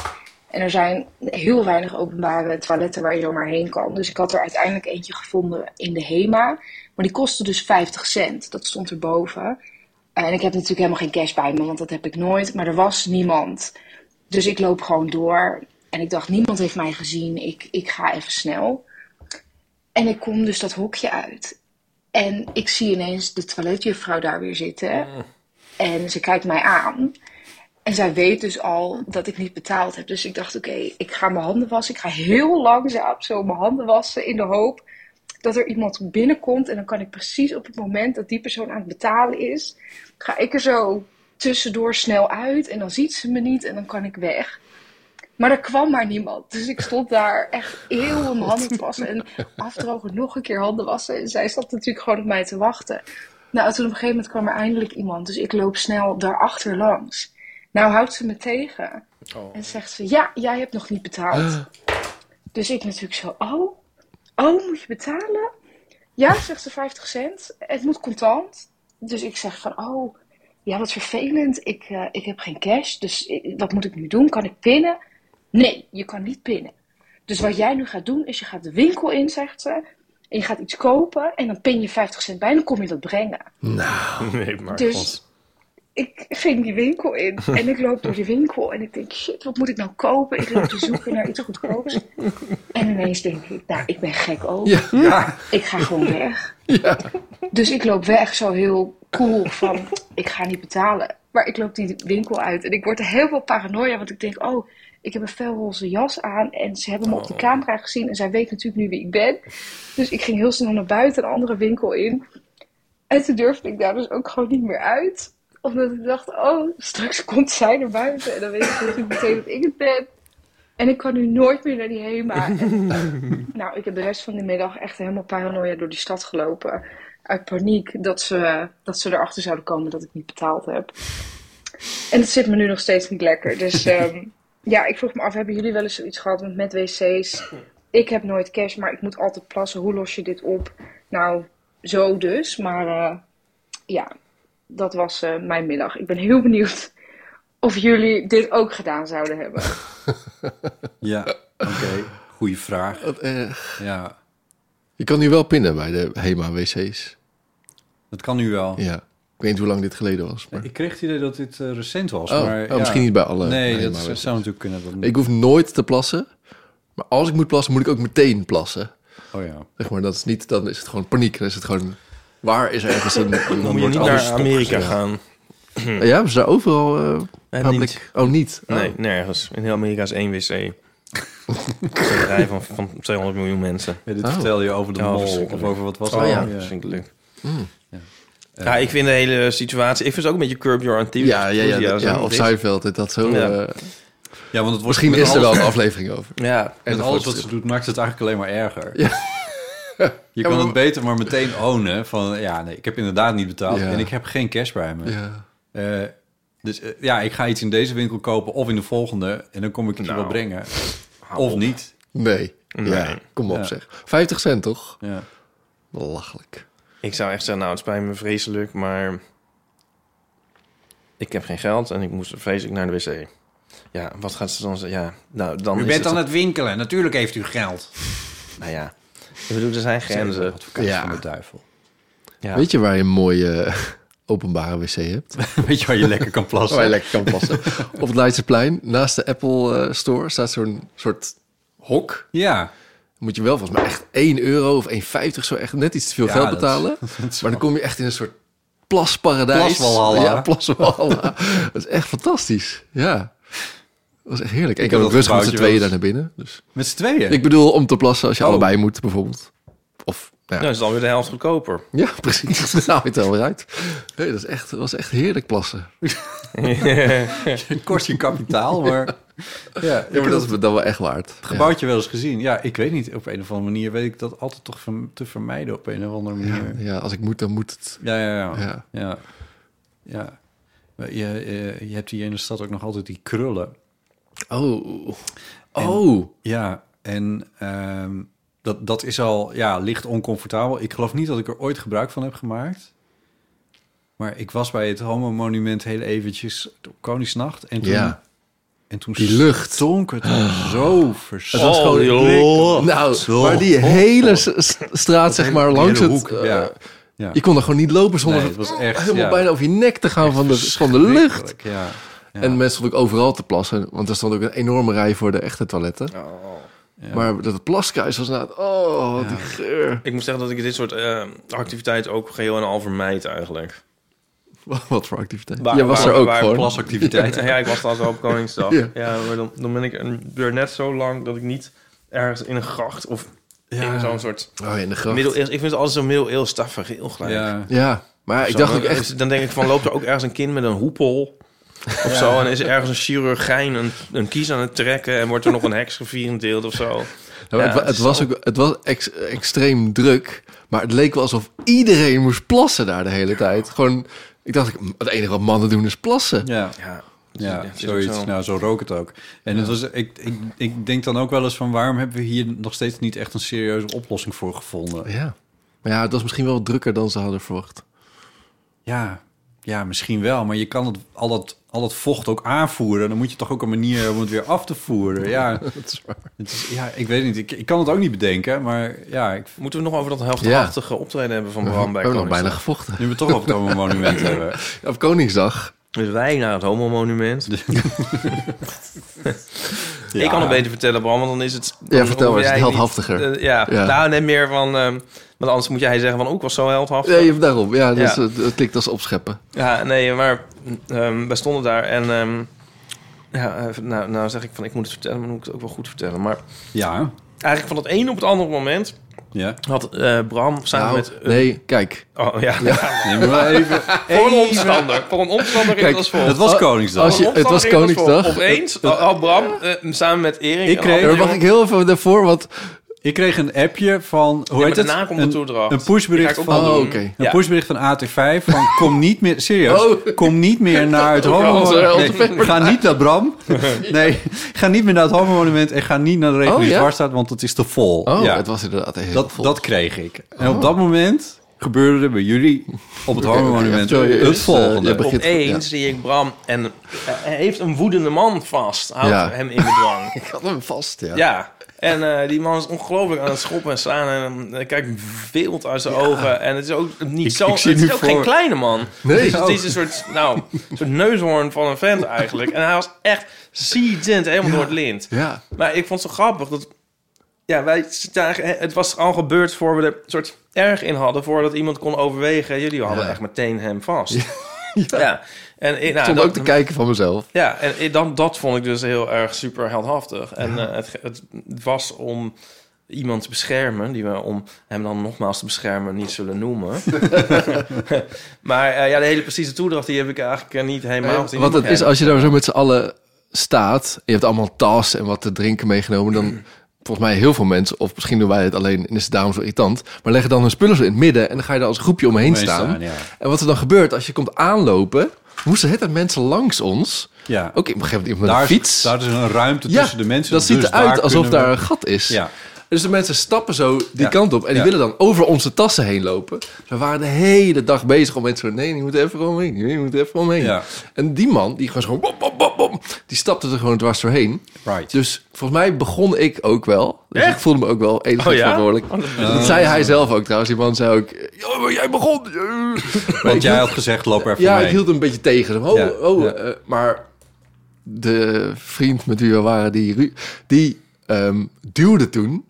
Speaker 6: En er zijn heel weinig openbare toiletten waar je zomaar heen kan. Dus ik had er uiteindelijk eentje gevonden in de HEMA. Maar die kostte dus 50 cent. Dat stond erboven. En ik heb natuurlijk helemaal geen cash bij me, want dat heb ik nooit. Maar er was niemand. Dus ik loop gewoon door. En ik dacht, niemand heeft mij gezien. Ik, ik ga even snel. En ik kom dus dat hokje uit. En ik zie ineens de toiletjuffrouw daar weer zitten. En ze kijkt mij aan. En zij weet dus al dat ik niet betaald heb. Dus ik dacht, oké, ik ga mijn handen wassen. Ik ga heel langzaam zo mijn handen wassen in de hoop dat er iemand binnenkomt. En dan kan ik precies op het moment dat die persoon aan het betalen is, ga ik er zo tussendoor snel uit. En dan ziet ze me niet en dan kan ik weg. Maar er kwam maar niemand. Dus ik stond daar echt eeuwen mijn handen te wassen. En afdrogen, nog een keer handen wassen. En zij zat natuurlijk gewoon op mij te wachten. Nou, toen op een gegeven moment kwam er eindelijk iemand. Dus ik loop snel daarachter langs. Nou houdt ze me tegen. En zegt ze, ja, jij hebt nog niet betaald. Dus ik natuurlijk zo, oh, oh, moet je betalen? Ja, zegt ze 50 cent. Het moet contant. Dus ik zeg van, oh, ja, wat vervelend. Ik, eh, ik heb geen cash, dus ik- wat moet ik nu doen? Kan ik pinnen? Nee, je kan niet pinnen. Dus wat jij nu gaat doen, is je gaat de winkel in, zegt ze. En je gaat iets kopen en dan pin je 50 cent bij en dan kom je dat brengen.
Speaker 1: Nou, nee, maar
Speaker 6: Dus ik ging die winkel in en ik loop door die winkel en ik denk, shit, wat moet ik nou kopen? Ik loop te zoeken naar iets goedkoops. En ineens denk ik, nou, ik ben gek ook.
Speaker 2: Ja. Ja.
Speaker 6: Ik ga gewoon weg.
Speaker 2: Ja.
Speaker 6: Dus ik loop weg zo heel cool van, ik ga niet betalen. Maar ik loop die winkel uit en ik word er heel veel paranoia, want ik denk, oh, ik heb een felroze jas aan en ze hebben me op de camera gezien en zij weet natuurlijk nu wie ik ben. Dus ik ging heel snel naar buiten, een andere winkel in. En toen durfde ik daar dus ook gewoon niet meer uit. Omdat ik dacht, oh, straks komt zij naar buiten. En dan weet ik natuurlijk meteen dat ik het ben. En ik kan nu nooit meer naar die HEMA. En, nou, ik heb de rest van die middag echt helemaal paranoia door die stad gelopen. Uit paniek dat ze, dat ze erachter zouden komen dat ik niet betaald heb. En het zit me nu nog steeds niet lekker. Dus ehm, ja, ik vroeg me af, hebben jullie wel eens zoiets gehad met- met wc's? Ik heb nooit cash, maar ik moet altijd plassen. Hoe los je dit op? Nou, zo dus. Maar eh, ja, dat was eh, mijn middag. Ik ben heel benieuwd of jullie dit ook gedaan zouden hebben.
Speaker 3: Ja, oké. Goeie vraag.
Speaker 2: Wat erg.
Speaker 3: Ja,
Speaker 2: eh, Je kan nu wel pinnen bij de HEMA-wc's.
Speaker 3: dat kan nu wel.
Speaker 2: Ja. Ik weet niet hoe lang dit geleden was. Maar...
Speaker 3: Ik kreeg het idee dat dit eh, recent was.
Speaker 2: Oh,
Speaker 3: maar,
Speaker 2: oh,
Speaker 3: ja.
Speaker 2: misschien niet bij alle
Speaker 3: Nee, dat
Speaker 2: HEMA-wc's.
Speaker 3: zou natuurlijk kunnen. Dat...
Speaker 2: Ik hoef nooit te plassen. Maar als ik moet plassen, moet ik ook meteen plassen.
Speaker 3: Oh ja.
Speaker 2: Zeg maar, dat is niet, dan is het gewoon paniek. Dan is het gewoon, waar is ergens een... Dan
Speaker 1: Moet je
Speaker 2: wordt
Speaker 1: niet
Speaker 2: alles
Speaker 1: naar
Speaker 2: stopgezet.
Speaker 1: Amerika gaan?
Speaker 2: Ja, we zijn overal eh,
Speaker 1: Eh,
Speaker 2: public...
Speaker 1: niet.
Speaker 2: Oh, niet? Oh.
Speaker 1: Nee, nergens. In heel Amerika is één wc. Een rij van, van 200 miljoen mensen.
Speaker 3: Ja, dit
Speaker 2: Oh.
Speaker 3: vertel je over de
Speaker 1: Ja,
Speaker 3: mol of
Speaker 1: verschrikkelijk.
Speaker 3: over wat was
Speaker 2: Oh
Speaker 3: er.
Speaker 2: ja,
Speaker 1: verschrikkelijk.
Speaker 2: Mm.
Speaker 1: Hmm. Ja, ik vind de hele situatie... Ik vind het ook een beetje curb your enthusiasm.
Speaker 2: Ja, ja, ja, dat- ja, of Seinfeld, dat, dat zo...
Speaker 1: Ja.
Speaker 2: eh,
Speaker 3: Ja, want het wordt
Speaker 2: misschien
Speaker 3: met
Speaker 2: is er
Speaker 3: alles-
Speaker 2: wel een aflevering over.
Speaker 1: Ja,
Speaker 2: En
Speaker 3: Met
Speaker 2: een
Speaker 3: alles wat
Speaker 2: fotostrip.
Speaker 3: ze doet maakt het eigenlijk alleen maar erger.
Speaker 2: Ja.
Speaker 3: Je
Speaker 2: Ja,
Speaker 3: kan
Speaker 2: maar-
Speaker 3: het beter maar meteen ownen van... ja, nee, ik heb inderdaad niet betaald
Speaker 2: Ja.
Speaker 3: en ik heb geen cash bij me.
Speaker 2: Ja.
Speaker 3: Eh, dus eh, ja, ik ga iets in deze winkel kopen of in de volgende... en dan kom ik het
Speaker 1: Nou.
Speaker 3: wel brengen. Of niet.
Speaker 2: Nee. Ja,
Speaker 1: Nee.
Speaker 2: kom op
Speaker 3: Ja.
Speaker 2: zeg. 50 cent, toch?
Speaker 3: Ja.
Speaker 2: Belachelijk.
Speaker 1: ik zou echt zeggen, nou, het spijt me vreselijk, maar... Ik heb geen geld en ik moest vreselijk naar de wc. Ja, wat gaat ze dan zeggen? Ja, nou, dan is het...
Speaker 3: het winkelen, natuurlijk heeft u geld.
Speaker 1: Nou ja, ik bedoel, er zijn grenzen.
Speaker 3: Advocaat
Speaker 2: Ja.
Speaker 3: van de duivel.
Speaker 1: Ja.
Speaker 2: Weet je waar je een mooie eh, openbare wc hebt?
Speaker 3: Weet je waar je lekker kan plassen?
Speaker 2: Waar je lekker kan passen. Op het Leidseplein, naast de Apple eh, Store, staat zo'n soort hok.
Speaker 3: Ja.
Speaker 2: Dan moet je wel volgens mij echt 1 euro of 1,50 zo echt net iets te veel
Speaker 3: Ja,
Speaker 2: geld
Speaker 3: dat-
Speaker 2: betalen. maar dan kom je echt in een soort plasparadijs.
Speaker 3: Plaswalhalla.
Speaker 2: Ja, plaswalhalla. dat is echt fantastisch. Ja. Dat was echt heerlijk. Ik,
Speaker 3: Ik
Speaker 2: heb
Speaker 3: heb
Speaker 2: ook
Speaker 3: dat
Speaker 2: rustig met z'n
Speaker 3: gebouwtje
Speaker 2: tweeën
Speaker 3: wel
Speaker 2: daar
Speaker 3: eens-
Speaker 2: naar binnen. Dus.
Speaker 3: Met z'n tweeën?
Speaker 2: Ik bedoel, om te plassen als je
Speaker 3: Oh.
Speaker 2: allebei moet, bijvoorbeeld. Of, nou
Speaker 1: Nou,
Speaker 2: ja,
Speaker 1: is het alweer de helft goedkoper.
Speaker 2: ja precies. Daar haal je het alweer uit. Nee, dat is echt, dat was echt heerlijk plassen.
Speaker 3: Het kost je kapitaal, maar... ja,
Speaker 2: Ja, maar dat is me dan wel echt waard.
Speaker 3: het gebouwtje wel eens gezien. Ja, ik weet niet. Op een of andere manier weet ik dat altijd toch verm- te vermijden op een of andere
Speaker 2: Ja.
Speaker 3: manier.
Speaker 2: ja, als ik moet, dan moet het.
Speaker 3: Ja, ja, ja.
Speaker 2: Ja.
Speaker 3: ja. ja. Maar Je, eh, je hebt hier in de stad ook nog altijd die krullen.
Speaker 2: Oh. Oh.
Speaker 3: Ja, en ehm, dat, dat is al ja, licht oncomfortabel. Ik geloof niet dat ik er ooit gebruik van heb gemaakt. Maar ik was bij het homo-monument heel eventjes op Koningsnacht. En toen,
Speaker 2: Ja.
Speaker 3: en toen
Speaker 2: Die lucht.
Speaker 3: stonk het zo
Speaker 1: Oh,
Speaker 3: verschrikkelijk.
Speaker 1: joh.
Speaker 2: Nou, maar die hele s- s- straat, zeg maar, langs
Speaker 3: hele
Speaker 2: het...
Speaker 3: hoek,
Speaker 2: eh,
Speaker 3: ja. Ja.
Speaker 2: Je kon er gewoon niet lopen zonder
Speaker 3: Nee, het was echt,
Speaker 2: helemaal
Speaker 3: ja.
Speaker 2: bijna over je nek te gaan van de, van de lucht.
Speaker 3: Verschrikkelijk, Ja. Ja.
Speaker 2: En mensen stonden ook overal te plassen. Want er stond ook een enorme rij voor de echte toiletten. Maar dat plaskruis was inderdaad... Oh, wat die geur.
Speaker 1: Ik moet zeggen dat ik dit soort eh, activiteiten ook geheel en al vermijd eigenlijk.
Speaker 2: Wat voor activiteit.
Speaker 1: Waar-
Speaker 2: Jij was
Speaker 1: waar-
Speaker 2: er ook
Speaker 1: waar-
Speaker 2: gewoon.
Speaker 3: Plasactiviteit.
Speaker 1: Ja, ik was trouwens wel op Koningsdag.
Speaker 2: Ja.
Speaker 1: ja. maar dan, dan ben ik een- weer net zo lang dat ik niet ergens in een gracht of in zo'n soort
Speaker 2: Oh, in de gracht.
Speaker 1: middeleeuws... Ik vind het altijd zo middeleeuws staffig, heel gelijk.
Speaker 3: Ja.
Speaker 2: Ja, maar ik
Speaker 1: Zo,
Speaker 2: dacht ook
Speaker 1: dan-
Speaker 2: echt...
Speaker 1: Dan denk ik van, loopt er ook ergens een kind met een hoepel of zo... en is er ergens een chirurgijn een, een kies aan het trekken... en wordt er nog een heks gevierendeeld of zo.
Speaker 2: Ja, maar
Speaker 1: Ja,
Speaker 2: het, wa-
Speaker 1: het
Speaker 2: het
Speaker 1: is
Speaker 2: was ook, het was ex- extreem druk, maar het leek wel alsof iedereen moest plassen daar de hele tijd. Gewoon, ik dacht, ik- het enige wat mannen doen is plassen.
Speaker 3: Ja.
Speaker 1: Ja,
Speaker 3: Ja,
Speaker 1: het is ook
Speaker 3: zoiets.
Speaker 1: zo.
Speaker 3: Nou, zo rook het ook. En het was, ik, ik, ik denk dan ook wel eens van... waarom hebben we hier nog steeds niet echt een serieuze oplossing voor gevonden?
Speaker 2: Oh, Ja, Maar ja, het was misschien wel drukker dan ze hadden verwacht.
Speaker 3: Ja, ja, misschien wel. Maar je kan het, al, dat, al dat vocht ook aanvoeren. Dan moet je toch ook een manier om het weer af te voeren. Ja, Het is- ja ik weet niet. Ik, ik kan het ook niet bedenken. Maar ja, ik,
Speaker 1: Moeten we nog over dat
Speaker 2: Ja.
Speaker 1: helftachtige optreden hebben van
Speaker 2: We
Speaker 1: Bram bij
Speaker 2: hebben nog bijna
Speaker 1: Koningsdag?
Speaker 2: gevochten.
Speaker 3: nu we het toch over het allemaal monument hebben.
Speaker 2: Ja, op Koningsdag.
Speaker 1: Dus wij naar het homomonument. Ik kan het beter vertellen, Bram, want dan is het... dan
Speaker 2: vertel
Speaker 1: hoef
Speaker 2: maar, is het
Speaker 1: jij niet-
Speaker 2: heldhaftiger?
Speaker 1: eh, ja.
Speaker 2: Ja.
Speaker 1: nou net meer van... ehm, want anders moet jij zeggen van, ook was zo heldhaftig.
Speaker 2: Nee, daarom. Ja, dat is-
Speaker 1: Ja.
Speaker 2: het het klinkt als opscheppen.
Speaker 1: Ja, nee, maar ehm wij stonden daar en... ehm, ja, eh, nou, nou zeg ik van, ik moet het vertellen, maar dan moet ik het ook wel goed vertellen. Maar
Speaker 3: Ja,
Speaker 1: eigenlijk van het ene op het andere moment
Speaker 3: ja.
Speaker 1: had eh, Bram samen
Speaker 2: Nou,
Speaker 1: met... eh,
Speaker 2: nee, kijk.
Speaker 1: Oh, ja,
Speaker 3: Neem maar wel even.
Speaker 1: voor een omstander. Voor een omstander is
Speaker 2: Kijk, Oh,
Speaker 1: het als volgt.
Speaker 3: Dat was Koningsdag.
Speaker 2: Als je- het was Koningsdag.
Speaker 1: Opeens, had Bram eh, samen met Erik...
Speaker 3: Ik
Speaker 1: en
Speaker 3: kreeg-
Speaker 1: Anne-
Speaker 2: Er mag ik heel even daarvoor, want...
Speaker 3: Ik kreeg een appje van... Hoe
Speaker 1: Ja,
Speaker 3: heet
Speaker 1: maar
Speaker 3: het?
Speaker 1: daarna komt de toedracht.
Speaker 3: een, een pushbericht
Speaker 1: Die ga ik
Speaker 3: van...
Speaker 1: ook
Speaker 2: Oh,
Speaker 1: doen.
Speaker 2: oké.
Speaker 3: Een
Speaker 1: Ja.
Speaker 3: pushbericht van AT5 van kom niet meer... Serieus,
Speaker 2: Oh.
Speaker 3: kom niet meer naar het homo...
Speaker 2: onze- onze
Speaker 3: Nee, ga niet naar Bram. Nee, ga niet meer naar het homo-monument en ga niet naar de regio
Speaker 2: Oh,
Speaker 3: die
Speaker 2: ja?
Speaker 3: waar staat, want het is te vol.
Speaker 2: Oh,
Speaker 3: ja,
Speaker 2: het was inderdaad heel
Speaker 3: dat,
Speaker 2: vol. Oh.
Speaker 3: dat kreeg ik. En op dat moment gebeurde er bij jullie op het
Speaker 2: Oké, oké,
Speaker 3: homo-monument
Speaker 2: sorry,
Speaker 3: het
Speaker 2: dus, eh,
Speaker 3: volgende.
Speaker 2: je begint- ja.
Speaker 1: Opeens zie ik Bram en eh, hij heeft een woedende man vast. Houdt
Speaker 2: Ja.
Speaker 1: hem in bedwang.
Speaker 2: Ik had hem vast, ja.
Speaker 1: ja. En eh, die man is ongelooflijk aan het schoppen en slaan. En eh, kijkt wild uit zijn ogen. En het is ook niet zo...
Speaker 3: ik zie
Speaker 1: het is
Speaker 3: nu
Speaker 1: ook
Speaker 3: voor-
Speaker 1: geen kleine man.
Speaker 2: Nee.
Speaker 1: Het is, het is een soort, nou, een soort neushoorn van een vent eigenlijk. En hij was echt ziedend, helemaal door het lint.
Speaker 2: Ja,
Speaker 1: Maar ik vond het zo grappig dat... Ja, wij zagen... Het was al gebeurd voor we er soort erg in hadden... voordat iemand kon overwegen. Jullie hadden
Speaker 2: Ja.
Speaker 1: echt meteen hem vast. Ja. En, ik-
Speaker 2: ik
Speaker 1: nou,
Speaker 2: stond
Speaker 1: dat,
Speaker 2: ook te kijken van mezelf.
Speaker 1: ja, en ik- dan, dat vond ik dus heel erg super heldhaftig. En eh, het, het was om iemand te beschermen... die we om hem dan nogmaals te beschermen niet zullen noemen. maar eh, ja, de hele precieze toedracht... die heb ik eigenlijk eh, niet helemaal... gezien.
Speaker 2: Want het
Speaker 1: Ja.
Speaker 2: is, als je daar zo met z'n allen staat... en je hebt allemaal tas en wat te drinken meegenomen... dan volgens mij heel veel mensen... of misschien doen wij het alleen en is het daarom zo irritant... maar leggen dan hun spullen zo in het midden... en dan ga je daar als groepje omheen
Speaker 3: Omheen
Speaker 2: staan.
Speaker 3: staan, ja.
Speaker 2: En wat er dan gebeurt als je komt aanlopen... moesten het tijd mensen langs ons...
Speaker 3: Ja.
Speaker 2: ook op een gegeven moment iemand met
Speaker 3: Daar,
Speaker 2: een
Speaker 3: is-
Speaker 2: fiets...
Speaker 3: daar is een ruimte tussen de mensen.
Speaker 2: dat ziet
Speaker 3: dus
Speaker 2: eruit alsof
Speaker 3: kunnen we-
Speaker 2: daar een gat is.
Speaker 3: Ja.
Speaker 2: Dus de mensen stappen zo die
Speaker 3: Ja.
Speaker 2: kant op en die
Speaker 3: Ja.
Speaker 2: willen dan over onze tassen heen lopen. Dus we waren de hele dag bezig om mensen zo, nee, die moeten even omheen, die moeten even omheen.
Speaker 3: Ja.
Speaker 2: En die man, die gewoon zo, bom, bom, bom, bom, die stapte er gewoon dwars doorheen.
Speaker 3: Right.
Speaker 2: Dus volgens mij begon ik ook wel. Dus ik voelde me ook wel enigszins
Speaker 1: Oh ja?
Speaker 2: verantwoordelijk. dat zei hij zelf ook trouwens. Die man zei ook, ja, maar jij begon.
Speaker 3: Want jij had gezegd, loop er even
Speaker 2: Ja,
Speaker 3: mee.
Speaker 2: ik hield hem een beetje tegen. Zo, Oh,
Speaker 3: Ja,
Speaker 2: oh,
Speaker 3: ja.
Speaker 2: eh, maar de vriend met wie we waren, die, Ru- die ehm, duwde toen.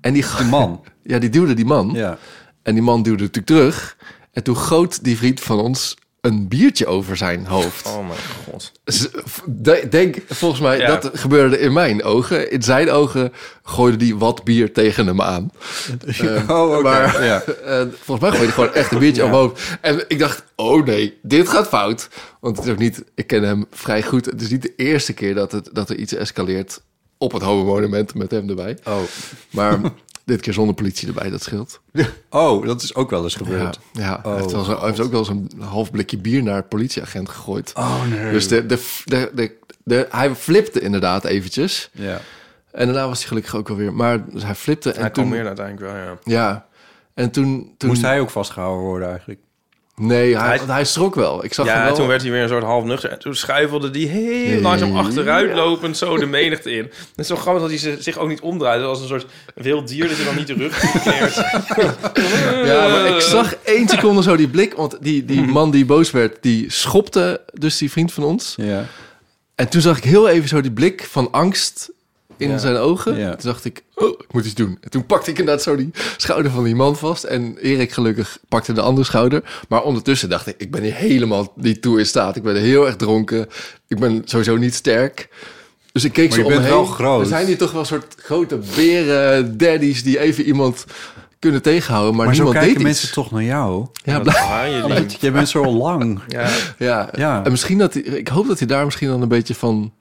Speaker 2: En die,
Speaker 3: De man.
Speaker 2: ja, die duwde die man.
Speaker 3: Ja.
Speaker 2: En die man duwde natuurlijk terug. En toen goot die vriend van ons een biertje over zijn hoofd.
Speaker 1: Oh mijn god.
Speaker 2: Z- v- de- Denk, volgens mij,
Speaker 1: Ja.
Speaker 2: dat gebeurde in mijn ogen. In zijn ogen gooide die wat bier tegen hem aan.
Speaker 3: Oh, oké.
Speaker 2: maar-
Speaker 3: ja.
Speaker 2: Eh, volgens mij gooide hij gewoon echt een biertje omhoog. En ik dacht, oh nee, dit gaat fout. Want het is ook niet, ik ken hem vrij goed. Het is niet de eerste keer dat, het, dat er iets escaleert op het homo-monument met hem erbij.
Speaker 3: Oh.
Speaker 2: Maar dit keer zonder politie erbij, dat scheelt.
Speaker 3: oh, dat is ook wel eens
Speaker 2: Ja,
Speaker 3: gebeurd.
Speaker 2: ja.
Speaker 3: Oh,
Speaker 2: hij, heeft wel zo- hij heeft ook wel eens een half blikje bier naar het politieagent gegooid.
Speaker 3: Oh, nee.
Speaker 2: Dus de, de, de, de, de- hij flipte inderdaad eventjes.
Speaker 3: Ja.
Speaker 2: En daarna was hij gelukkig ook alweer. Maar dus hij flipte en
Speaker 1: Hij
Speaker 2: toen...
Speaker 1: kalmeerde uiteindelijk wel, ja.
Speaker 2: Ja. En toen... toen
Speaker 3: Moest hij ook vastgehouden worden eigenlijk?
Speaker 2: Nee, hij,
Speaker 1: Hij-
Speaker 2: hij, schrok wel. Ik zag hem
Speaker 1: Ja,
Speaker 2: wel.
Speaker 1: toen werd hij weer een soort half nuchter. En toen schuifelde hij heel
Speaker 2: Nee.
Speaker 1: langzaam achteruit lopend zo de menigte in. Het is zo grappig dat hij ze- zich ook niet omdraait. Dat was een soort wild dier dat hij dan niet terugkeert.
Speaker 3: Eh.
Speaker 2: Ja, maar ik zag één seconde zo die blik. Want die,
Speaker 3: Mhm.
Speaker 2: die man die boos werd, die schopte dus die vriend van ons.
Speaker 3: Ja.
Speaker 2: En toen zag ik heel even zo die blik van angst in
Speaker 3: Ja.
Speaker 2: zijn ogen.
Speaker 3: Ja.
Speaker 2: Toen dacht ik, oh, ik moet iets doen. En toen pakte ik inderdaad zo die schouder van die man vast. En Erik gelukkig pakte de andere schouder. Maar ondertussen dacht ik, ik ben hier helemaal niet toe in staat. Ik ben heel erg dronken. Ik ben sowieso niet sterk. Dus ik keek
Speaker 3: Maar
Speaker 2: zo
Speaker 3: je
Speaker 2: om me
Speaker 3: bent
Speaker 2: heen.
Speaker 3: wel groot.
Speaker 2: Er zijn hier toch wel een soort grote beren, daddies... die even iemand kunnen tegenhouden. Maar,
Speaker 3: Maar zo
Speaker 2: niemand
Speaker 3: kijken
Speaker 2: deed
Speaker 3: mensen
Speaker 2: iets.
Speaker 3: toch naar jou?
Speaker 2: Ja, bla-
Speaker 1: Ah, jullie.
Speaker 3: Jij bent zo lang.
Speaker 1: Ja,
Speaker 2: Ja,
Speaker 3: Ja.
Speaker 2: en misschien dat hij, ik hoop dat hij daar misschien dan een beetje van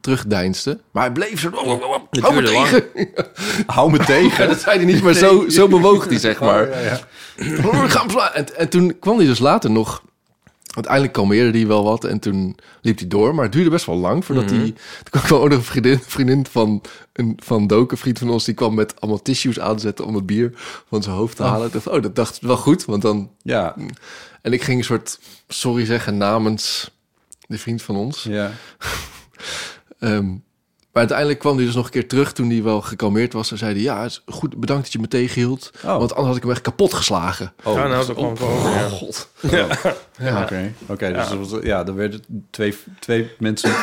Speaker 2: terugdeinste. Maar hij bleef zo. Oh, hou me
Speaker 1: duurde lang.
Speaker 2: tegen.
Speaker 3: Hou me
Speaker 2: Ja,
Speaker 3: tegen.
Speaker 2: dat zei hij niet, maar zo, zo bewoog hij, zeg maar. Oh, ik ga hem slaan. En, en toen kwam hij dus later nog Uiteindelijk kalmeerde hij wel wat en toen liep hij door. Maar het duurde best wel lang voordat
Speaker 1: Mhm.
Speaker 2: hij... Toen kwam gewoon nog een vriendin, vriendin van, een, van Doken, een vriend van ons... die kwam met allemaal tissues aanzetten om het bier van zijn hoofd te halen. Ik dacht, oh, dat dacht ik wel goed, want dan...
Speaker 3: Ja,
Speaker 2: En ik ging een soort sorry zeggen namens de vriend van ons.
Speaker 3: ja.
Speaker 2: Ehm, maar uiteindelijk kwam hij dus nog een keer terug toen hij wel gekalmeerd was. En zei hij, ja, het is goed, bedankt dat je me tegenhield.
Speaker 3: Oh.
Speaker 2: Want anders had ik hem echt kapot geslagen. Oh.
Speaker 3: Oh,
Speaker 1: Ja, nou,
Speaker 3: oké.
Speaker 1: dat kwam ik wel over, ja.
Speaker 2: god.
Speaker 3: Oké, dus dat was- ja, er werden twee, twee, mensen,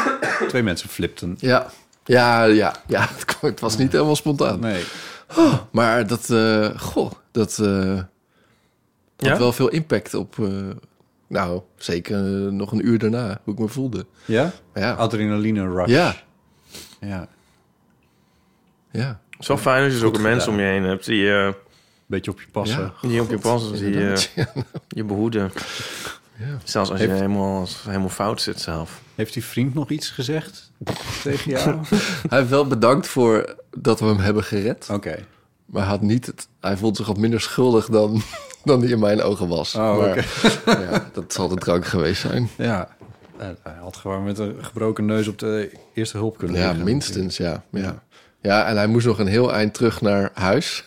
Speaker 3: twee mensen flipten.
Speaker 2: Ja, ja, ja, ja. Het, kwam- het was niet helemaal spontaan.
Speaker 3: Nee.
Speaker 2: Maar dat, eh, goh, dat eh,
Speaker 1: Ja?
Speaker 2: had wel veel impact op... eh, nou, zeker eh, nog een uur daarna, hoe ik me voelde.
Speaker 3: Ja?
Speaker 2: Maar Ja,
Speaker 3: Adrenaline rush.
Speaker 2: ja,
Speaker 3: Ja.
Speaker 2: ja.
Speaker 1: Het is wel fijn als je zulke
Speaker 2: gedaan.
Speaker 1: mensen om je heen hebt die, eh,
Speaker 3: Beetje op je passen.
Speaker 2: Ja.
Speaker 1: die op je passen, die
Speaker 2: inderdaad.
Speaker 1: eh, je behoeden. Zelfs als je
Speaker 2: Heeft-
Speaker 1: helemaal, als- helemaal fout zit zelf.
Speaker 3: Heeft die vriend nog iets gezegd tegen jou? Oké.
Speaker 2: Hij heeft wel bedankt voor dat we hem hebben gered. Maar hij, had niet het, hij vond zich wat minder schuldig dan, dan hij in mijn ogen was.
Speaker 3: Oh,
Speaker 2: maar, ja, dat zal de drank geweest zijn.
Speaker 3: Ja. Nou, Hij had gewoon met een gebroken neus op de eerste hulp kunnen
Speaker 2: Ja,
Speaker 3: liggen.
Speaker 2: minstens, ja. ja. Ja, en hij moest nog een heel eind terug naar huis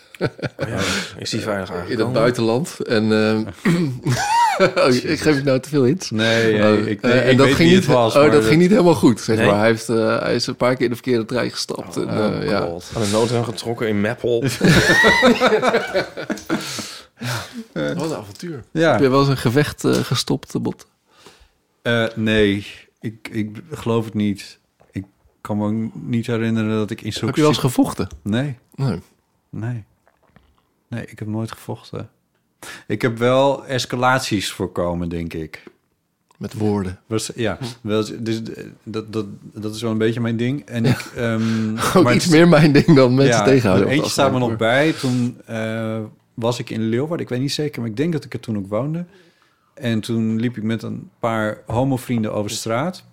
Speaker 1: Is die veilig aangekomen?
Speaker 3: Oh.
Speaker 2: in het buitenland. En ehm, oh, ik geef je nou te veel hints.
Speaker 3: Nee,
Speaker 2: Oh,
Speaker 3: nee, ik, nee,
Speaker 2: eh,
Speaker 3: ik weet
Speaker 2: ging
Speaker 3: wie
Speaker 2: niet,
Speaker 3: het was.
Speaker 2: oh,
Speaker 3: maar
Speaker 2: dat, ging niet helemaal goed, zeg
Speaker 1: Nee?
Speaker 2: maar. Hij, heeft, eh, hij is een paar keer in de verkeerde trein gestapt. en, eh, ja.
Speaker 3: Oh, God.
Speaker 1: Aan de noodrem getrokken in Meppel.
Speaker 2: Wat een avontuur.
Speaker 3: Ja.
Speaker 2: Heb je wel eens een gevecht eh, gestopt, Bot?
Speaker 3: Eh, nee, ik, ik geloof het niet. Ik kan me ook niet herinneren dat ik in zo'n...
Speaker 2: Heb je wel eens gevochten?
Speaker 3: Nee.
Speaker 2: Nee.
Speaker 3: Nee. Nee, ik heb nooit gevochten. Ik heb wel escalaties voorkomen, denk ik.
Speaker 2: Met woorden.
Speaker 3: Was,
Speaker 2: Hm.
Speaker 3: ja, wel, dus, eh, dat, dat, dat is wel een beetje mijn ding. En ik, ehm,
Speaker 2: Ook
Speaker 3: maar
Speaker 2: iets
Speaker 3: het-
Speaker 2: meer mijn ding dan mensen
Speaker 3: ja,
Speaker 2: tegenhouden.
Speaker 3: er
Speaker 2: op de
Speaker 3: Eentje staat me nog
Speaker 2: afgelopen
Speaker 3: bij. Toen eh, was ik in Leeuwarden. Ik weet niet zeker, maar ik denk dat ik er toen ook woonde. En toen liep ik met een paar homovrienden over straat.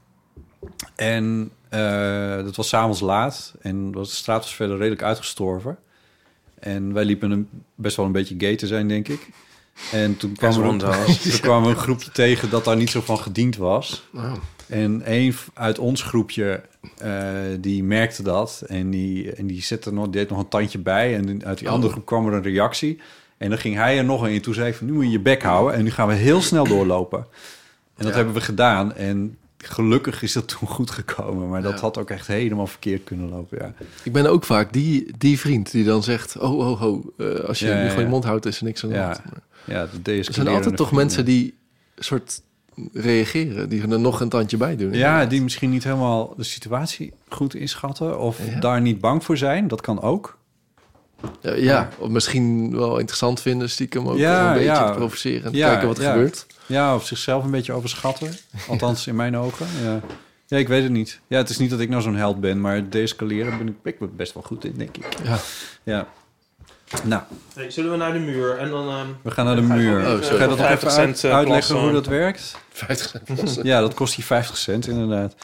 Speaker 3: En eh, dat was s'avonds laat. En was- de straat was verder redelijk uitgestorven. En wij liepen een, best wel een beetje gay te zijn, denk ik. En toen kwam,
Speaker 1: Best
Speaker 3: er,
Speaker 1: rondhals.
Speaker 3: toen kwam er een groepje tegen dat daar niet zo van gediend was.
Speaker 2: Nou.
Speaker 3: En een v- uit ons groepje, eh, die merkte dat. En die, en die zette nog, deed nog een tandje bij. En uit die
Speaker 2: Oh.
Speaker 3: andere groep kwam er een reactie. En dan ging hij er nog een in. Toen zei ik van, nu moet je je bek houden. En nu gaan we heel snel doorlopen. En dat hebben we gedaan. En gelukkig is dat toen goed gekomen. Maar dat
Speaker 2: Ja.
Speaker 3: had ook echt helemaal verkeerd kunnen lopen, ja.
Speaker 2: Ik ben ook vaak die, die vriend die dan zegt... oh, ho, ho, eh, als je
Speaker 3: Ja,
Speaker 2: nu
Speaker 3: ja,
Speaker 2: gewoon je
Speaker 3: ja.
Speaker 2: mond houdt, is er niks aan de
Speaker 3: Ja.
Speaker 2: hand.
Speaker 3: Ja, dat
Speaker 2: Er zijn altijd toch mensen die soort reageren... die er nog een tandje bij doen.
Speaker 3: Ja, die misschien niet helemaal de situatie goed inschatten. Of
Speaker 2: Ja.
Speaker 3: daar niet bang voor zijn. Dat kan ook.
Speaker 2: Ja, Eh, ja, of misschien wel interessant vinden stiekem ook
Speaker 3: Ja,
Speaker 2: om een beetje
Speaker 3: ja.
Speaker 2: te provoceren... en te
Speaker 3: Ja,
Speaker 2: kijken wat er
Speaker 3: ja.
Speaker 2: gebeurt.
Speaker 3: Ja, of zichzelf een beetje overschatten. Althans, in mijn ogen. Ja. ja, ik weet het niet. Ja, het is niet dat ik nou zo'n held ben, maar deescaleren ben ik, ben ik best wel goed in, denk ik.
Speaker 2: Ja.
Speaker 3: Ja. Nou,
Speaker 1: zullen we naar de muur en dan...
Speaker 3: we gaan naar de muur.
Speaker 2: even,
Speaker 3: Ga
Speaker 2: Oh, sorry.
Speaker 3: je dat nog
Speaker 1: 50
Speaker 3: even
Speaker 1: cent,
Speaker 3: uit-
Speaker 1: eh,
Speaker 3: uitleggen
Speaker 1: plassen.
Speaker 3: hoe dat werkt?
Speaker 2: 50
Speaker 3: Ja, dat kost die 50 cent inderdaad.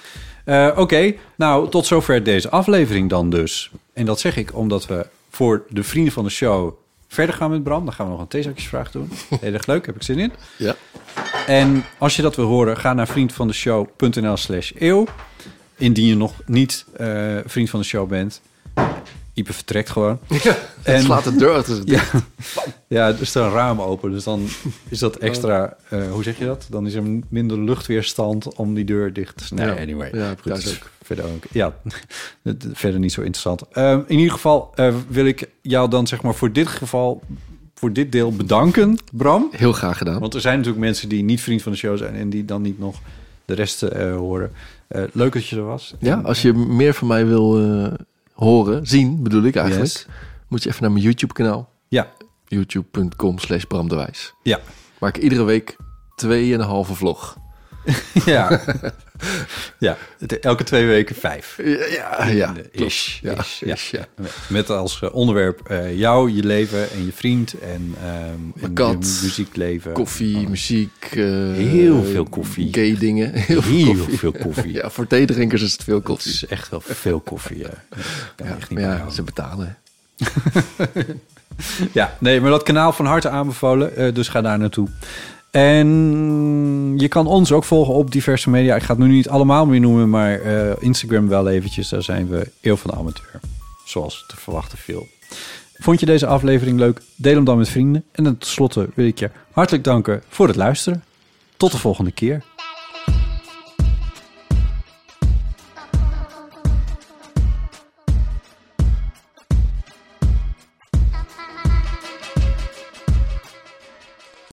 Speaker 3: Eh, Oké, nou tot zover deze aflevering dan dus. En dat zeg ik omdat we voor de vrienden van de show verder gaan met Bram. Dan gaan we nog een theezakjesvraag doen. Heel erg leuk, heb ik zin in.
Speaker 2: Ja.
Speaker 3: En als je dat wil horen, ga naar vriendvandeshow.nl slash eeuw. Indien je nog niet eh, vriend van de show bent. Ipe vertrekt gewoon.
Speaker 2: En slaat de deur achter zich dicht.
Speaker 3: Ja, ja, er is een raam open, dus dan is dat extra... eh, hoe zeg je dat? Dan is er minder luchtweerstand om die deur dicht te snijden.
Speaker 2: Ja.
Speaker 3: anyway.
Speaker 2: Ja,
Speaker 3: Goed,
Speaker 2: thuis
Speaker 3: dus
Speaker 2: ook.
Speaker 3: Verder, ook, ja, het- verder niet zo interessant. Ehm, in ieder geval eh, wil ik jou dan zeg maar voor dit geval... voor dit deel bedanken, Bram.
Speaker 2: Heel graag gedaan.
Speaker 3: Want er zijn natuurlijk mensen die niet vriend van de show zijn en die dan niet nog de rest eh, horen. Eh, leuk dat je er was.
Speaker 2: Ja,
Speaker 3: En-
Speaker 2: als je meer van mij wil eh, horen, zien bedoel ik eigenlijk...
Speaker 3: Yes.
Speaker 2: moet je even naar mijn YouTube-kanaal.
Speaker 3: Ja,
Speaker 2: youtube.com slash Bram de Wijs.
Speaker 3: ja,
Speaker 2: Maak ik iedere week 2,5 vlog.
Speaker 3: ja. ja, het- elke twee weken vijf.
Speaker 2: Ja, ja, ja.
Speaker 3: Eh,
Speaker 2: klopt.
Speaker 3: Ish,
Speaker 2: Ja,
Speaker 3: ish, ja.
Speaker 2: ish, ja.
Speaker 3: Met als eh, onderwerp eh, jou, je leven en je vriend en, ehm en je
Speaker 2: kat.
Speaker 3: muziekleven. Oh.
Speaker 2: Koffie, muziek. eh,
Speaker 3: Heel veel koffie.
Speaker 2: Gay dingen. Heel veel
Speaker 3: Heel
Speaker 2: koffie.
Speaker 3: veel koffie.
Speaker 2: Ja, voor theedrinkers is het veel
Speaker 3: Het
Speaker 2: koffie.
Speaker 3: is echt wel veel koffie. ja. Ja, kan
Speaker 2: Ja,
Speaker 3: echt niet
Speaker 2: maar ja,
Speaker 3: bijhouden.
Speaker 2: ze betalen.
Speaker 3: Ja, nee, maar dat kanaal van harte aanbevolen. eh, dus ga daar naartoe. En je kan ons ook volgen op diverse media. Ik ga het nu niet allemaal meer noemen, maar eh, Instagram wel eventjes. Daar zijn we Eeuw van de Amateur. Zoals te verwachten viel. Vond je deze aflevering leuk? Deel hem dan met vrienden. En tenslotte wil ik je hartelijk danken voor het luisteren. Tot de volgende keer.